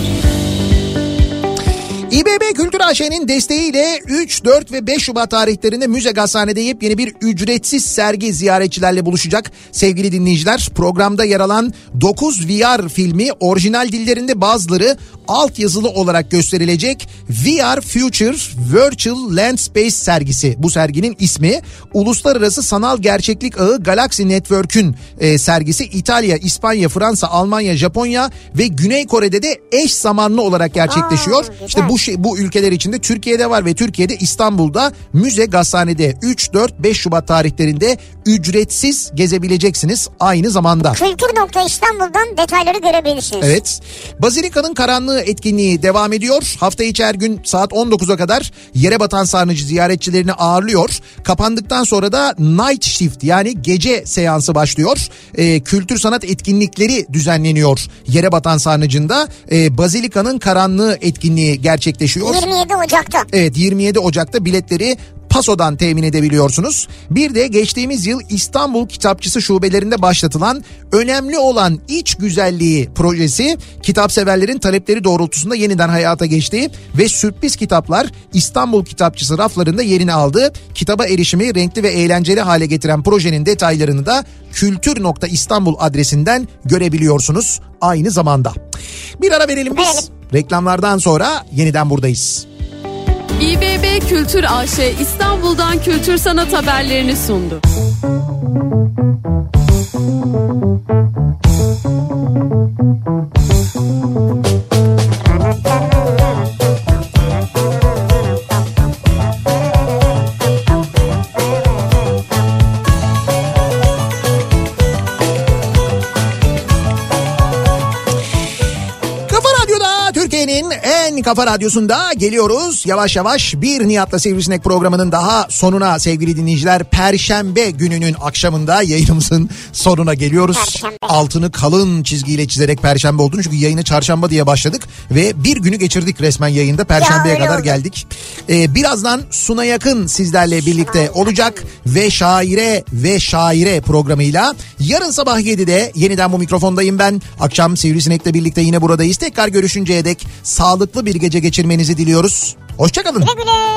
[SPEAKER 3] İBB Kültür AŞ'nin desteğiyle 3, 4 ve 5 Şubat tarihlerinde Müze Gazhane'de yepyeni bir ücretsiz sergi ziyaretçilerle buluşacak. Sevgili dinleyiciler programda yer alan 9 VR filmi orijinal dillerinde bazıları altyazılı olarak gösterilecek. VR Future Virtual Land Space sergisi bu serginin ismi. Uluslararası Sanal Gerçeklik Ağı Galaxy Network'ün e, sergisi İtalya, İspanya, Fransa, Almanya, Japonya ve Güney Kore'de de eş zamanlı olarak gerçekleşiyor.
[SPEAKER 4] güzel.
[SPEAKER 3] işte bu şey, bu ülkeler içinde Türkiye'de var ve Türkiye'de İstanbul'da Müze Gazhane'de 3, 4, 5 Şubat tarihlerinde ücretsiz gezebileceksiniz aynı zamanda.
[SPEAKER 4] Kültür.İstanbul'dan detayları görebilirsiniz.
[SPEAKER 3] Evet. Bazilika'nın karanlığı etkinliği devam ediyor. Hafta içi her gün saat 19'a kadar yere batan sarnıcı ziyaretçilerini ağırlıyor. Kapandıktan sonra da night shift yani gece seansı başlıyor. Ee, kültür sanat etkinlikleri düzenleniyor. Yere batan sarnıcında Ee, Bazilika'nın karanlığı etkinliği gerçekleşiyor.
[SPEAKER 4] 27 Ocak'ta.
[SPEAKER 3] Evet 27 Ocak'ta biletleri Paso'dan temin edebiliyorsunuz. Bir de geçtiğimiz yıl İstanbul Kitapçısı şubelerinde başlatılan önemli olan iç güzelliği projesi kitapseverlerin talepleri doğrultusunda yeniden hayata geçti ve sürpriz kitaplar İstanbul Kitapçısı raflarında yerini aldı. Kitaba erişimi renkli ve eğlenceli hale getiren projenin detaylarını da kültür.istanbul adresinden görebiliyorsunuz aynı zamanda. Bir ara verelim biz.
[SPEAKER 4] Verelim.
[SPEAKER 3] Reklamlardan sonra yeniden buradayız.
[SPEAKER 6] İBB Kültür AŞ İstanbul'dan kültür sanat haberlerini sundu.
[SPEAKER 3] Kafa Radyo'da Türkiye'nin en kafa radyosunda geliyoruz. Yavaş yavaş bir Nihat'la Sivrisinek programının daha sonuna sevgili dinleyiciler. Perşembe gününün akşamında yayınımızın sonuna geliyoruz.
[SPEAKER 4] Perşembe.
[SPEAKER 3] Altını kalın çizgiyle çizerek perşembe olduğunu çünkü yayını çarşamba diye başladık. Ve bir günü geçirdik resmen yayında. Perşembeye
[SPEAKER 4] öyle
[SPEAKER 3] kadar
[SPEAKER 4] oldu.
[SPEAKER 3] geldik. Ee, birazdan Suna Yakın sizlerle birlikte olacak. Ve Şaire ve Şaire programıyla yarın sabah 7'de yeniden bu mikrofondayım ben. Akşam Sivrisinek'le birlikte yine buradayız. Tekrar görüşünceye dek sağlıklı bir gece geçirmenizi diliyoruz. Hoşçakalın.
[SPEAKER 4] Güle güle.